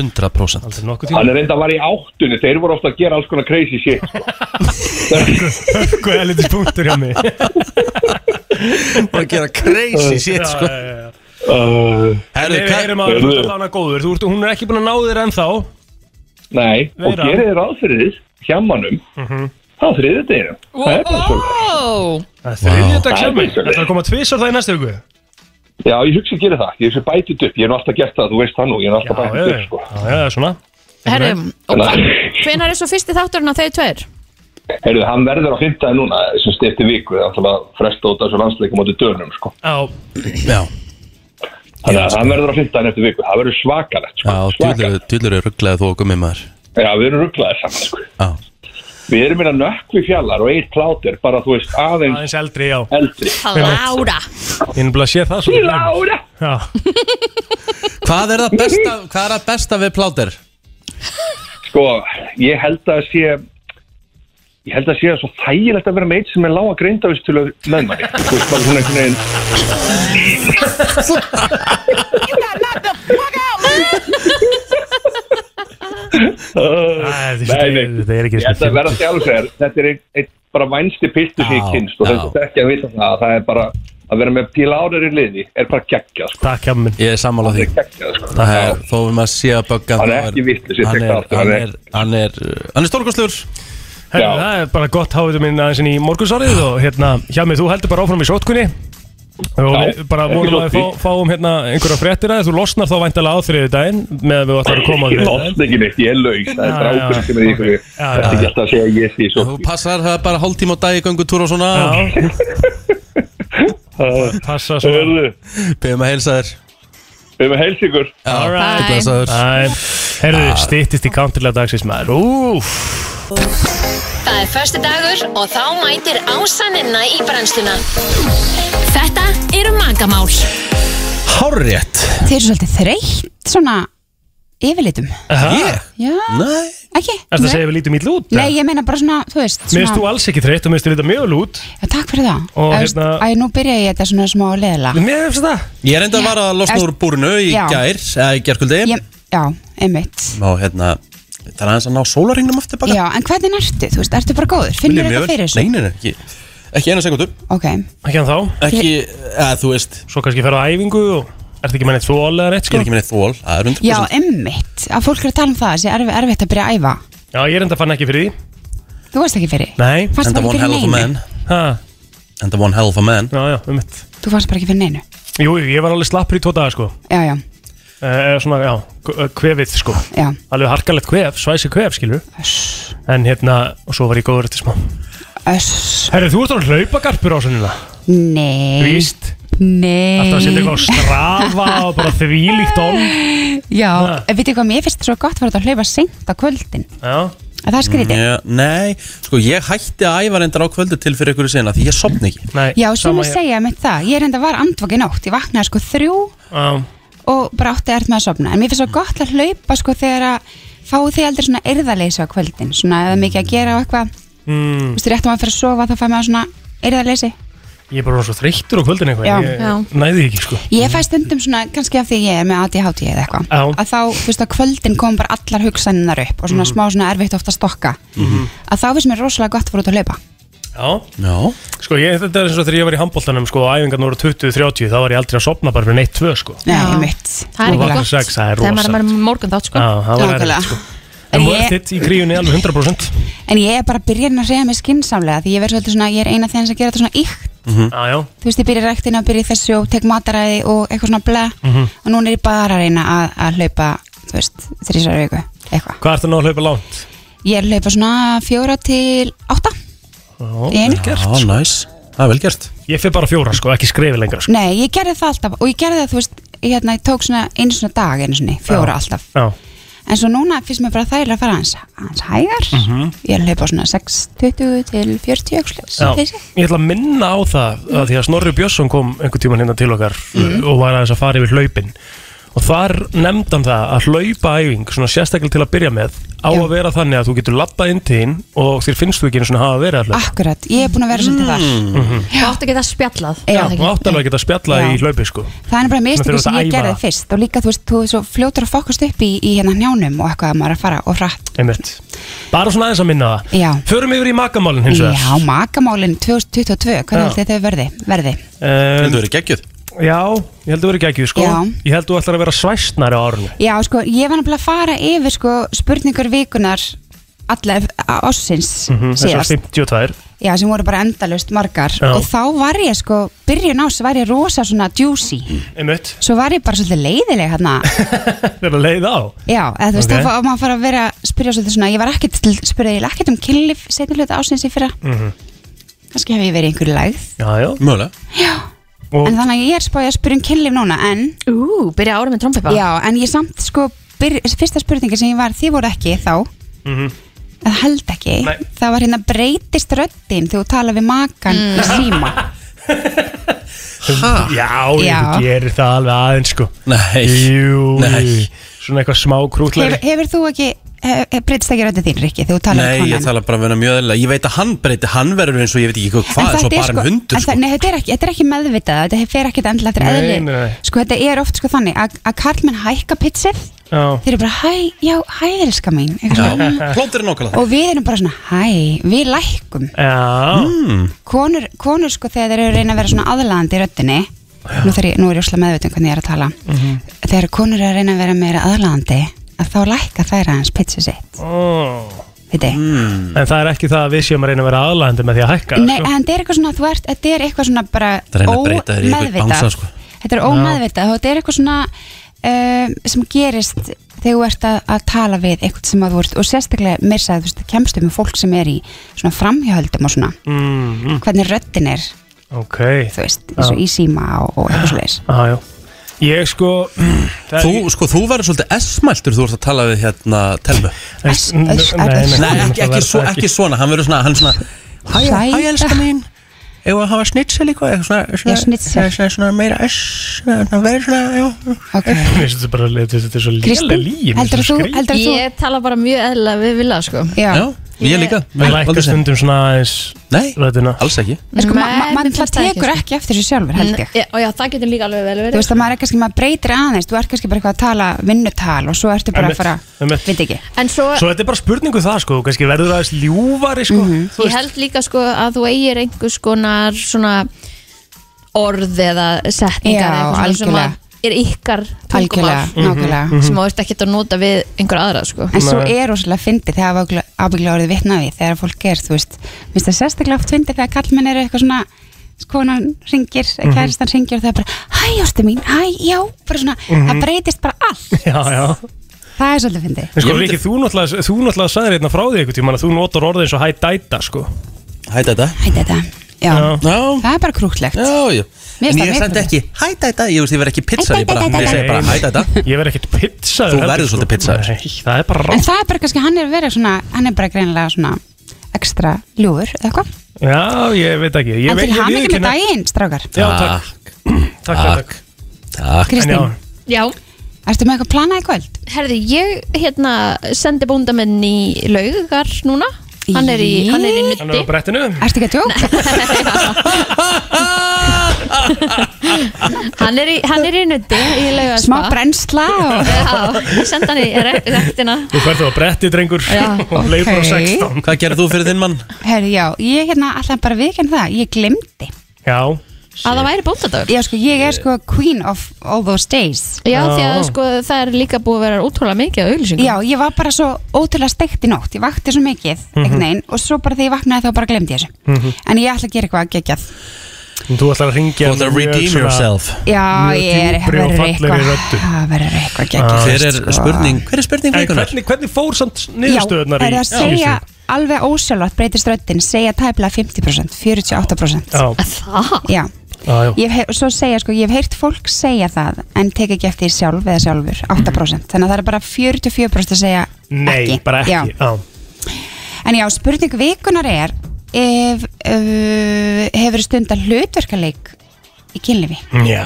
[SPEAKER 8] Mm.
[SPEAKER 2] 100%
[SPEAKER 4] aldrei,
[SPEAKER 2] 100%
[SPEAKER 4] aldrei nokkuð
[SPEAKER 8] Hann er reynda að vara í áttunni, þeir voru ofta að gera alls konar crazy shit sko.
[SPEAKER 4] tíma Hvað er litið punktur hjá mig?
[SPEAKER 2] Bara að gera crazy shit sko
[SPEAKER 8] uh,
[SPEAKER 2] Herðu,
[SPEAKER 4] Við
[SPEAKER 2] hvað
[SPEAKER 4] erum að
[SPEAKER 8] Heyrðu.
[SPEAKER 4] hluta hana góður, Þú ert- hún er ekki búin að ná þér ennþá
[SPEAKER 8] Nei, og
[SPEAKER 4] Vera.
[SPEAKER 8] gerið þér aðfyrir hjemmanum mm Það er þriðið deginum Það er bara svo
[SPEAKER 3] Ó,
[SPEAKER 4] Það er þriðjudags hjá
[SPEAKER 8] Það er
[SPEAKER 4] mig,
[SPEAKER 8] bara svoleiðis.
[SPEAKER 4] þetta er að koma tvisar það í næstu viku
[SPEAKER 8] Já, ég hugsa að gera það, ég hugsa að bæti þetta upp Ég er nú alltaf gert það, þú veist það nú, ég er nú
[SPEAKER 4] Já,
[SPEAKER 8] alltaf bætið
[SPEAKER 4] já,
[SPEAKER 8] þetta
[SPEAKER 4] já,
[SPEAKER 8] upp sko.
[SPEAKER 4] já, já, svona
[SPEAKER 3] herru, og
[SPEAKER 8] Þannig að,
[SPEAKER 3] hvenær er svo fyrsti þátturinn á þeir tveir?
[SPEAKER 8] heyrðu, hann verður á fymtaði núna sem stefti viku, það er alltaf að fresta út af þessu landsleikum átti dönum, sko
[SPEAKER 4] Já,
[SPEAKER 2] Já,
[SPEAKER 8] Þannig að hann verður á fymtaðin eftir viku, það verður svakalegt, sko
[SPEAKER 2] já djúlur eru rugglaði þú og gummi maður
[SPEAKER 8] Já, við erum rugglaðir saman, sko
[SPEAKER 2] Já,
[SPEAKER 8] Við erum meina nökkvi fjallar og eitt plátur bara þú veist aðeins
[SPEAKER 4] Aðeins eldri, já
[SPEAKER 8] Eldri
[SPEAKER 3] Lára
[SPEAKER 4] Ég er bara að sé það svo
[SPEAKER 8] Lára
[SPEAKER 4] Já
[SPEAKER 2] Hvað er það besta, hvað er það besta við plátur?
[SPEAKER 8] Sko, ég held að sé Ég held að sé að svo þægilegt að vera meitt sem er lága greindavist til að með manni Þú veist, bara svona einhvern veginn Nei, nei,
[SPEAKER 4] þetta er ekki
[SPEAKER 8] Ég held að vera sjálfsvegar Þetta er einn einn bara vænsti piltur sem ég
[SPEAKER 4] Já,
[SPEAKER 8] kynst og
[SPEAKER 4] já.
[SPEAKER 8] þetta er ekki að vita það að það er bara að vera með pílárar í liði er bara geggjað sko.
[SPEAKER 4] Takk hjá minn
[SPEAKER 2] Ég er sammála því
[SPEAKER 8] geggjað sko.
[SPEAKER 2] Það er, þó við maður sé að bögga
[SPEAKER 8] Hann er
[SPEAKER 2] þá
[SPEAKER 8] ekki vitlaus, ég
[SPEAKER 2] hann
[SPEAKER 8] tek
[SPEAKER 2] er-
[SPEAKER 8] það aftur,
[SPEAKER 2] Hann
[SPEAKER 8] hann
[SPEAKER 2] er, hann er, uh, hann er stórkostlur
[SPEAKER 4] Herru, það er bara gott háðið minn aðeins inn í morgunsárið og hérna, hjá mig, þú heldur bara áfram í sótkunni og
[SPEAKER 8] Já,
[SPEAKER 4] við bara
[SPEAKER 8] ekki
[SPEAKER 4] vonum að
[SPEAKER 8] langt
[SPEAKER 4] við fá, fáum hérna einhverja fréttir að þér. þú losnar þá væntalega á þriðu daginn með að við ætlum að koma á
[SPEAKER 8] Ég
[SPEAKER 4] þriðjudaginn.
[SPEAKER 8] lost ekki neitt, ég er laus Það
[SPEAKER 4] Já,
[SPEAKER 8] er
[SPEAKER 4] já,
[SPEAKER 8] drákur sem er í ykkur Þetta er ekki alltaf að segja yes í svo
[SPEAKER 2] Þú passar það er bara hálftíma á dag í göngutúr og svona
[SPEAKER 4] Já Passa svo
[SPEAKER 2] Beðum að heilsa þér
[SPEAKER 8] Við með heils ykkur
[SPEAKER 3] Bye.
[SPEAKER 2] Alright
[SPEAKER 4] Herru, stýttist í kantilega dagsins maður Úf
[SPEAKER 11] Það er förstu dagur og þá mætir ásaninna í brennsluna. Þetta eru magamál.
[SPEAKER 2] Hárrétt
[SPEAKER 12] Þið eru svolítið þreytt svona yfirlitum
[SPEAKER 4] Ég?
[SPEAKER 12] Já,
[SPEAKER 2] Nei
[SPEAKER 12] ekki
[SPEAKER 4] Eh. Ertu að segja við lítum ítlu út?
[SPEAKER 12] Nei, ég meina bara svona, þú veist
[SPEAKER 4] Mér finnst þú
[SPEAKER 12] svona,
[SPEAKER 4] alls ekki þreytt og mér finnst þú líta mjög vel út
[SPEAKER 12] já, Takk fyrir það
[SPEAKER 4] Og
[SPEAKER 12] Þú veist,
[SPEAKER 4] hérna-
[SPEAKER 12] Æ, nú byrja ég þetta svona smá leðla
[SPEAKER 4] Mér finnst það
[SPEAKER 2] Ég er enda að vara að losna
[SPEAKER 12] Já.
[SPEAKER 2] úr búrinu í
[SPEAKER 12] Já.
[SPEAKER 2] gær, eða í gærkvöldi
[SPEAKER 12] Já, einmitt
[SPEAKER 2] Og hérna, það er aðeins að ná sólaringnum aftur bara
[SPEAKER 12] Já, en hvernig ertu? Þú veist, ertu bara góður? Finnur
[SPEAKER 2] Mjög
[SPEAKER 12] þetta
[SPEAKER 2] vel.
[SPEAKER 12] fyrir þessu?
[SPEAKER 2] Nei, nei, nei, ekki, ekki eina sekundu
[SPEAKER 12] Ok,
[SPEAKER 4] Ekki en þá
[SPEAKER 2] Ekki, eða þú veist
[SPEAKER 4] Svo kannski ferðu á æfingu og Ertu ekki með neitt þvól eða neitt
[SPEAKER 2] Ég
[SPEAKER 4] sko?
[SPEAKER 2] er ekki minni þól, það er 100%
[SPEAKER 12] já, einmitt Að fólk er að tala um það, þessi erfi, erfitt að byrja að æfa
[SPEAKER 4] Já, ég er enda fann ekki fyrir því
[SPEAKER 12] Þú veist ekki fyrir
[SPEAKER 4] Nei
[SPEAKER 12] Fannst
[SPEAKER 2] Enda
[SPEAKER 12] bara
[SPEAKER 2] one
[SPEAKER 12] ekki
[SPEAKER 2] hell of a
[SPEAKER 12] fyrir
[SPEAKER 2] man
[SPEAKER 12] neinu
[SPEAKER 4] Ha,
[SPEAKER 2] Enda one hell of a man
[SPEAKER 4] já, já, um mitt
[SPEAKER 12] Þú fannst bara ekki fyrir neinu
[SPEAKER 4] Jú, jú, ég var alveg slappur í tvo daga sko
[SPEAKER 12] Já, já,
[SPEAKER 4] Eh, eða svona, já, k- kvefið sko
[SPEAKER 12] já
[SPEAKER 4] alveg harkalegt kvef, svæsi kvef skilur
[SPEAKER 12] Öss,
[SPEAKER 4] en hérna, og svo var ég góður eftir smá
[SPEAKER 12] öss
[SPEAKER 4] Herri, þú ert að hlaupa garpur á sennina
[SPEAKER 12] Nei
[SPEAKER 4] Víst,
[SPEAKER 12] Nei
[SPEAKER 4] alltaf að setja eitthvað á strafa og bara þvílíkt on
[SPEAKER 12] Já, veitir hvað, mér finnst svo gott fyrir þetta að hlaupa seint á kvöldin
[SPEAKER 4] Já,
[SPEAKER 12] að það er skrítið
[SPEAKER 4] Mm, eh,
[SPEAKER 2] Já, Nei, sko ég hætti að æfa reyndar á kvöldu til fyrir ykkur sena Því ég sopni ekki
[SPEAKER 4] nei,
[SPEAKER 12] Já, sem
[SPEAKER 4] sama
[SPEAKER 12] að
[SPEAKER 4] hér.
[SPEAKER 12] segja mitt það, ég er enda var andvaki nótt, ég vaknaði sko þrjú
[SPEAKER 4] Já,
[SPEAKER 12] og bara átti að með að sofna, en mér finnst svo gott að hlaupa sko þegar að fá því aldrei svona erðaleysi á kvöldin, svona eða mikið að gera og eitthvað, þú
[SPEAKER 4] mm,
[SPEAKER 12] veist, rétt um að maður fyrir að sofa þá fæ maður svona erðaleysi.
[SPEAKER 4] ég er bara orðinn svo þreyttur á kvöldin eitthvað
[SPEAKER 12] Já,
[SPEAKER 4] ég
[SPEAKER 3] já.
[SPEAKER 4] næði því ekki sko
[SPEAKER 12] Ég fæ stundum svona, kannski af því ég er með ADHD eða eitthvað,
[SPEAKER 4] Já.
[SPEAKER 12] að þá, þú veist, á kvöldin kom bara allar hugsaninnar upp og svona smá svona erfitt ofta stokka, að þá finnst mér rosalega gott fyrir út að hlaupa.
[SPEAKER 4] Já,
[SPEAKER 2] Já,
[SPEAKER 4] sko ég, þetta er eins og þegar ég var í handbóltanum sko, og æfingarnar voru 20-30, þá var ég aldrei að sopna bara fyrir neitt tvö sko Já,
[SPEAKER 12] Nei,
[SPEAKER 3] Já.
[SPEAKER 12] mitt.
[SPEAKER 3] Það er
[SPEAKER 4] Og
[SPEAKER 3] ekki
[SPEAKER 4] vakna
[SPEAKER 3] gott
[SPEAKER 4] sex, það er
[SPEAKER 3] Þegar maður
[SPEAKER 4] rosalegt.
[SPEAKER 3] er með morgun þátt sko
[SPEAKER 4] það var erfitt sko En
[SPEAKER 12] En
[SPEAKER 4] worth
[SPEAKER 12] ég-
[SPEAKER 4] it í kríunni alveg 100%
[SPEAKER 12] En ég er bara að byrja að reyða mig skinsamlega því ég verð svolítið svona, ég er eina þeim sem gera þetta svona íkt
[SPEAKER 4] Já, já,
[SPEAKER 12] þú veist, ég byrja í ræktina, byrja í þessu og tek mataræði og eitthvað svona bla og núna er ég bara að reyna að, að hlaupa þú veist, þrísar viku, eitthvað
[SPEAKER 4] hvað ertu nú að hlaupa langt?
[SPEAKER 12] ég er að hlaupa svona fjóra til átta í einu
[SPEAKER 2] já, næs Það er vel gert
[SPEAKER 4] Ég fyrir bara fjóra sko, ekki skrefi lengra sko.
[SPEAKER 12] Nei, ég gerði það alltaf og ég gerði það, þú veist, ég, hérna, ég tók svona einu svona dag einu svona, fjóra alltaf
[SPEAKER 4] Já,
[SPEAKER 12] en svo núna finnst mér bara þægilega að fara hans, hans hægar
[SPEAKER 4] Mhm.
[SPEAKER 12] ég er að hlaupa svona 6.20 til 40
[SPEAKER 4] já.
[SPEAKER 12] öxlis,
[SPEAKER 4] Ég ætla að minna á það að því að Snorri Björnsson kom einhvern tíman hérna til okkar
[SPEAKER 12] Mhm.
[SPEAKER 4] og var aðeins að fara yfir hlaupin og þar nefndi hann það að hlaupaæfing svona sérstaklega til að byrja með á
[SPEAKER 12] Já.
[SPEAKER 4] að vera þannig að þú getur labbað inn til hinn og þér finnst þú ekki einu svona hafa verið allir
[SPEAKER 12] akkurat, ég er búin að vera svolítið þar
[SPEAKER 3] Þú átt að geta spjallað
[SPEAKER 12] Já,
[SPEAKER 3] er það
[SPEAKER 4] Mm, Þú
[SPEAKER 3] ekki?
[SPEAKER 4] átt alveg að geta spjallað
[SPEAKER 12] Já.
[SPEAKER 4] í hlaupi sko
[SPEAKER 12] Það er bara
[SPEAKER 4] Svona
[SPEAKER 12] mistökum
[SPEAKER 4] þurfa
[SPEAKER 12] sem
[SPEAKER 4] að
[SPEAKER 12] ég
[SPEAKER 4] æfa
[SPEAKER 12] gerði
[SPEAKER 4] það.
[SPEAKER 12] fyrst og líka þú veist, þú er svo fljótur að fokast upp í, í hérna njánum og eitthvað að maður er að fara og hratt
[SPEAKER 4] Einmitt. Bara svona aðeins að minna það
[SPEAKER 12] Já,
[SPEAKER 4] Förum yfir í makamálin hins vegar
[SPEAKER 12] já makamálin 2022,
[SPEAKER 4] Já.
[SPEAKER 12] hvernig heldur þau verði? verði?
[SPEAKER 4] um,
[SPEAKER 2] Þetta verið geggjöð
[SPEAKER 4] Já, ég held að vera geggjuð sko
[SPEAKER 12] Já.
[SPEAKER 4] Ég held að þú ætlar að vera svæstnari á árunni
[SPEAKER 12] Já, sko, ég var nefnilega að fara yfir sko, spurningar vikunar alla ossins
[SPEAKER 4] Þessar
[SPEAKER 12] síðast
[SPEAKER 4] 52
[SPEAKER 12] Já, sem voru bara endalust margar
[SPEAKER 4] Já.
[SPEAKER 12] og þá var ég sko, byrjun ás var ég rosa svona juicy
[SPEAKER 4] Einmitt,
[SPEAKER 12] Svo var ég bara svolítið leiðileg hérna
[SPEAKER 4] þegar að leiða á
[SPEAKER 12] Já, eða þú veist,
[SPEAKER 4] Ok.
[SPEAKER 12] okay. þá má maður fara að vera að spyrja svolítið svona, ég var ekkert til, spurði ég ekkert um kynlíf setni hluta ásins í fyrra
[SPEAKER 4] Mhm.
[SPEAKER 12] kannski hef ég verið í einhverju lægð
[SPEAKER 4] Já, já
[SPEAKER 2] Mögulega
[SPEAKER 12] Já,
[SPEAKER 4] Og-
[SPEAKER 12] en þannig að ég er spáði að spyrja um kynlíf núna, en
[SPEAKER 3] Ú, byrja árið með trompipa
[SPEAKER 12] já, en ég samt sko, byr, fyrsta spurningi sem ég var, þið voru ekki þá
[SPEAKER 4] Mhm.
[SPEAKER 12] eða held ekki það var hérna breytist röddin þegar þú tala við makan í síma
[SPEAKER 4] Ha? Já,
[SPEAKER 12] Já.
[SPEAKER 4] ég gerir það alveg aðeins sko Nei Jú, Nei. svona eitthvað smá
[SPEAKER 12] hefur,
[SPEAKER 4] krútlari
[SPEAKER 12] hefur þú ekki hef, breytist ekki röddin þín Rikki þegar þú tala
[SPEAKER 2] Nei, ég
[SPEAKER 12] við konan
[SPEAKER 2] tala bara um hennar mjög eðlilega Ég veit að hann breyti, hann verður eins og ég veit ekki hvað, eins og
[SPEAKER 12] þetta er
[SPEAKER 2] bara en hundur
[SPEAKER 12] en
[SPEAKER 2] sko.
[SPEAKER 12] það, nei, þetta, er ekki, þetta er ekki meðvitað þetta fer ekki endilega eftir
[SPEAKER 2] Nei,
[SPEAKER 12] eðli
[SPEAKER 2] nei, nei.
[SPEAKER 12] sko þetta er oft sko þannig að að karlmenn hækka pitsið
[SPEAKER 4] Já.
[SPEAKER 12] þeir eru bara hæ, já, hæ, elska mín Eitthvað svona.
[SPEAKER 2] Plótir er nákvæmlega
[SPEAKER 12] og við erum bara svona hæ, við lækkum
[SPEAKER 4] Já
[SPEAKER 2] mm.
[SPEAKER 12] konur, konur sko þegar þeir eru að reyna að vera svona aðlaðandi í röddinni nú, þarf ég, nú er ég óslega meðvitað um hvernig ég er að tala
[SPEAKER 4] Mhm.
[SPEAKER 12] þegar konur eru að reyna að vera meira aðlaðandi að þá lækka þær aðeins pitsu sitt
[SPEAKER 4] oh. En
[SPEAKER 12] mm.
[SPEAKER 4] það er ekki það að við séum að reyna að vera aðlæðandi með því að hækka sko.
[SPEAKER 12] Nei, en þetta er eitthvað svona, þú ert, þetta er eitthvað svona bara
[SPEAKER 4] Það er að reyna að breyta þér í eitthvað
[SPEAKER 12] ómeðvitað.
[SPEAKER 4] bangsa, sko.
[SPEAKER 12] Þetta er
[SPEAKER 4] Já.
[SPEAKER 12] ómeðvitað og þetta er eitthvað svona um, sem gerist þegar þú ert að, að tala við eitthvað sem að þú ert og sérstaklega meir sagði, þú veist, það kemstu með fólk sem er í svona framhjáhaldum og svona
[SPEAKER 4] mm, mm.
[SPEAKER 12] hvernig röddin er,
[SPEAKER 4] Ok
[SPEAKER 12] þú veist, eins og í síma og, og eitthvað svoleiðis
[SPEAKER 4] Já, já Ég sko
[SPEAKER 2] Þú, sko, þú verður svolítið S-mæltur Þú ert að tala við hérna Telmu
[SPEAKER 4] S- Nei, S- nei,
[SPEAKER 2] Nei,
[SPEAKER 4] nei, nei,
[SPEAKER 2] ekki,
[SPEAKER 4] það
[SPEAKER 2] ekki,
[SPEAKER 4] verður
[SPEAKER 2] svo,
[SPEAKER 4] það ekki.
[SPEAKER 2] ekki svona Hann verður svona, hann svona Hæ, hæ, elska mín Ef að hafa snitsel eitthvað eitthvað svona- svona-
[SPEAKER 12] Já, snitsel.
[SPEAKER 2] svona- svona meira S svona- svona verður svona, já
[SPEAKER 12] okay.
[SPEAKER 4] Þetta er bara þetta er svo lélega
[SPEAKER 2] Kristín,
[SPEAKER 4] líi
[SPEAKER 3] Ég tala bara mjög eðla við vilja sko
[SPEAKER 4] Já, ég líka Við lækka stundum svona aðeins Nei, alls
[SPEAKER 2] ekki
[SPEAKER 12] En sko,
[SPEAKER 3] Nei,
[SPEAKER 12] ma ma
[SPEAKER 3] mér
[SPEAKER 12] maður
[SPEAKER 3] finnst
[SPEAKER 12] það
[SPEAKER 3] það ekki,
[SPEAKER 12] tekur
[SPEAKER 3] sko.
[SPEAKER 12] ekki eftir þessu sjálfur, held ég
[SPEAKER 3] Já, og já, það getur líka alveg vel
[SPEAKER 12] Þú
[SPEAKER 3] verið
[SPEAKER 12] veist að maður er kannski, maður breytir aðeins, þú ert kannski bara eitthvað að tala vinnutal og svo ertu bara að fara, veit ekki
[SPEAKER 3] En svo,
[SPEAKER 4] Svo þetta er bara spurningu það sko, þú kannski verður aðeins ljúfari sko Þú
[SPEAKER 3] ég held líka sko að þú eigir einhvers konar svona orð eða setningar
[SPEAKER 12] Já,
[SPEAKER 3] eða eitthvað svona
[SPEAKER 12] algjörlega.
[SPEAKER 3] sem að er ykkar tungumál
[SPEAKER 12] Algjörlega, Mhm, nákvæmlega. mhm.
[SPEAKER 3] sem þú ert ekkert að nota við einhver aðra sko
[SPEAKER 12] En svo er rosalega fyndið þegar það ábyggla orðið vitna við þegar fólk er, þú veist, minnst það sérstaklega oft fyndið þegar kallmenn eru eitthvað svona konan ringir,
[SPEAKER 4] Mhm.
[SPEAKER 12] kæristan ringir og það er bara, hæ ástu mín, hæ, já, bara svona,
[SPEAKER 4] Mhm.
[SPEAKER 12] það breytist bara allt,
[SPEAKER 4] veist Já, já
[SPEAKER 12] það er svolítið fyndið.
[SPEAKER 4] En sko Riki, þú náttúrulega, þú náttúrulega sagðir hérna frá því einhvern tímann að þú notar orðið eins og hæ dæta sko
[SPEAKER 2] Hæ dæta?
[SPEAKER 12] Hæ dæta, já. Það er bara krútlegt.
[SPEAKER 2] Já, já
[SPEAKER 12] Mér
[SPEAKER 2] En ég
[SPEAKER 12] finnst það
[SPEAKER 2] er
[SPEAKER 12] mjög
[SPEAKER 2] samt
[SPEAKER 12] krútlegt.
[SPEAKER 2] ekki Hæ dæta, ég veist, ég verð ekki pizza Ég bara,
[SPEAKER 12] Hæ, dæ, dæ,
[SPEAKER 2] ég
[SPEAKER 12] dæ,
[SPEAKER 2] segi bara
[SPEAKER 4] dæ.
[SPEAKER 2] hæ dæta
[SPEAKER 4] Ég verð ekkert pizzaður sko.
[SPEAKER 2] Þú verður svolítið pizzaður
[SPEAKER 4] Nei, það er bara
[SPEAKER 12] En það er bara kannski, hann er verið svona, hann er bara greinilega svona ekstra ljúfur, eða eitthvað.
[SPEAKER 4] Já, ég veit ekki ég
[SPEAKER 12] En
[SPEAKER 4] veit-
[SPEAKER 12] til
[SPEAKER 4] ég
[SPEAKER 12] hann ekki með
[SPEAKER 4] viðurkenni-
[SPEAKER 12] daginn, strákar.
[SPEAKER 4] Já, takk Takk, takk,
[SPEAKER 2] takk
[SPEAKER 12] Kristín.
[SPEAKER 4] En já,
[SPEAKER 3] Já
[SPEAKER 12] Ertu með eitthvað planað í kvöld?
[SPEAKER 3] Herði, ég hérna sendi bóndamenn í laugar núna Hann er í, hann er í nutti
[SPEAKER 4] Hann er á brettinu
[SPEAKER 12] Ertu ekki að tjóka?
[SPEAKER 3] hann er í, hann er í nutti í sko. laugaspa
[SPEAKER 12] Smá brennsla og-
[SPEAKER 3] Já, ég sendi hann í re- rektina
[SPEAKER 4] Þú ferð þú á bretti, drengur
[SPEAKER 3] Já,
[SPEAKER 4] Og leifur á
[SPEAKER 12] ok.
[SPEAKER 4] 16
[SPEAKER 2] Hvað gerir þú fyrir þinn mann?
[SPEAKER 12] Herri, já, ég hérna alltaf bara viðkenn það, ég glemdi
[SPEAKER 4] Já
[SPEAKER 3] að það væri bóndadagur
[SPEAKER 12] Já, sko, ég er sko queen of all those days
[SPEAKER 3] Já, því að sko, það er líka búið að vera ótrúlega mikið af auðlýsingum
[SPEAKER 12] Já, ég var bara svo ótrúlega steikt í nótt, ég vakti svo mikið
[SPEAKER 4] Mhm.
[SPEAKER 12] einhvern veginn og svo bara þegar ég vaknaði þá bara glemdi ég þessu
[SPEAKER 4] Mhm.
[SPEAKER 12] En ég ætla að gera eitthvað geggjað
[SPEAKER 4] En Þú ætlar að ringja
[SPEAKER 2] Þú ætlar að redeem yourself.
[SPEAKER 12] Já, ég er
[SPEAKER 4] verður
[SPEAKER 12] verður eitthvað
[SPEAKER 4] eitthvað
[SPEAKER 12] Það verður
[SPEAKER 4] Ah,
[SPEAKER 12] eitthvað geggjað sko.
[SPEAKER 2] Hver er spurning? Hver er spurning
[SPEAKER 4] En
[SPEAKER 2] vikunar?
[SPEAKER 4] hvernig, hvernig fór samt
[SPEAKER 12] Já,
[SPEAKER 4] niðurstöðunar
[SPEAKER 12] er það að segja alveg ósjálfátt breytist röddin, segja tæplega 50%, 48%
[SPEAKER 4] Já.
[SPEAKER 3] Það?
[SPEAKER 12] Já,
[SPEAKER 4] Já,
[SPEAKER 12] Ég hef, heyr- svo segja sko, ég hef heyrt fólk segja það en tek ekki eftir því sjálf eða sjálfur 8% þannig að það er bara 44% að segja
[SPEAKER 4] Mhm. Nei, bara
[SPEAKER 12] Já.
[SPEAKER 4] ekki Já.
[SPEAKER 12] en já, spurning vikunar er ef uh, hefur stundan hlutverkaleik í kynlifi
[SPEAKER 4] Já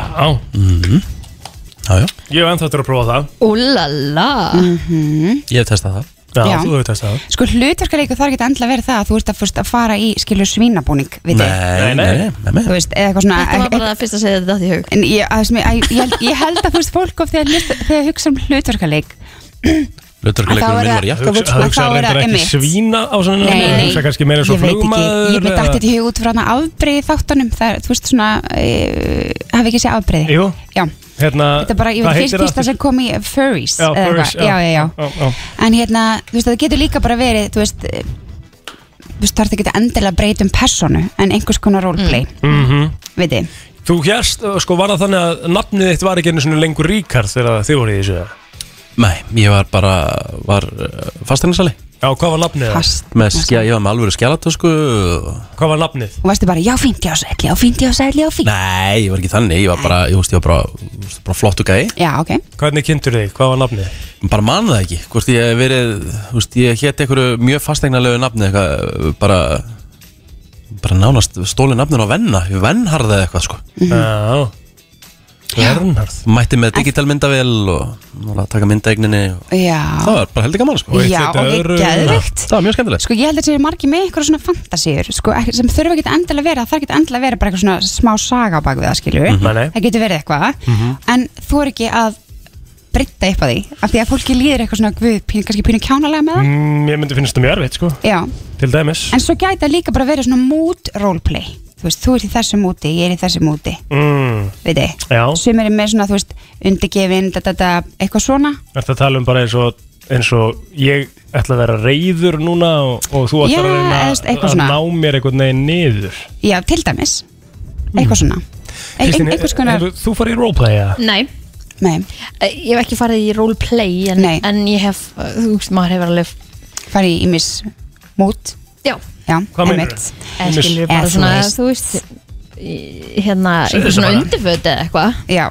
[SPEAKER 2] Já, já
[SPEAKER 4] Ég hef ennþáttur að prófa það
[SPEAKER 3] Úlala
[SPEAKER 12] mm -hmm.
[SPEAKER 2] Ég hef testað það
[SPEAKER 4] Já,
[SPEAKER 12] Já.
[SPEAKER 4] þú hefur testað það
[SPEAKER 12] sko hlutverkaleiku þarf ekki endilega að vera það að þú ert að, fyrst, að fara í skilu svínabúning við þig.
[SPEAKER 2] Nei, nei, nei, nei
[SPEAKER 12] þú veist, eða eitthvað svona
[SPEAKER 3] Þetta var bara það fyrst að segja þetta í hug
[SPEAKER 12] en ég, að, sem ég, að, ég, held- ég held að þú veist fólk of þegar, list- þegar hugsa um hlutverkaleik
[SPEAKER 2] Lutarkuleikunum
[SPEAKER 12] Þá er
[SPEAKER 2] minn var
[SPEAKER 12] það-
[SPEAKER 4] Það
[SPEAKER 2] jakkaföt
[SPEAKER 12] Hugsa-
[SPEAKER 2] sko.
[SPEAKER 4] hugsa
[SPEAKER 12] þá er
[SPEAKER 4] reyndar ekki
[SPEAKER 12] það einmitt.
[SPEAKER 4] svína á svona
[SPEAKER 12] Nei, nei.
[SPEAKER 4] Hugsa kannski meira svo
[SPEAKER 12] ég veit ekki, ég
[SPEAKER 4] flugmaður
[SPEAKER 12] veit
[SPEAKER 4] eða-
[SPEAKER 12] alltaf þetta í hug út frá hana afbreyði þáttunum það, er, þú veist svona, e, hafi ekki sé afbreyði
[SPEAKER 4] Jú,
[SPEAKER 12] já,
[SPEAKER 4] hérna
[SPEAKER 12] þetta er bara, ég
[SPEAKER 4] hvað
[SPEAKER 12] veit
[SPEAKER 4] heitir það
[SPEAKER 12] fyrst fyrsta
[SPEAKER 4] aftur?
[SPEAKER 12] sem kom í eh, furries
[SPEAKER 4] Já,
[SPEAKER 12] eða
[SPEAKER 4] furries,
[SPEAKER 12] eitthvað. já, já, já,
[SPEAKER 4] já.
[SPEAKER 12] en hérna, þú veist, það getur líka bara verið þú veist, eh, þú veist, þarf ekki endilega að breyta um personu en einhvers konar roleplay,
[SPEAKER 4] Mhm.
[SPEAKER 12] veit ég
[SPEAKER 4] Þú hérst, sko var það þannig að nafnið þitt var ekki einu svona lengur ríkar þegar þið voru í þessu
[SPEAKER 2] Nei, ég var bara var fastaninsali
[SPEAKER 4] Já, hvað var nafnið?
[SPEAKER 12] Fast.
[SPEAKER 2] eh, Með skja, ég var með alvöru skjálatösku
[SPEAKER 4] Hvað var nafnið?
[SPEAKER 12] og varstu bara, já, fínt, já, sæll, já, fínt, já, sæll, já, fínt
[SPEAKER 2] Nei, ég var ekki þannig, ég var bara, ég veist, ég var bara, þú veist, bara flottu gæi
[SPEAKER 12] Já, ok,
[SPEAKER 4] Hvernig kynntur þig? Hvað var nafnið?
[SPEAKER 2] Bara man það ekki, hvort ég hef verið, þú veist, ég hétt einhverju mjög fastegnarlegu nafni eitthvað, bara, bara nánast stóli nafnin á venna, ég vennharði eða eitthvað, sko
[SPEAKER 12] Mhm.
[SPEAKER 4] Já Vernharð
[SPEAKER 2] Mætti með digitalmyndavél og var að taka myndaegninni og
[SPEAKER 12] já
[SPEAKER 2] það var bara heldur gaman, sko
[SPEAKER 12] Já, ok, geðvikt
[SPEAKER 2] Það var mjög skemmtilegt
[SPEAKER 12] Sko ég held að þetta er margi með eitthvað svona fantasíur sko, ekki- sem þurfa ekki endilega að vera, það þarf ekki endilega að vera bara eitthvað svona smá saga á bak við það skilju
[SPEAKER 4] Mhm. Nei, nei.
[SPEAKER 12] það getur verið eitthvað
[SPEAKER 4] Mhm.
[SPEAKER 12] en þú er ekki að breyta upp á því af því að fólki líður eitthvað svona guð, pín, kannski pínu kjánalega með það
[SPEAKER 4] Mm, ég myndi finnst það mjög erfitt, sko
[SPEAKER 12] Já,
[SPEAKER 4] Til dæmis
[SPEAKER 12] en svo gæti það líka bara verið svona mood roleplay þú veist, þú ert í þessu múti, ég er í þessu múti
[SPEAKER 4] mm,
[SPEAKER 12] við þig,
[SPEAKER 4] Já
[SPEAKER 12] sem er með svona, þú veist undirgefin, da, da, da, eitthvað svona
[SPEAKER 4] Er að tala um bara eins og eins og ég ætla að vera reyður núna og, og þú ætlar
[SPEAKER 12] Já,
[SPEAKER 4] að reyna
[SPEAKER 12] eða
[SPEAKER 4] að,
[SPEAKER 12] veist, eitthvað svona.
[SPEAKER 4] ná mér einhvern veginn niður
[SPEAKER 12] Já, til dæmis, eitthvað svona
[SPEAKER 4] Mhm.
[SPEAKER 12] Ein-
[SPEAKER 4] Kristín,
[SPEAKER 12] einhvers konar-
[SPEAKER 4] hefur- þú farið í roleplay eða?
[SPEAKER 3] Nei
[SPEAKER 12] Nei
[SPEAKER 3] Ég hef ekki farið í roleplay en, en ég hef, þú veist, maður hefur alveg
[SPEAKER 12] farið í mis mút
[SPEAKER 3] Já,
[SPEAKER 12] Já,
[SPEAKER 3] Hvað meinarðu?
[SPEAKER 12] einmitt.
[SPEAKER 3] eða skilur
[SPEAKER 12] Eða
[SPEAKER 3] bara
[SPEAKER 12] þú
[SPEAKER 3] svona,
[SPEAKER 12] veist.
[SPEAKER 3] þú veist í- hérna,
[SPEAKER 12] Segðu
[SPEAKER 3] einhver
[SPEAKER 12] þessu
[SPEAKER 3] svona
[SPEAKER 12] bara.
[SPEAKER 3] undirföt eða eitthvað
[SPEAKER 12] Já,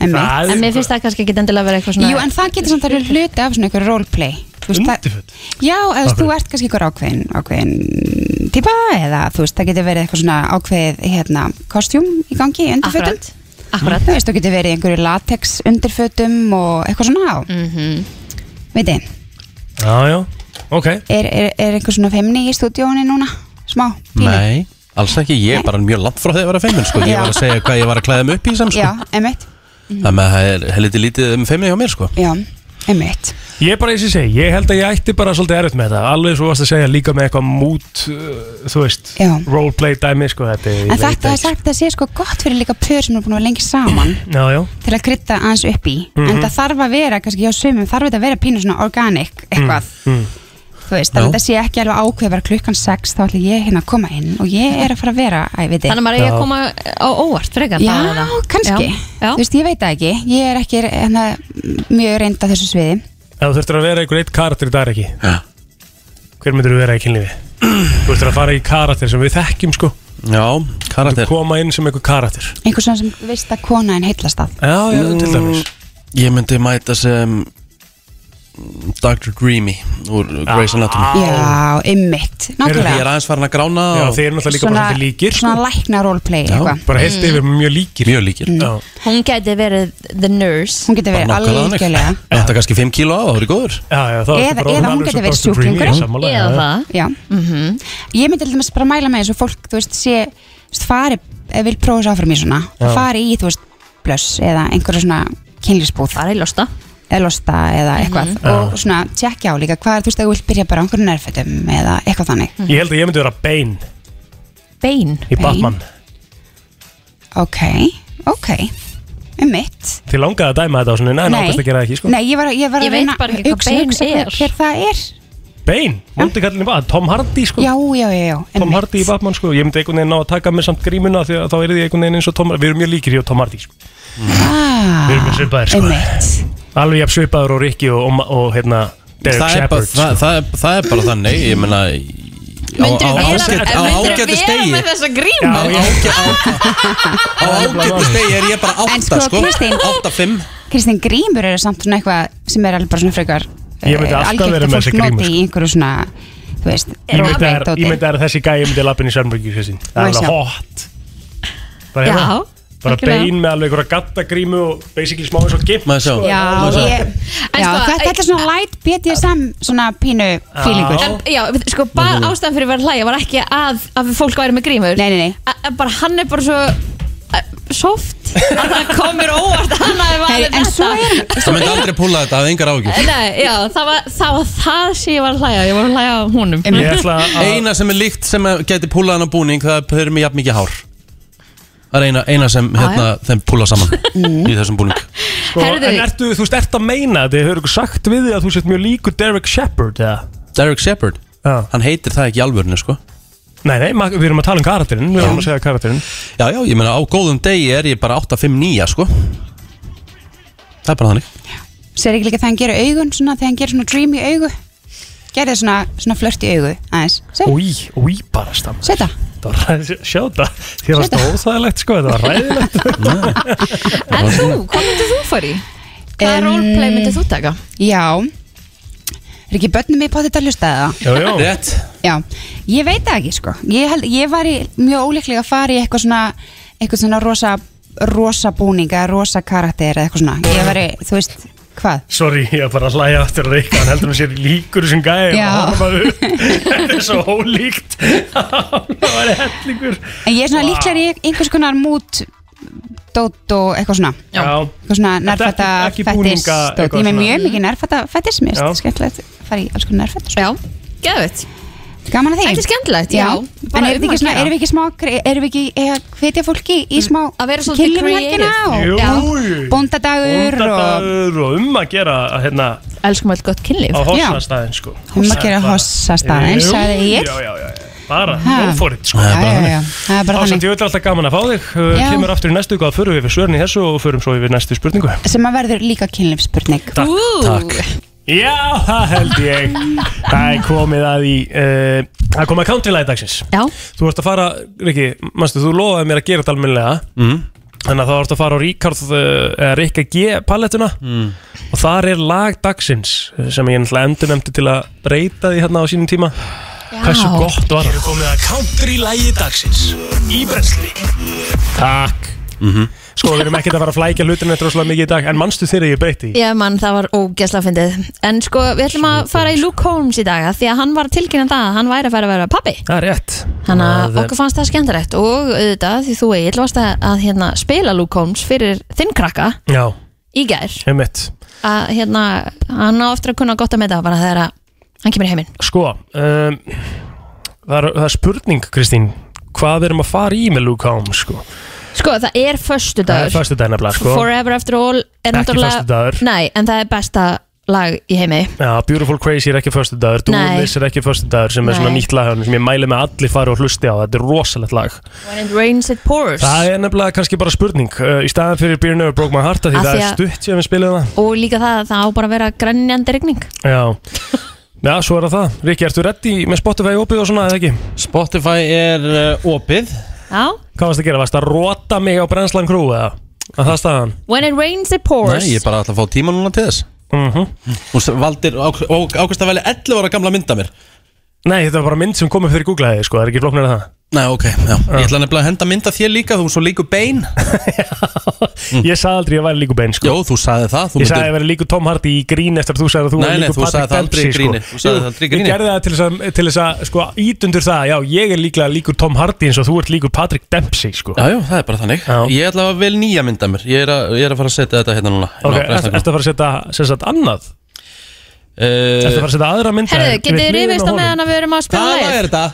[SPEAKER 3] En
[SPEAKER 12] einmitt
[SPEAKER 3] mér finnst það kannski ekki endilega að vera eitthvað svona
[SPEAKER 12] Jú, en það getur samt að vera hluti af svona einhverju roleplay Þú veist, það- Já, eða þú veist, þú ert kannski einhver ákveðin, ákveðin típa eða þú veist, það getur verið eitthvað svona ákveðið hérna, kostjúm í gangi í undirfötum
[SPEAKER 3] Akkurat. Akkurat.
[SPEAKER 12] Þú veist, þú getur verið í einhverju latex undirfötum og eitthvað svona á mm
[SPEAKER 3] Mhm.
[SPEAKER 12] -hmm. Veitir,
[SPEAKER 4] Já, já, ok
[SPEAKER 12] er, er, er einhver svona femni í stúdíónu núna? Smá?
[SPEAKER 2] Nei, alls ekki, ég er bara mjög langt frá því að vera feimin sko. Ég
[SPEAKER 12] Já.
[SPEAKER 2] var að segja hvað ég var að klæða mig upp í sem sko.
[SPEAKER 12] Já, einmitt
[SPEAKER 2] Þannig að það er helviti lítið um feimin hjá mér sko.
[SPEAKER 12] Já, einmitt
[SPEAKER 4] Ég er bara eins og ég segi, ég held að ég ætti bara svolítið erfitt með þetta Alveg svo varst að segja líka með eitthvað mút, uh, þú veist,
[SPEAKER 12] Já.
[SPEAKER 4] roleplay dæmi, sko þetta ég
[SPEAKER 12] En
[SPEAKER 4] veit
[SPEAKER 12] þetta er
[SPEAKER 4] ekki.
[SPEAKER 12] sagt að sé sko gott fyrir líka pör sem er búin að vera lengi saman
[SPEAKER 4] Já, já,
[SPEAKER 12] til að krytta aðeins upp í
[SPEAKER 4] Mhm.
[SPEAKER 12] en það þarf að vera, kannski hjá sumum þarf þetta að vera pínu svona organic eitthvað
[SPEAKER 4] mm.
[SPEAKER 12] þú veist,
[SPEAKER 4] Já.
[SPEAKER 12] þannig að þetta sé ekki alveg ákveð bara klukkan 6 þá ætla ég hérna að koma inn og ég er að fara að vera, æ, veit ég
[SPEAKER 3] Þannig að maður eigi að koma á óvart frekar
[SPEAKER 12] Já,
[SPEAKER 3] það er það.
[SPEAKER 12] kannski,
[SPEAKER 3] Já.
[SPEAKER 12] þú veist, ég veit það ekki ég er ekki hana, mjög reynd á þessu sviði
[SPEAKER 4] Ef þú þurftur að vera einhver eitt karakter í dag ekki
[SPEAKER 2] ja.
[SPEAKER 4] Hver myndur þú vera í kynlífi? þú þurftur að fara í karakter sem við þekkjum sko
[SPEAKER 2] Já, karakter
[SPEAKER 4] Þú koma inn sem einhver karakter Mm.
[SPEAKER 12] einhvers veginn sem veist að kona en heillast að
[SPEAKER 4] Já, já, til dæmis
[SPEAKER 2] Mm, Ég myndi mæta sem Dr. Dreamy úr
[SPEAKER 4] Ah.
[SPEAKER 2] Grey's Anatomy
[SPEAKER 12] Já, ymmit,
[SPEAKER 2] Ég er
[SPEAKER 12] nákvæmlega
[SPEAKER 2] aðeins farin að grána
[SPEAKER 4] Já,
[SPEAKER 2] og-
[SPEAKER 4] þeir eru náttúrulega líka bara svolítið líkir sko.
[SPEAKER 12] svona Mm. lækna roleplay
[SPEAKER 2] Já,
[SPEAKER 12] eitthvað
[SPEAKER 4] Bara heilt yfir mjög líkir
[SPEAKER 2] Mjög líkir
[SPEAKER 4] Já,
[SPEAKER 3] Hún gæti verið the nurse
[SPEAKER 12] Hún geti verið algjörlega
[SPEAKER 2] Þetta kannski 5 kíló á, það er góður
[SPEAKER 4] já, já þá
[SPEAKER 12] eða, eða hún getur verið sjúklingur Já.
[SPEAKER 3] Mhm.
[SPEAKER 12] ég myndi alltaf bara mæla með þessu fólk þú veist, sé, þú veist, fari ef vil prófa þessu áfram í svona
[SPEAKER 4] Já.
[SPEAKER 12] fari í, þú veist, blöss eða einhverju svona kynlísbúð fari í losta eða losta eða
[SPEAKER 3] Mhm.
[SPEAKER 12] eitthvað
[SPEAKER 4] Já.
[SPEAKER 12] og svona tjekkja á líka hvað er þú veist að þú vilt byrja bara á einhverju nærfötum eða eitthvað þannig
[SPEAKER 3] Mhm.
[SPEAKER 4] Ég held að ég myndi vera bein
[SPEAKER 3] Bein
[SPEAKER 4] í Batman
[SPEAKER 12] ok, ok, um mitt
[SPEAKER 4] Þið langaði að dæma þetta á svona, neina, náttúrulega að gera það ekki sko
[SPEAKER 12] Nei, ég var, ég var
[SPEAKER 3] Ég
[SPEAKER 12] að
[SPEAKER 3] veit
[SPEAKER 12] reyna
[SPEAKER 3] bara ekki hvað
[SPEAKER 12] hugsa-
[SPEAKER 3] bein
[SPEAKER 12] hugsa
[SPEAKER 3] er.
[SPEAKER 12] hver- hver það er
[SPEAKER 4] Bein, múndi kallin í Batman, Tom Hardy sko
[SPEAKER 12] já, já, já, Um já,
[SPEAKER 4] Tom
[SPEAKER 12] einmitt.
[SPEAKER 4] Hardy í Batman sko, ég myndi einhvern veginn ná að taka mig samt grímuna því að þá er því einhvern veginn eins og Tom Hardy, við erum mjög líkir í og Tom Hardy sko.
[SPEAKER 12] ah,
[SPEAKER 4] við erum mjög svipaðir
[SPEAKER 12] sko.
[SPEAKER 4] alveg jafn svipaður og Rikki og, og, og hérna
[SPEAKER 2] það,
[SPEAKER 4] Derek
[SPEAKER 2] er bara,
[SPEAKER 4] Shepard sko.
[SPEAKER 2] það, það, er, það er bara þannig Ég meina
[SPEAKER 3] Myndirðu vera-
[SPEAKER 2] ágæt- á
[SPEAKER 3] myndirðu
[SPEAKER 2] ágætis
[SPEAKER 3] vera
[SPEAKER 2] degi-
[SPEAKER 3] með þessa grímu?
[SPEAKER 2] Já, ég- Á ágætis degi er ég bara
[SPEAKER 12] En
[SPEAKER 2] 8
[SPEAKER 12] sko,
[SPEAKER 2] sko
[SPEAKER 12] Kristín-
[SPEAKER 2] 8-5
[SPEAKER 12] Kristín Grímur eru samt svona eitthvað sem er alveg bara svona frekar eh,
[SPEAKER 4] Ég myndi alltaf vera með þessi grímur, sko.
[SPEAKER 12] Í einhverju svona, þú veist,
[SPEAKER 4] ég myndi
[SPEAKER 12] roleplay
[SPEAKER 4] að-
[SPEAKER 12] dóti.
[SPEAKER 4] ég myndi að vera þessi gæi ég myndi að lappin í Sörnbergi Kristín það
[SPEAKER 12] Má
[SPEAKER 4] er
[SPEAKER 12] ég
[SPEAKER 4] alveg
[SPEAKER 12] sjá?
[SPEAKER 4] hot bara, hérna. bara
[SPEAKER 3] algjörlega.
[SPEAKER 4] bein með alveg einhverja gattagrímu og basically smá eins og gimp
[SPEAKER 2] sjá.
[SPEAKER 4] sko.
[SPEAKER 12] Já, ég, já
[SPEAKER 3] sko,
[SPEAKER 12] þetta þetta er svona light BDSM svona pínu
[SPEAKER 4] Ah.
[SPEAKER 12] fílingur
[SPEAKER 3] En, já, við- sko, bara ástæðan fyrir að vera að hlæja var ekki að, að fólk væri með grímur Nei,
[SPEAKER 12] nei, nei
[SPEAKER 3] Bara hann er bara svo eh, soft að það komir óvart að hann hafi valið
[SPEAKER 12] en svo
[SPEAKER 3] þetta. Eh,
[SPEAKER 12] er
[SPEAKER 2] Það myndi aldrei púla þetta, það er engar ágjur
[SPEAKER 3] Nei, já, það var það, var það sem ég var að hlæja, ég var að hlæja á honum
[SPEAKER 4] Ég ætla að-
[SPEAKER 2] Eina sem er líkt sem að geti púlað hann á búning Það er- þau eru með jafn mikið hár Það er eina, eina sem hérna, þeim púla saman Í þessum búning
[SPEAKER 4] sko, en ertu, þú veist, ertu að meina þetta hefur ykkur sagt við þig að þú sett mjög líkur Derek Shepard eða?
[SPEAKER 2] Derek Shepard, hann heitir það ekki í alvörinu sko
[SPEAKER 4] nei, nei, ma- við erum að tala um karakterinn við erum að segja karakterinn
[SPEAKER 2] Já, já, ég meina á góðum degi er ég bara 8-5-9 sko Það er bara þannig
[SPEAKER 12] Sér ekki líka þegar hann gerir augun svona, þegar hann gerir svona dreamy augu gerði svona, svona flört í augu aðeins
[SPEAKER 4] Új, új, bara stamm
[SPEAKER 12] Sveita
[SPEAKER 4] Sjáta, þér varst óþægilegt sko, þetta var ræðilegt
[SPEAKER 3] En þú, hvað myndir þú fara í? Hvaða roleplay myndir þú taka?
[SPEAKER 12] Já Er ekki börnum í potið að hlusta það?
[SPEAKER 3] Jú, jú. Rétt.
[SPEAKER 12] Já, ég veit það ekki sko Ég, held, ég var í mjög óleiklega að fara í eitthvað svona eitthvað svona rosa, rosa búninga rosa karakter eða eitthvað svona Ég var í, þú veist, hvað?
[SPEAKER 4] Sorry, ég er bara að hlæja aftur að reyka Hann heldur hann sér líkur þessum gæði
[SPEAKER 12] Já.
[SPEAKER 4] Þetta er svo ólíkt Það var hellingur
[SPEAKER 12] En ég er svona
[SPEAKER 4] Vá.
[SPEAKER 12] líklega í einhvers konar mút dót og eitthvað svona
[SPEAKER 4] Já.
[SPEAKER 12] eitthvað svona nærfætta
[SPEAKER 4] ekki
[SPEAKER 12] fættis
[SPEAKER 4] búninga,
[SPEAKER 12] dót
[SPEAKER 4] eitthvað
[SPEAKER 12] Ég með
[SPEAKER 4] svona.
[SPEAKER 12] mjög mikið nærfætta fættis mér finnst skemmtilegt að fara í alls konar nærfætt Já,
[SPEAKER 3] geðvitt
[SPEAKER 12] Gaman að þeim
[SPEAKER 3] Þetta er skemmtilegt, já. Bara
[SPEAKER 12] En
[SPEAKER 3] um
[SPEAKER 12] erum við ekki
[SPEAKER 3] að gera.
[SPEAKER 12] svona,
[SPEAKER 3] Mm.
[SPEAKER 12] erum við ekki smá erum við ekki að hvetja fólki í smá að
[SPEAKER 3] vera svolítið creative.
[SPEAKER 12] og
[SPEAKER 4] Jú.
[SPEAKER 12] já, bóndadagur og
[SPEAKER 4] Bóndadagur og um að gera hérna
[SPEAKER 3] Elskum öll gott kynlíf
[SPEAKER 4] á hossastæðin sko
[SPEAKER 12] Um að gera hossastaðinn,
[SPEAKER 4] Jú,
[SPEAKER 12] sagði ég.
[SPEAKER 4] Já, já, já, já. bara,
[SPEAKER 12] Ha.
[SPEAKER 4] go for it sko
[SPEAKER 12] Já, já, já, það er bara
[SPEAKER 4] Ásand,
[SPEAKER 12] þannig
[SPEAKER 4] ég vil alltaf gaman að fá þig Uh,
[SPEAKER 12] Já.
[SPEAKER 4] Kemur aftur í næstu ykkur að förum við yfir svörin í þessu og förum svo yfir næstu spurningu
[SPEAKER 12] sem að verður líka kynlífsspurning
[SPEAKER 4] Takk, takk. Já, það held ég Það er komið að í uh, Það er komið að countrylæði dagsins
[SPEAKER 3] Já.
[SPEAKER 4] Þú vorst að fara, Riki, manstu, þú lofaði mér að gera þetta almennilega mm. Þannig að það vorst að fara á Ríkard uh, eða Rikka G palettuna mm. og þar er lag dagsins eh, sem ég náttúrulega endur nefndi til að breyta því hérna á sínum tíma Já. Hversu gott var það?
[SPEAKER 13] komið að country-lægi dagsins Í brensli
[SPEAKER 4] Takk Sko, við erum ekkert að fara að flækja hlutinu þetta rosalega mikið í dag en manstu þegar ég breyti því?
[SPEAKER 3] Já mann, það var ógæsla fyndið En sko, við ætlum að fara í Luke Holmes í dag af Því að hann var að tilkynna það að hann væri að fara að vera pappi
[SPEAKER 4] Það er rétt
[SPEAKER 3] Þannig að
[SPEAKER 4] Það-
[SPEAKER 3] okkur fannst það skemmtilegt Og auðvitað, því þú Egil varst að, að hérna, spila Luke Holmes fyrir þinn krakka
[SPEAKER 4] Já,
[SPEAKER 3] í gær
[SPEAKER 4] einmitt
[SPEAKER 3] að hérna, hann á eftir að kunna gott að með það bara þegar að hann kemur í heiminn
[SPEAKER 4] Sko um, það, er, það er spurning Kristín Hvað við erum að fara í með Luke Holmes sko?
[SPEAKER 3] Sko, það er förstu
[SPEAKER 4] Það er
[SPEAKER 3] dagur
[SPEAKER 4] fyrstu dag nefnilega sko.
[SPEAKER 3] Forever After All er
[SPEAKER 4] Ekki föstudagur.
[SPEAKER 3] Nei, en það er besta lag í heimi
[SPEAKER 4] Já, Beautiful Crazy er ekki fyrstu dagur
[SPEAKER 3] Nei.
[SPEAKER 4] Dúlis er ekki fyrstu dagur sem er svona
[SPEAKER 3] Nei.
[SPEAKER 4] nýtt lag hjá honum sem ég mæli með allir fari og hlusti á Þetta er rosalegt lag
[SPEAKER 3] When it rains it pours
[SPEAKER 4] Það er nefnilega kannski bara spurning uh, Í staðan fyrir Beer Never Broke My Heart af Því
[SPEAKER 3] Af
[SPEAKER 4] það
[SPEAKER 3] því
[SPEAKER 4] er
[SPEAKER 3] að-
[SPEAKER 4] stutt sem við spilum það
[SPEAKER 3] Og líka það, að það á bara að vera grænjandi rigning
[SPEAKER 4] Já Já, svo er það það Riki, ertu reddi með Spotify opið og svona eða ekki?
[SPEAKER 2] Spotify er uh, opið
[SPEAKER 3] Já
[SPEAKER 4] Hvað varst að gera? Varst að rota mig á Brenslan Crew eða? Að það staðan?
[SPEAKER 3] When it rains it pours
[SPEAKER 2] Nei, ég er bara alltaf að fá tíma núna til þess
[SPEAKER 4] mm
[SPEAKER 2] Hún s- valdir, ákvæmst að velja 11 ára gamla mynda mér
[SPEAKER 4] Nei, þetta var bara mynd sem kom upp fyrir Google-hæði, sko, það er ekki flóknir að það
[SPEAKER 2] Nei, ok, já Ég ætla nefnilega að henda mynda þér líka, þú er svo líku bein
[SPEAKER 4] Ég sagði aldrei að ég væri líku bein, sko
[SPEAKER 2] Mm. Jó, þú sagði það þú
[SPEAKER 4] Ég sagði að ég væri líku Tom Hardy í grín eftir að þú sagði að þú
[SPEAKER 2] Nei,
[SPEAKER 4] væri
[SPEAKER 2] nei,
[SPEAKER 4] líku
[SPEAKER 2] þú sagði það aldrei í gríni. Þú sagði það aldrei í
[SPEAKER 4] sko. Jú, Ég
[SPEAKER 2] gríni.
[SPEAKER 4] gerði það til þess að, til þess að sko, ítundur það, já, ég er líklega líkur Tom Hardy eins og þú ert líkur Patrick Dempsey, sko
[SPEAKER 2] Já, já, það er bara þannig Ég ætla að vel nýja mynda mér Ég er að, ég er að fara að setja þetta hérna núna
[SPEAKER 4] Ok, ertu ertu að fara að setja, sem sagt, annað?
[SPEAKER 2] Eh,
[SPEAKER 4] Ertu að fara að setja aðra mynda
[SPEAKER 3] Herðu, getið þið rifist á meðan að við erum að spila
[SPEAKER 2] Hvað
[SPEAKER 3] lagið?
[SPEAKER 2] er þetta?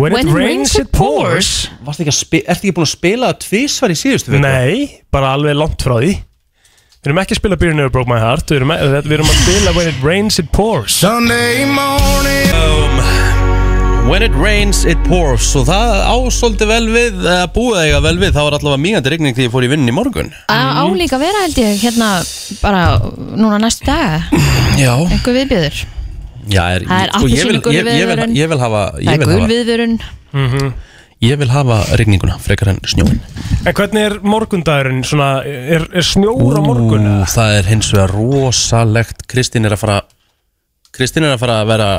[SPEAKER 4] When it rains, it pours
[SPEAKER 2] Varstu ekki að spi- Ertu ekki búin að spila tvísvar í síðustu viku?
[SPEAKER 4] Nei, bara alveg langt frá því Við erum ekki að spila Beer Never Broke My Heart Við erum, e- við erum að spila When It Rains It Pours Sunday morning
[SPEAKER 2] Um, When it rains, it pours Og það ásóldi vel við eða búið eiga vel við, það var allavega mýgandi rigning því ég fór í vinn í morgun
[SPEAKER 3] Á álíka að vera held ég hérna bara núna næstu daga
[SPEAKER 2] Já
[SPEAKER 3] Einhver viðbjöður
[SPEAKER 2] Já, er,
[SPEAKER 3] Það
[SPEAKER 2] sko,
[SPEAKER 3] er
[SPEAKER 2] ég vil-
[SPEAKER 3] appelsínugul
[SPEAKER 2] ég- ég vil-
[SPEAKER 3] viðvörun.
[SPEAKER 2] Ég vil hafa
[SPEAKER 3] Það
[SPEAKER 2] Ég
[SPEAKER 3] er
[SPEAKER 2] vil
[SPEAKER 3] gul
[SPEAKER 2] hafa,
[SPEAKER 3] viðvörun
[SPEAKER 2] ég vil hafa rigninguna frekar en snjóin
[SPEAKER 4] En hvernig er morgundagurinn svona, er, er snjór á morgun?
[SPEAKER 2] Ú, það er hins vegar rosalegt Kristín er að fara Kristín er að fara að vera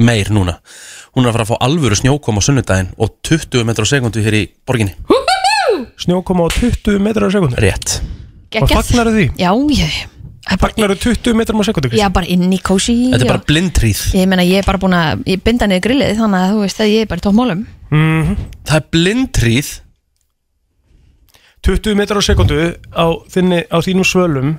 [SPEAKER 2] meir núna Hún er að fara að fá alvöru snjókom á sunnudaginn og 20 metrar á sekundu hér í borginni
[SPEAKER 4] Snjó kom á 20 metrar á sekundu
[SPEAKER 2] Rétt
[SPEAKER 3] Geggjað.
[SPEAKER 4] Og fagnar því?
[SPEAKER 3] Já, ég
[SPEAKER 4] Fagnar 20 metrum á sekundu?
[SPEAKER 3] Já, bara inn í kósi
[SPEAKER 2] Þetta er bara blindtríð
[SPEAKER 3] Ég meina, ég er bara búin að ég binda niður grillið þannig að þú veist að ég er bara í tómálum
[SPEAKER 2] Það er blindtríð
[SPEAKER 4] 20 metrar á sekundu á, þinni, á þínum svölum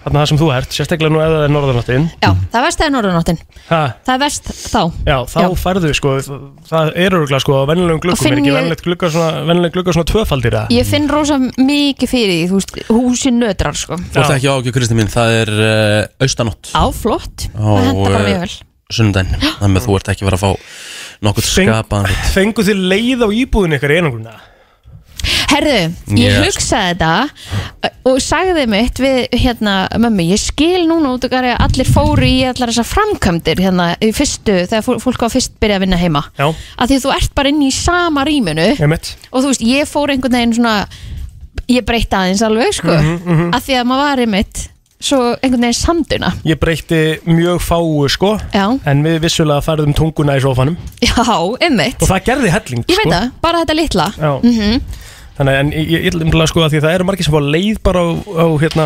[SPEAKER 4] Þarna það sem þú ert, sérstaklega nú eða það er norðanáttin
[SPEAKER 3] Já, það er vest eða norðanáttin
[SPEAKER 4] ha,
[SPEAKER 3] Það er vest þá
[SPEAKER 4] Já, þá
[SPEAKER 3] Já.
[SPEAKER 4] færðu sko, það- það er öruglega sko á vennilegum gluggum,
[SPEAKER 3] finn
[SPEAKER 4] er ekki
[SPEAKER 3] ég-
[SPEAKER 4] vennileg glugga svona, vennileg glugga svona tvöfaldir að
[SPEAKER 3] Ég finn rosa mikið fyrir því, þú veist, húsin nötrar sko
[SPEAKER 2] Og það er ekki ágjör Kristín mín, það er uh, austanótt
[SPEAKER 3] Á, flott,
[SPEAKER 2] Á,
[SPEAKER 3] það henda bara
[SPEAKER 2] eh,
[SPEAKER 3] mjög vel
[SPEAKER 2] Sunnudaginn, þannig að þú ert ekki að fara að fá nokkuð skapaðan hlut.
[SPEAKER 4] Fengu þið leið á íbúðinu ykkur í einangruna?
[SPEAKER 3] Herðu, ég
[SPEAKER 2] Yes.
[SPEAKER 3] hugsaði þetta og sagði mitt við hérna mömmu, ég skil núna út og garði að allir fóru í allar þessar framkvæmdir hérna í fyrstu, þegar fó- fólk var fyrst byrjað að vinna heima.
[SPEAKER 4] Já.
[SPEAKER 3] Að því þú ert bara inn í sama rýminu
[SPEAKER 4] Einmitt.
[SPEAKER 3] og þú veist, ég fór einhvern veginn svona ég breytti aðeins alveg sko mm
[SPEAKER 4] Mhm, mhm.
[SPEAKER 3] að því að maður var einmitt svo einhvern veginn samduna.
[SPEAKER 4] Ég breytti mjög fáu sko
[SPEAKER 3] Já.
[SPEAKER 4] En við vissulega færðum tunguna í sofanum
[SPEAKER 3] Já, einmitt.
[SPEAKER 4] Og það gerði helling
[SPEAKER 3] Ég veit
[SPEAKER 4] sko.
[SPEAKER 3] það, bara þetta litla.
[SPEAKER 4] Já.
[SPEAKER 3] Mhm.
[SPEAKER 4] Þannig að en ég ég ætla umlega sko að því að það eru margir sem fá leið bara á, á hérna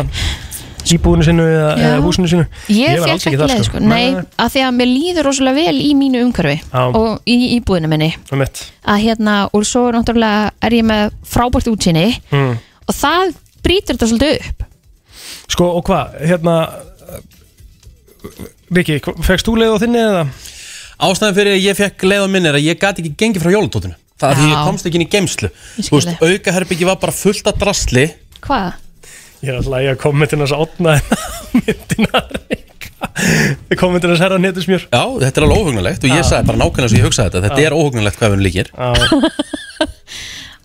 [SPEAKER 4] Íbúinu sinu eða,
[SPEAKER 3] Já.
[SPEAKER 4] eða húsinu sinu
[SPEAKER 3] Ég, ég
[SPEAKER 4] var
[SPEAKER 3] fekk
[SPEAKER 4] alls
[SPEAKER 3] ekki
[SPEAKER 4] þar,
[SPEAKER 3] leið sko, nei, að því að mér líður rosalega vel í mínu umhverfi
[SPEAKER 4] Já.
[SPEAKER 3] og í íbúðinu minni
[SPEAKER 4] Einmitt.
[SPEAKER 3] að hérna, og svo náttúrulega er ég með frábært útsinni
[SPEAKER 4] Mm.
[SPEAKER 3] og það brýtur þetta svolítið upp
[SPEAKER 4] Sko og hvað, hérna Riki, fegst þú leið á þinni eða?
[SPEAKER 2] Ástæðan fyrir að ég fekk leið á minni er að ég gat ekki gengið frá jólutótinu Það er því
[SPEAKER 3] Já.
[SPEAKER 2] ég komst ekki inn í geimslu
[SPEAKER 3] Ég skil
[SPEAKER 2] Þú veist,
[SPEAKER 3] þig.
[SPEAKER 2] aukaherbyggi var bara fullt af drasli
[SPEAKER 3] Hvað?
[SPEAKER 4] Ég er alltaf að kommentin hans átna myndinar kommentin hans herra netusmjör
[SPEAKER 2] Já, þetta er alveg óhugnulegt og ég
[SPEAKER 4] Já.
[SPEAKER 2] sagði bara nákvæmlega sem ég hugsaði þetta Þetta
[SPEAKER 4] Já.
[SPEAKER 2] er óhugnulegt hvað við líkir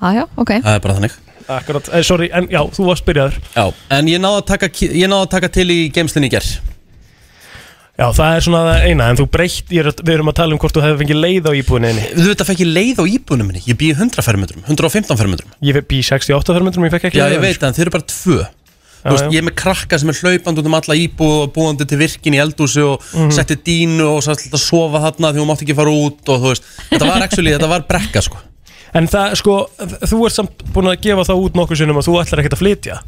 [SPEAKER 3] Aðjá, Ah, ok
[SPEAKER 2] Það er bara þannig
[SPEAKER 4] Akkurat, eh, sorry, en já, þú varst byrjaður
[SPEAKER 2] Já, en ég náði að taka, ki- ég náði að taka til í geimslinni í gerð
[SPEAKER 4] Já, það er svona það eina, en þú breytt ég er, að- Við erum að tala um hvort þú hefði fengið leið á íbúininni
[SPEAKER 2] Þú veit að fekk ég leið á íbúinu minni Ég býði 100 fermetrum, 115 fermetrum
[SPEAKER 4] Ég fe- bý í 68 fermetrum, ég fekk ekki
[SPEAKER 2] Já,
[SPEAKER 4] leið á
[SPEAKER 2] ég
[SPEAKER 4] því,
[SPEAKER 2] veit en þeir eru bara tvö
[SPEAKER 4] Já,
[SPEAKER 2] Þú veist,
[SPEAKER 4] já.
[SPEAKER 2] ég er með krakka sem er hlaupand út um alla íbúð og búandi til virkin í eldhúsi og
[SPEAKER 4] Mhm.
[SPEAKER 2] setti dínu og sætti að sofa þarna því hún mátti ekki fara út og þú veist, þetta var actually, þetta var brekka sko
[SPEAKER 4] En það, sko, þú ert samt búin að gefa það út nokkuð sinnum að þú ætlar ekkert að flytja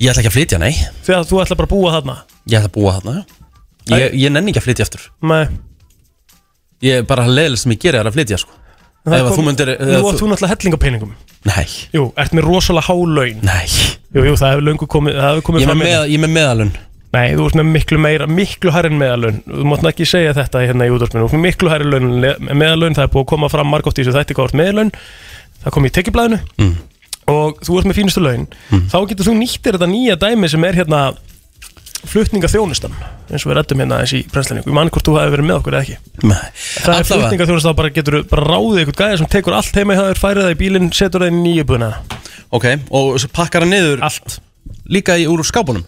[SPEAKER 2] Ég ætla ekki að flytja, nei
[SPEAKER 4] Því að þú ætlar bara að búa þarna
[SPEAKER 2] Ég ætla að búa þarna, já Ég, ég nenni ekki að flytja aftur
[SPEAKER 4] Nei,
[SPEAKER 2] Ég er bara leiðileg sem ég geri er að flytja sko
[SPEAKER 4] það
[SPEAKER 2] Ef að
[SPEAKER 4] kom-
[SPEAKER 2] þú myndir
[SPEAKER 4] Nú
[SPEAKER 2] eða
[SPEAKER 4] átt þú náttúrulega helling á peningum
[SPEAKER 2] Nei
[SPEAKER 4] Jú, ert með rosalega há laun
[SPEAKER 2] Nei
[SPEAKER 4] Jú, jú, það hefur löngu komið, það hefur komið
[SPEAKER 2] Ég er
[SPEAKER 4] fram
[SPEAKER 2] með,
[SPEAKER 4] hérna.
[SPEAKER 2] með, ég er með meðalun
[SPEAKER 4] Nei, þú ert með miklu meira, miklu hærri en meðalun Þú mátt nú ekki segja þetta hérna í útvarpinu Þú ert með miklu hærri laun, en meðalun Það er búið að koma fram margótt í þessu þætti hvað þú ert meðalun Það kom í tekjublaðinu
[SPEAKER 2] Mm.
[SPEAKER 4] Og þú ert með fínustu laun Þá getur þú nýttir þetta nýja dæmi sem er hérna Flutninga þjónustan Eins og við rættum hérna eins í brennslunni Ég mann hvort þú hafi verið með okkur eða ekki
[SPEAKER 2] Nei.
[SPEAKER 4] Það er flutninga þá bara getur bara ráðið ykkur gæði sem tekur allt heima hjá þér, færið það í bílinn, setur það inn í nýjubuna.
[SPEAKER 2] Ok, og svo pakkar hann niður Allt Líka í, úr skápunum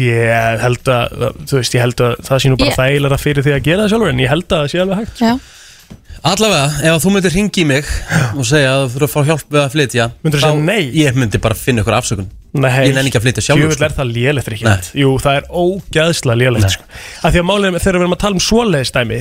[SPEAKER 4] Ég held að, þú veist, ég held að það sé nú bara
[SPEAKER 3] Ég-
[SPEAKER 4] þægilega fyrir því að gera það sjálfur en ég held að það sé alveg hægt.
[SPEAKER 3] Já.
[SPEAKER 2] Allavega, ef að þú myndir ringi í mig og segja að þú fyrir að fá hjálp við að flytja Myndir þú segja nei? Ég myndi bara finna ykkur afsökun Ég nenni ekki að flytja sjálfur sko.
[SPEAKER 4] Jú, er það lélegt ekki Jú, það er ógæðslega lélegt sko. Af því að málið er með- þegar við erum að tala um svoleiðis dæmi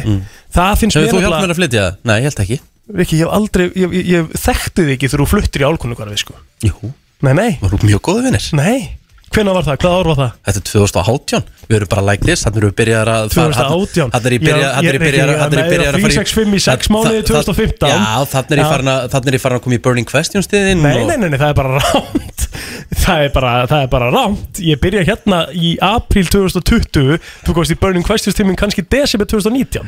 [SPEAKER 4] Það finnst
[SPEAKER 2] Mm. Hefur
[SPEAKER 4] mér
[SPEAKER 2] þú hjálp
[SPEAKER 4] nefnilega-
[SPEAKER 2] mér að flytja það? Nei, ég held ekki
[SPEAKER 4] Viki, ég hef aldrei, ég, ég, ég þekkti þig ekki þegar þú fluttir í álkunnugvarfi sko.
[SPEAKER 2] Jú
[SPEAKER 4] Nei, nei
[SPEAKER 2] Var þú mjög góðu vinnir?
[SPEAKER 4] Nei Hvenær var það? Hvað ár var það?
[SPEAKER 2] Þetta er 2018 Við erum bara like this Þannig erum við byrjaðar að
[SPEAKER 4] 2018.
[SPEAKER 2] Þannig er ég byrjaðar
[SPEAKER 4] Já,
[SPEAKER 2] Þannig er
[SPEAKER 4] ég-
[SPEAKER 2] ég byrjaðar
[SPEAKER 4] ég-
[SPEAKER 2] Þannig er ég
[SPEAKER 4] ég-
[SPEAKER 2] byrjaðar að
[SPEAKER 4] ég-
[SPEAKER 2] fara í
[SPEAKER 4] 365 í sex
[SPEAKER 2] Það-
[SPEAKER 4] mánuði
[SPEAKER 2] það-
[SPEAKER 4] 2015.
[SPEAKER 2] Já, þannig er ég
[SPEAKER 4] Já.
[SPEAKER 2] farin að Þannig er ég farin að koma í Burning Questions stiðin
[SPEAKER 4] Nei, nei, nei, nei, það er bara rámt Það er bara, það er bara rámt Ég byrja hérna í apríl 2020 Þú komst í Burning Questions tíminn kannski desember 2019 Já,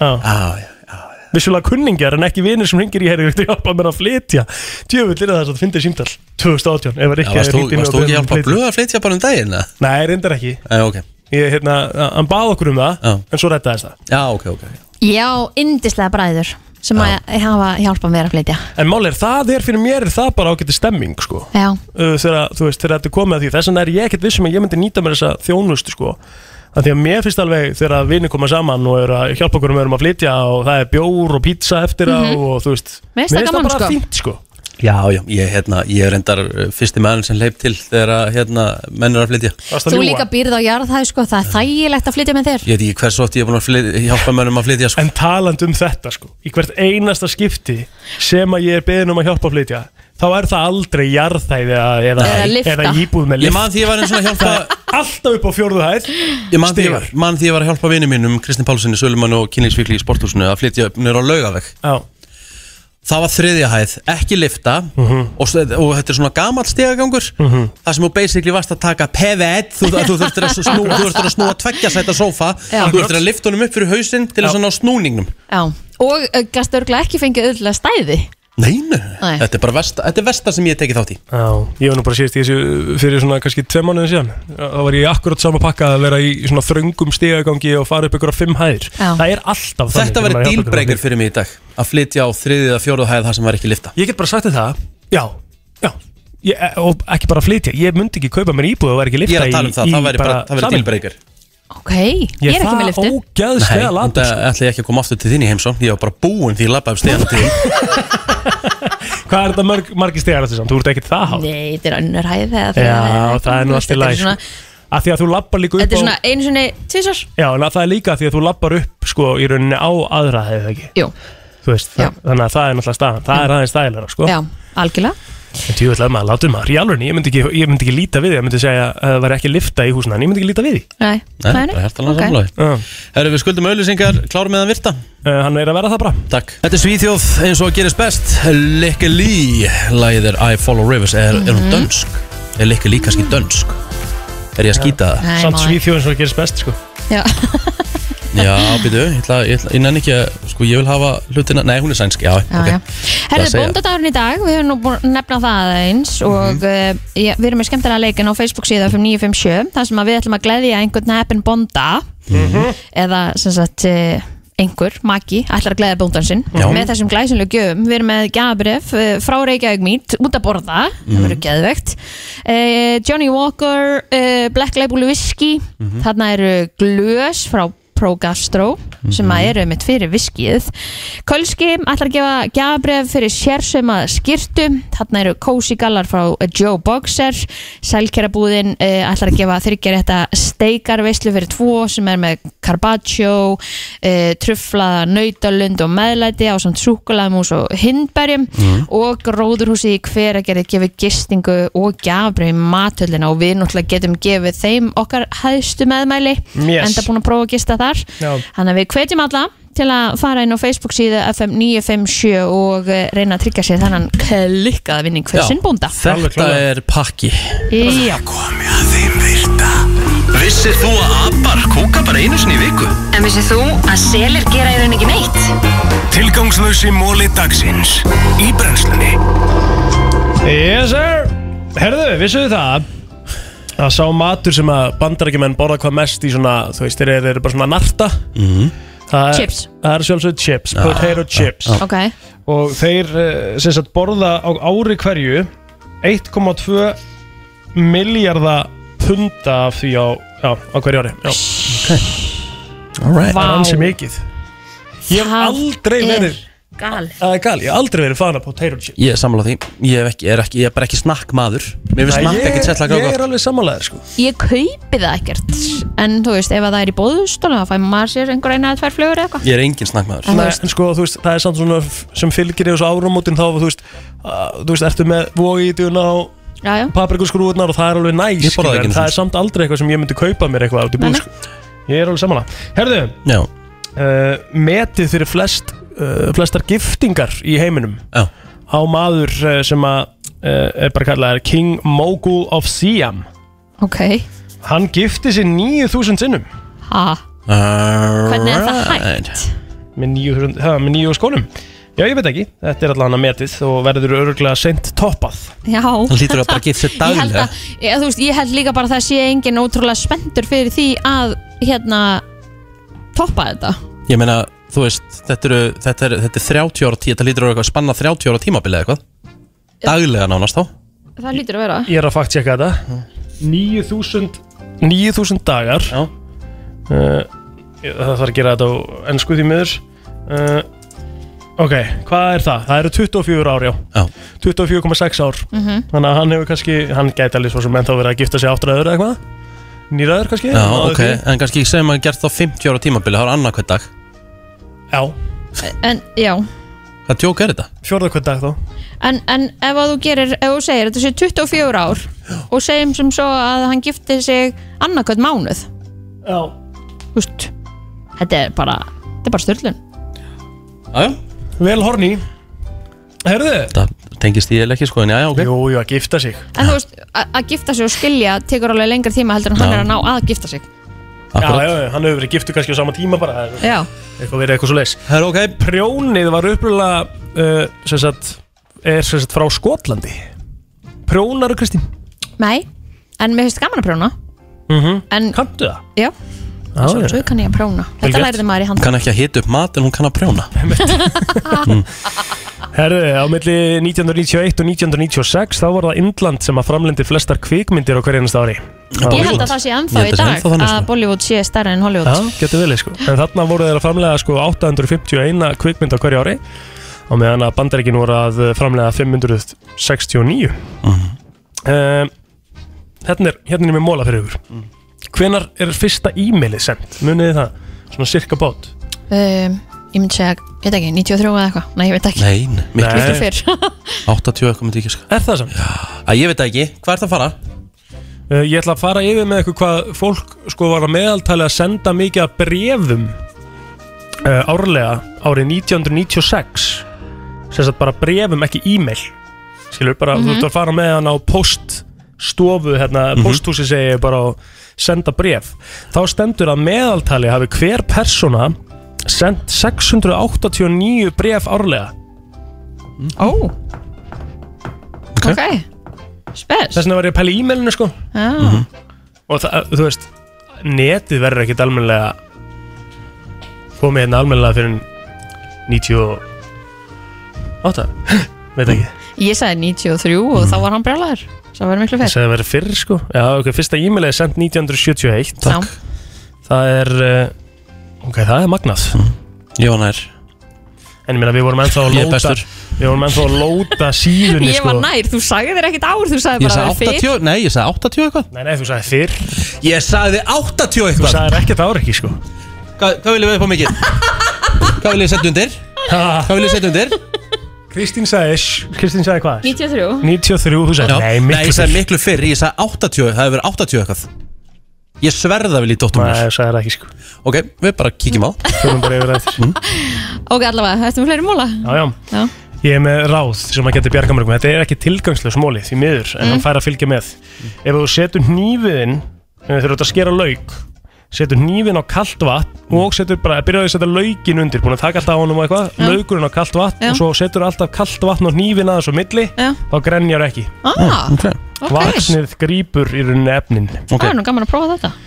[SPEAKER 2] Ah, já, já
[SPEAKER 4] Vissulega kunningjar en ekki vinir sem hringir í herri Þú hjálpa mér að flytja Djöfull er það að finna símtal 2018 Ef að
[SPEAKER 2] Já,
[SPEAKER 4] Rikki
[SPEAKER 2] varst þú-
[SPEAKER 4] hringdi í mig
[SPEAKER 2] varst
[SPEAKER 4] og
[SPEAKER 2] þú ekki
[SPEAKER 4] beðið um
[SPEAKER 2] hjálpa
[SPEAKER 4] flytja.
[SPEAKER 2] blöð að flytja bara um daginn? eða?
[SPEAKER 4] Nei, reyndar ekki
[SPEAKER 2] Nei, ok
[SPEAKER 4] Ég, hérna, hann bað okkur um það
[SPEAKER 2] Já.
[SPEAKER 4] En svo rettaðist það
[SPEAKER 2] Já, ok, ok
[SPEAKER 3] Já, yndislega bræður sem að hafa hjálpað mér að flytja
[SPEAKER 4] En mál er, það er fyrir mér er það bara ágæti stemming sko.
[SPEAKER 3] Já,
[SPEAKER 4] uh, þegar, þú veist, þegar þetta er komið að því þess vegna er ég ekkert vissum að ég myndi nýta mér þessa þjónustu sko að því að mér finnst alveg þegar að vinni koma saman og eru að hjálpa okkur um að flytja og það er bjór og pizza eftir á
[SPEAKER 3] Mhm.
[SPEAKER 4] og þú veist
[SPEAKER 3] Mér finnst það gaman,
[SPEAKER 4] bara
[SPEAKER 3] sko.
[SPEAKER 4] fínt sko
[SPEAKER 2] Já, já, ég, hérna, ég er endar fyrsti maður sem leip til þegar að, hérna, menn er að flytja
[SPEAKER 3] þú líka býrð á jarðhæð sko, það er þægilegt að flytja með þér
[SPEAKER 2] Ég veit ekki hversu oft ég er búin að flytja, hjálpa mönnum að flytja sko.
[SPEAKER 4] En taland um þetta sko í hvert einasta skipti sem að ég er beðin um að hjálpa að flytja þá er það aldrei jarðhæði eða, eða,
[SPEAKER 2] Eða lyfta.
[SPEAKER 4] eða íbúð með lift
[SPEAKER 2] Ég man því ég var eins og að hjálpa-
[SPEAKER 4] Það er Alltaf upp á fjórðu hæð
[SPEAKER 2] Ég man því,
[SPEAKER 4] Stigar.
[SPEAKER 2] man því ég var að hjálpa vinið mínum, Kristinn Pálssoni, Sölumann og Kynlíksvíkli í sporthúsinu að flytja upp nýra á laugaveg
[SPEAKER 4] Já.
[SPEAKER 2] Það var þriðja hæð, ekki lifta og, s- og þetta er svona gamall stegagangur
[SPEAKER 4] Mhm.
[SPEAKER 2] Það sem þú basically varst að taka pevett Þú, þú þurftir að, snú, þú þurftir að snúa tveggja sæta sófa
[SPEAKER 3] Já.
[SPEAKER 2] Þú þurftir að lifta honum upp fyrir hausinn til þess að ná snúningnum
[SPEAKER 3] eh, Já, og gastu örglega ekki fengið öll stæði
[SPEAKER 2] Nei, nei,
[SPEAKER 3] Nei.
[SPEAKER 2] þetta er bara versta, þetta er versta sem ég hef tekið þátt í
[SPEAKER 4] Já, ég var nú bara síðast í þessu fyrir svona kannski tveim mánuðin síðan þá var ég akkurat sama pakka að vera í svona þröngum stegagangi og fara upp ykkur á fimm hæðir Það er alltaf þannig
[SPEAKER 2] Þetta
[SPEAKER 4] þegar maður
[SPEAKER 2] verður
[SPEAKER 4] er hjá okkur á
[SPEAKER 2] dílbreykar fyrir mig í dag Að flytja á þriðið að fjóruð hæð þar sem var ekki lifta
[SPEAKER 4] Ég get bara sagt þér það Já, já ég, e, Og ekki bara flytja, ég myndi ekki kaupa mér íbúð og væri ekki
[SPEAKER 2] Ég er
[SPEAKER 4] lifta
[SPEAKER 2] að tala um það, það væri bara, það væri
[SPEAKER 4] sameiningu.
[SPEAKER 2] dílbreykar
[SPEAKER 3] Ok, ég er ekki með liftu
[SPEAKER 4] ógæðslega
[SPEAKER 2] latast Þetta ætla ég ekki að koma aftur til þín í heimsó Ég var bara búinn því ég labbaði af stegana til þín
[SPEAKER 4] Hvað er þetta mörg, margir stegar þessi samt? Þú ert ekkert það hátt
[SPEAKER 3] Nei, þetta er önnur hæð eða þriðja hæð,
[SPEAKER 4] Já, það er nú
[SPEAKER 3] þú
[SPEAKER 4] allt
[SPEAKER 3] veist,
[SPEAKER 4] í sko.
[SPEAKER 3] þetta er
[SPEAKER 4] læg
[SPEAKER 3] svona-
[SPEAKER 4] Af því að þú lappar líka upp
[SPEAKER 3] Þetta er
[SPEAKER 4] á-
[SPEAKER 3] svona einu sinni tvisar
[SPEAKER 4] Já, en að það er líka því að þú lappar upp sko í rauninni á aðra hefur ekki
[SPEAKER 3] Jú.
[SPEAKER 4] Þú veist, það, þannig að það er náttúrulega staðan Það er aðeins stælara sko
[SPEAKER 3] Mm. Já, algjörlega
[SPEAKER 4] En þú ætlaði maður, látum maður, í alveg ég myndi ekki, ég myndi ekki líta við því Ég myndi segja að það væri ekki lifta í húsna En ég myndi ekki líta við því
[SPEAKER 3] Nei,
[SPEAKER 2] Nei, bara hjartalega okay. samlega Herru, við skuldum auðlýsingar, klárum með að virta
[SPEAKER 4] uh, Hann er að vera það bara
[SPEAKER 2] Takk Þetta er Svíþjóð eins og gerist best Likke Lí, lagið er I Follow Rivers Er, er hún
[SPEAKER 4] Mhm.
[SPEAKER 2] dönsk? Er Likke Lí kannski dönsk? Er ég að skýta það?
[SPEAKER 4] Samt svíþjóðin svo gerist best sko
[SPEAKER 3] Já,
[SPEAKER 2] Já, býtu, ég ætla, ég ætla, ég nenni ekki að, sko, ég vil hafa hlutina, nei, hún er sænsk, já,
[SPEAKER 3] já,
[SPEAKER 2] ok.
[SPEAKER 3] já.
[SPEAKER 2] Ég ætla að
[SPEAKER 3] Herðu,
[SPEAKER 2] segja.
[SPEAKER 3] bóndadagurinn í dag, við höfum nú búin að nefna það eins og
[SPEAKER 11] Mhm.
[SPEAKER 3] uh, ég, við erum með skemmtilega leikin á Facebook síðan 5957 þar sem að við ætlum að gleðja einhvern heppin bónda eða sem sagt eh, einhver, maki, ætlar að gleðja bóndan sinn
[SPEAKER 11] Já.
[SPEAKER 3] með þessum glæsinlegu gjöfum, við erum með gafabref eh, frá Reykjavík mít, út að borða það
[SPEAKER 11] Mhm.
[SPEAKER 3] verður geðvegt eh, Johnny Walker, eh, Black Label Whisky,
[SPEAKER 11] Mhm.
[SPEAKER 3] þarna eru glös frá Progastro sem að eru mitt fyrir viskið Kölski ætlar að gefa gjafabref fyrir sérsöma skýrtum þarna eru Cozy Gallar frá Joe Boxer Sælkerabúðin uh, ætlar að gefa þryggjar þetta steikarveislu fyrir tvo sem er með Carpaccio uh, truflaða nautalund og meðlæti á samt súkulamús og hindberjum
[SPEAKER 11] Mhm.
[SPEAKER 3] og gróðurhúsið í hver að gera gefið gistingu og gjafabrið matöllina og við náttúrulega getum gefið þeim okkar hæðstu meðmæli
[SPEAKER 11] Yes.
[SPEAKER 3] enda búin að prófa að gista þar
[SPEAKER 11] Já.
[SPEAKER 3] þannig að við hvetjum alla til að fara inn á Facebook síðu FM 957 og eh, reyna að tryggja sér þannan klikkaða vinning fyrir
[SPEAKER 2] Já,
[SPEAKER 3] sinn bónda
[SPEAKER 2] Þetta er pakki.
[SPEAKER 3] Já,
[SPEAKER 2] Vissir þú að abar kúka bara einu sinni í viku?
[SPEAKER 11] En vissið þú að selir gera í raun ekki neitt?
[SPEAKER 13] Tilgangslösi móli dagsins Í brennslunni
[SPEAKER 4] Yes sir Herðu, vissuðu það að sá matur sem að bandarækjumenn borða hvað mest í svona, þú veist, þeir eru þeir eru bara svona narta
[SPEAKER 2] Mhm.
[SPEAKER 4] það
[SPEAKER 11] Eh.
[SPEAKER 4] er,
[SPEAKER 3] Chips.
[SPEAKER 4] Það er sjálfsögð chips,
[SPEAKER 2] Ah,
[SPEAKER 4] potato
[SPEAKER 2] ah,
[SPEAKER 4] chips
[SPEAKER 2] ah.
[SPEAKER 3] ok
[SPEAKER 4] Og þeir eh, sem sagt borða á ári hverju 1,2 miljardar punda af því á, já, á hverju ári Já,
[SPEAKER 2] All right.
[SPEAKER 4] það er ansi mikið Ég hef aldrei
[SPEAKER 11] er
[SPEAKER 4] verið
[SPEAKER 3] Gal
[SPEAKER 4] Það er gal, ég hef aldrei verið fan af potato chips
[SPEAKER 2] Ég er sammála því, ég, hef ekki, er ekki, ég er bara ekki snakk maður. Mér finnst
[SPEAKER 4] Nei,
[SPEAKER 2] snakk
[SPEAKER 4] ég-
[SPEAKER 2] ekkert sérstaklega
[SPEAKER 4] Ég
[SPEAKER 2] gott.
[SPEAKER 4] er alveg sammálaður sko
[SPEAKER 3] Ég kaupi það ekkert en þú veist, ef að það er í bóðustóla þá fæ maður sér einhver eina að tvær flögur eða eitthvað
[SPEAKER 2] Ég er engin snakk maður.
[SPEAKER 4] Nei, en sko, þú veist, það er samt svona f- sem fylgir í þessu áramótin þá, þú veist, að, þú veist, ertu með vóiðuna og
[SPEAKER 3] Já, já.
[SPEAKER 4] paprikusgrúðunar og það er alveg næs,
[SPEAKER 2] Ég borðaði ekki
[SPEAKER 4] skilur, en
[SPEAKER 2] einu
[SPEAKER 4] það
[SPEAKER 2] sinni.
[SPEAKER 4] er samt aldrei eitthvað sem ég myndi kaupa mér eitthvað átt í
[SPEAKER 3] Nei,
[SPEAKER 4] búð,
[SPEAKER 3] nei.
[SPEAKER 4] sko. Ég er alveg samanlega. Herðu,
[SPEAKER 2] Já.
[SPEAKER 4] uh, metið fyrir flest, uh, flestar giftingar í heiminum
[SPEAKER 2] já.
[SPEAKER 4] á maður uh, sem að, uh, er bara kallaðar King Mogul of Siam.
[SPEAKER 3] Ok,
[SPEAKER 4] Hann gifti sér 9000 sinnum.
[SPEAKER 3] ha, hvernig er það hægt?
[SPEAKER 4] Með nýju, ha, með nýju skónum Já, ég veit ekki, þetta er allan að metið og verður öruglega seint toppað
[SPEAKER 3] Já
[SPEAKER 4] Hann hlýtur að bara gifta sér
[SPEAKER 3] Ég held að- ég, þú veist, ég held líka bara að það sé engin ótrúlega spenntur fyrir því að hérna toppa þetta
[SPEAKER 2] Ég meina, þú veist, þetta, eru, þetta, er, þetta er 30 ára tíma, þetta lítur að vera eitthvað að spanna 30 ára tímabilið eða eitthvað. Daglega nánast þá.
[SPEAKER 3] Það lítur að vera
[SPEAKER 4] Ég er að fakt checka þetta 9000 9000 dagar
[SPEAKER 2] Já
[SPEAKER 4] uh, ég- Það þarf að gera þetta á ennsku því miður uh, Ok, hvað er það? Það eru 24 ár, já,
[SPEAKER 2] já.
[SPEAKER 4] 24,6 ár
[SPEAKER 11] Mhm.
[SPEAKER 4] Þannig að hann hefur kannski, hann gæti alveg svo sem ennþá verið að gifta sig áttræður eða eitthvað Nýræður kannski
[SPEAKER 2] Já,
[SPEAKER 4] náðu
[SPEAKER 2] ok,
[SPEAKER 4] því.
[SPEAKER 2] en kannski segjum að gert þá 50 ára tímabilið, það er annað hver dag.
[SPEAKER 4] Já.
[SPEAKER 3] En, já
[SPEAKER 2] Hvað tjók er þetta?
[SPEAKER 4] Fjórða hvern dag þá?
[SPEAKER 3] En, en ef að þú gerir, ef þú segir þetta sé 24 ár og segjum sem svo að hann gifti sig annarkvæmt mánuð
[SPEAKER 4] Já
[SPEAKER 3] Úst, Þetta er bara, þetta er bara styrlun
[SPEAKER 2] Aja.
[SPEAKER 4] Vel horni Herðu
[SPEAKER 2] Það tengist ég ekki sko, en já, já, ok.
[SPEAKER 4] Jú, jú, að gifta sig.
[SPEAKER 3] En þú veist, a- að gifta sig og skilja tekur alveg lengur tíma heldur en hann
[SPEAKER 4] Já.
[SPEAKER 3] er að ná að gifta sig
[SPEAKER 4] Já, já, já, hann hefur verið giftu kannski á sama tíma bara það er
[SPEAKER 3] Já,
[SPEAKER 4] Eitthvað verið eitthvað svo leis
[SPEAKER 2] Það er ok
[SPEAKER 4] Prjónið var uppröðlega uh, sem sagt er sem sagt frá Skotlandi Prjónar og Kristín
[SPEAKER 3] Nei, en mér finnst gaman að próna
[SPEAKER 4] mm -hmm.
[SPEAKER 3] en,
[SPEAKER 4] Kanntu það?
[SPEAKER 3] Já, svo, svo kann ég að próna
[SPEAKER 2] Vel
[SPEAKER 3] Þetta
[SPEAKER 2] gert.
[SPEAKER 3] lærði maður í handa
[SPEAKER 2] Kann ekki að hita upp mat en hún kann að prjóna
[SPEAKER 4] Herðu, á milli 1991 og 1996 þá var það Indland sem að framlendi flestar kvikmyndir á hverjum ári
[SPEAKER 3] Ég held að það sé ennþá sko. í dag að Bollywood sé stærri en Hollywood
[SPEAKER 4] Já, getur velið sko En þarna voru þeir að framlega sko 851 kvikmynd á hverju ári og meðan að bandaríkin voru að framlega 569 Mhm. um, hérna, er, hérna er mér móla fyrir ykkur Hvenar er fyrsta e-mailið sendt? Munið þið það? Svona cirka bát
[SPEAKER 3] um, Ég myndi segja, ég veit ekki, 93 eða eitthvað Nei, ég veit ekki
[SPEAKER 2] Nei, nei, miklu
[SPEAKER 3] Miklu
[SPEAKER 2] fyrr.
[SPEAKER 3] fyrr
[SPEAKER 2] 80 eitthvað myndi ekki sko
[SPEAKER 4] Er það samt?
[SPEAKER 2] Að ég veit það ekki, hvað ert að fara?
[SPEAKER 4] Uh, ég ætla að fara yfir með eitthvað hvað fólk sko var að meðaltali að senda mikið að brefum uh, árlega árið 1996 sem sagt bara brefum ekki e-mail skilur bara þú
[SPEAKER 10] Mhm.
[SPEAKER 4] ert að fara með hann á poststofu hérna, posthúsi segi ég bara að senda bref þá stendur að meðaltali hafi hver persóna sendt 689 bref árlega
[SPEAKER 3] Ó Ok, Spes Mhm.
[SPEAKER 4] þess vegna var ég að pæla í e-mailinu sko
[SPEAKER 3] Já,
[SPEAKER 4] og það, þú veist netið verður ekkit almennilega komið hérna almennilega fyrir 98 veit ekki
[SPEAKER 3] Ég sagði 93 og þá var hann brjálæður Svo var miklu
[SPEAKER 4] þess
[SPEAKER 3] fyrr
[SPEAKER 4] að það verður fyrr sko já, ok, fyrsta e-mailið er sendt 1971
[SPEAKER 3] Takk.
[SPEAKER 4] það er uh, ok, það er magnað
[SPEAKER 2] Jó, nær
[SPEAKER 4] en ég meina við vorum ennþá að
[SPEAKER 2] Mm. Ég er
[SPEAKER 4] lóta
[SPEAKER 2] bestur.
[SPEAKER 4] við vorum ennþá að lóta síðunni
[SPEAKER 3] Ég
[SPEAKER 4] sko
[SPEAKER 3] var nær, þú sagði þér ekkit ár Þú sagði bara fyrr
[SPEAKER 2] nei, ég sagði 80 eitthvað
[SPEAKER 4] Nei, nei, þú sagði fyrr
[SPEAKER 2] Ég sagði 80 eitthvað
[SPEAKER 4] Þú sagðir ekkert ár ekki, sko
[SPEAKER 2] Hvað, hvað viljum við upp á mikið? hvað viljum við setja undir? Hvað viljum við setja undir?
[SPEAKER 4] Kristín sagði Kristín sagði hvað?
[SPEAKER 3] 93
[SPEAKER 4] 93, þú sagði nei,
[SPEAKER 2] Nei, ég
[SPEAKER 4] miklu
[SPEAKER 2] sagði miklu fyrr, ég sagði 80, það hefur verið 80 eitthvað Ég sverða vel í dóttum
[SPEAKER 4] Nei, ég sagði það ekki sko
[SPEAKER 2] Ok, við bara kíkjum á
[SPEAKER 4] Fjörum bara yfir það
[SPEAKER 3] Ok, allavega, þetta er fleiri móla
[SPEAKER 4] Já, já.
[SPEAKER 3] Já.
[SPEAKER 4] Ég er með ráð sem að geta bjarga mörgum. Þetta er ekki tilgangslega smóli því miður, en
[SPEAKER 3] Mm.
[SPEAKER 4] hann fær að fylgja með. Ef þú setur nýfiðinn, þegar þú ert að skera lauk, setur nýfinn á kallt vatn og setur bara, byrjaðu að setja laukin undir, búin að taka alltaf á honum og eitthvað,
[SPEAKER 3] Já.
[SPEAKER 4] laukurinn á kallt vatn
[SPEAKER 3] Já.
[SPEAKER 4] og svo setur alltaf kallt vatn og nýfinn aðeins á milli,
[SPEAKER 3] Já.
[SPEAKER 4] þá grenjar ekki.
[SPEAKER 3] Ah,
[SPEAKER 2] okay.
[SPEAKER 4] Vaksnið grípur í rauninni efnin.
[SPEAKER 3] Það er nú gaman að prófa þetta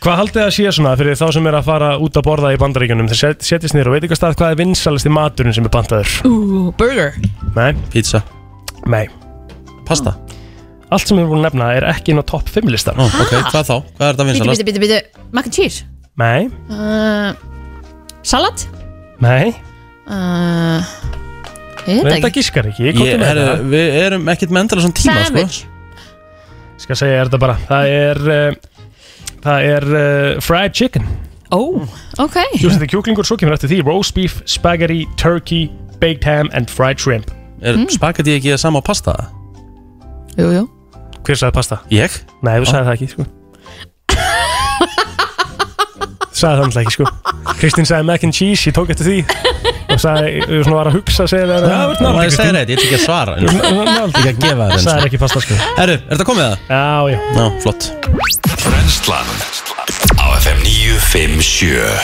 [SPEAKER 4] Hvað haldið það að sé svona fyrir þá sem er að fara út að borða í bandaríkjunum? Þeir set- setjast niður og veit ekki að stað hvað er vinsalasti maturinn sem er bandaður?
[SPEAKER 3] Ú, burger
[SPEAKER 4] Nei
[SPEAKER 2] Pizza
[SPEAKER 4] Nei
[SPEAKER 2] Pasta
[SPEAKER 4] Allt sem við erum búin að nefna er ekki inn á topp 5 listan
[SPEAKER 2] oh, Ok, hvað þá? Hvað er það
[SPEAKER 3] Bíti, bíti, bíti, bíti Mac and cheese
[SPEAKER 4] Nei,
[SPEAKER 3] uh, Salat
[SPEAKER 4] nei
[SPEAKER 3] uh, Ég veit
[SPEAKER 4] Þetta
[SPEAKER 3] ekki
[SPEAKER 4] gískar ekki, komdu
[SPEAKER 2] Ég,
[SPEAKER 4] með
[SPEAKER 2] herru,
[SPEAKER 4] það.
[SPEAKER 2] við erum ekkert með endala svona er tíma sko.
[SPEAKER 3] Savage.
[SPEAKER 4] Skal segja þér þetta bara Það er uh, Það er uh, fried chicken
[SPEAKER 3] Ó, ok
[SPEAKER 4] Jú, þetta er kjúklingur, svo kemur eftir því Roast beef, spaghetti, turkey, baked ham and fried shrimp
[SPEAKER 2] Er mm. spagetti ekki það sama á pasta?
[SPEAKER 3] Jú, jú
[SPEAKER 4] Hver sagði pasta?
[SPEAKER 2] Ég?
[SPEAKER 4] Nei, þú sagði það ekki, sko Þú sagði það náttúrulega ekki, sko Kristín sagði mac and cheese, ég tók eftir því Og sagði, þú svona var að hugsa segja þér að
[SPEAKER 2] Það var að segja þetta, ég ætla ekki að svara
[SPEAKER 4] Þú ert nálægt
[SPEAKER 2] Ég ætla ekki að gefa
[SPEAKER 4] Það er
[SPEAKER 2] það
[SPEAKER 4] ekki pasta, sko
[SPEAKER 2] Herru, er þetta komið það?
[SPEAKER 4] Já, já
[SPEAKER 2] Já, flott
[SPEAKER 1] Brennslan Á FM 957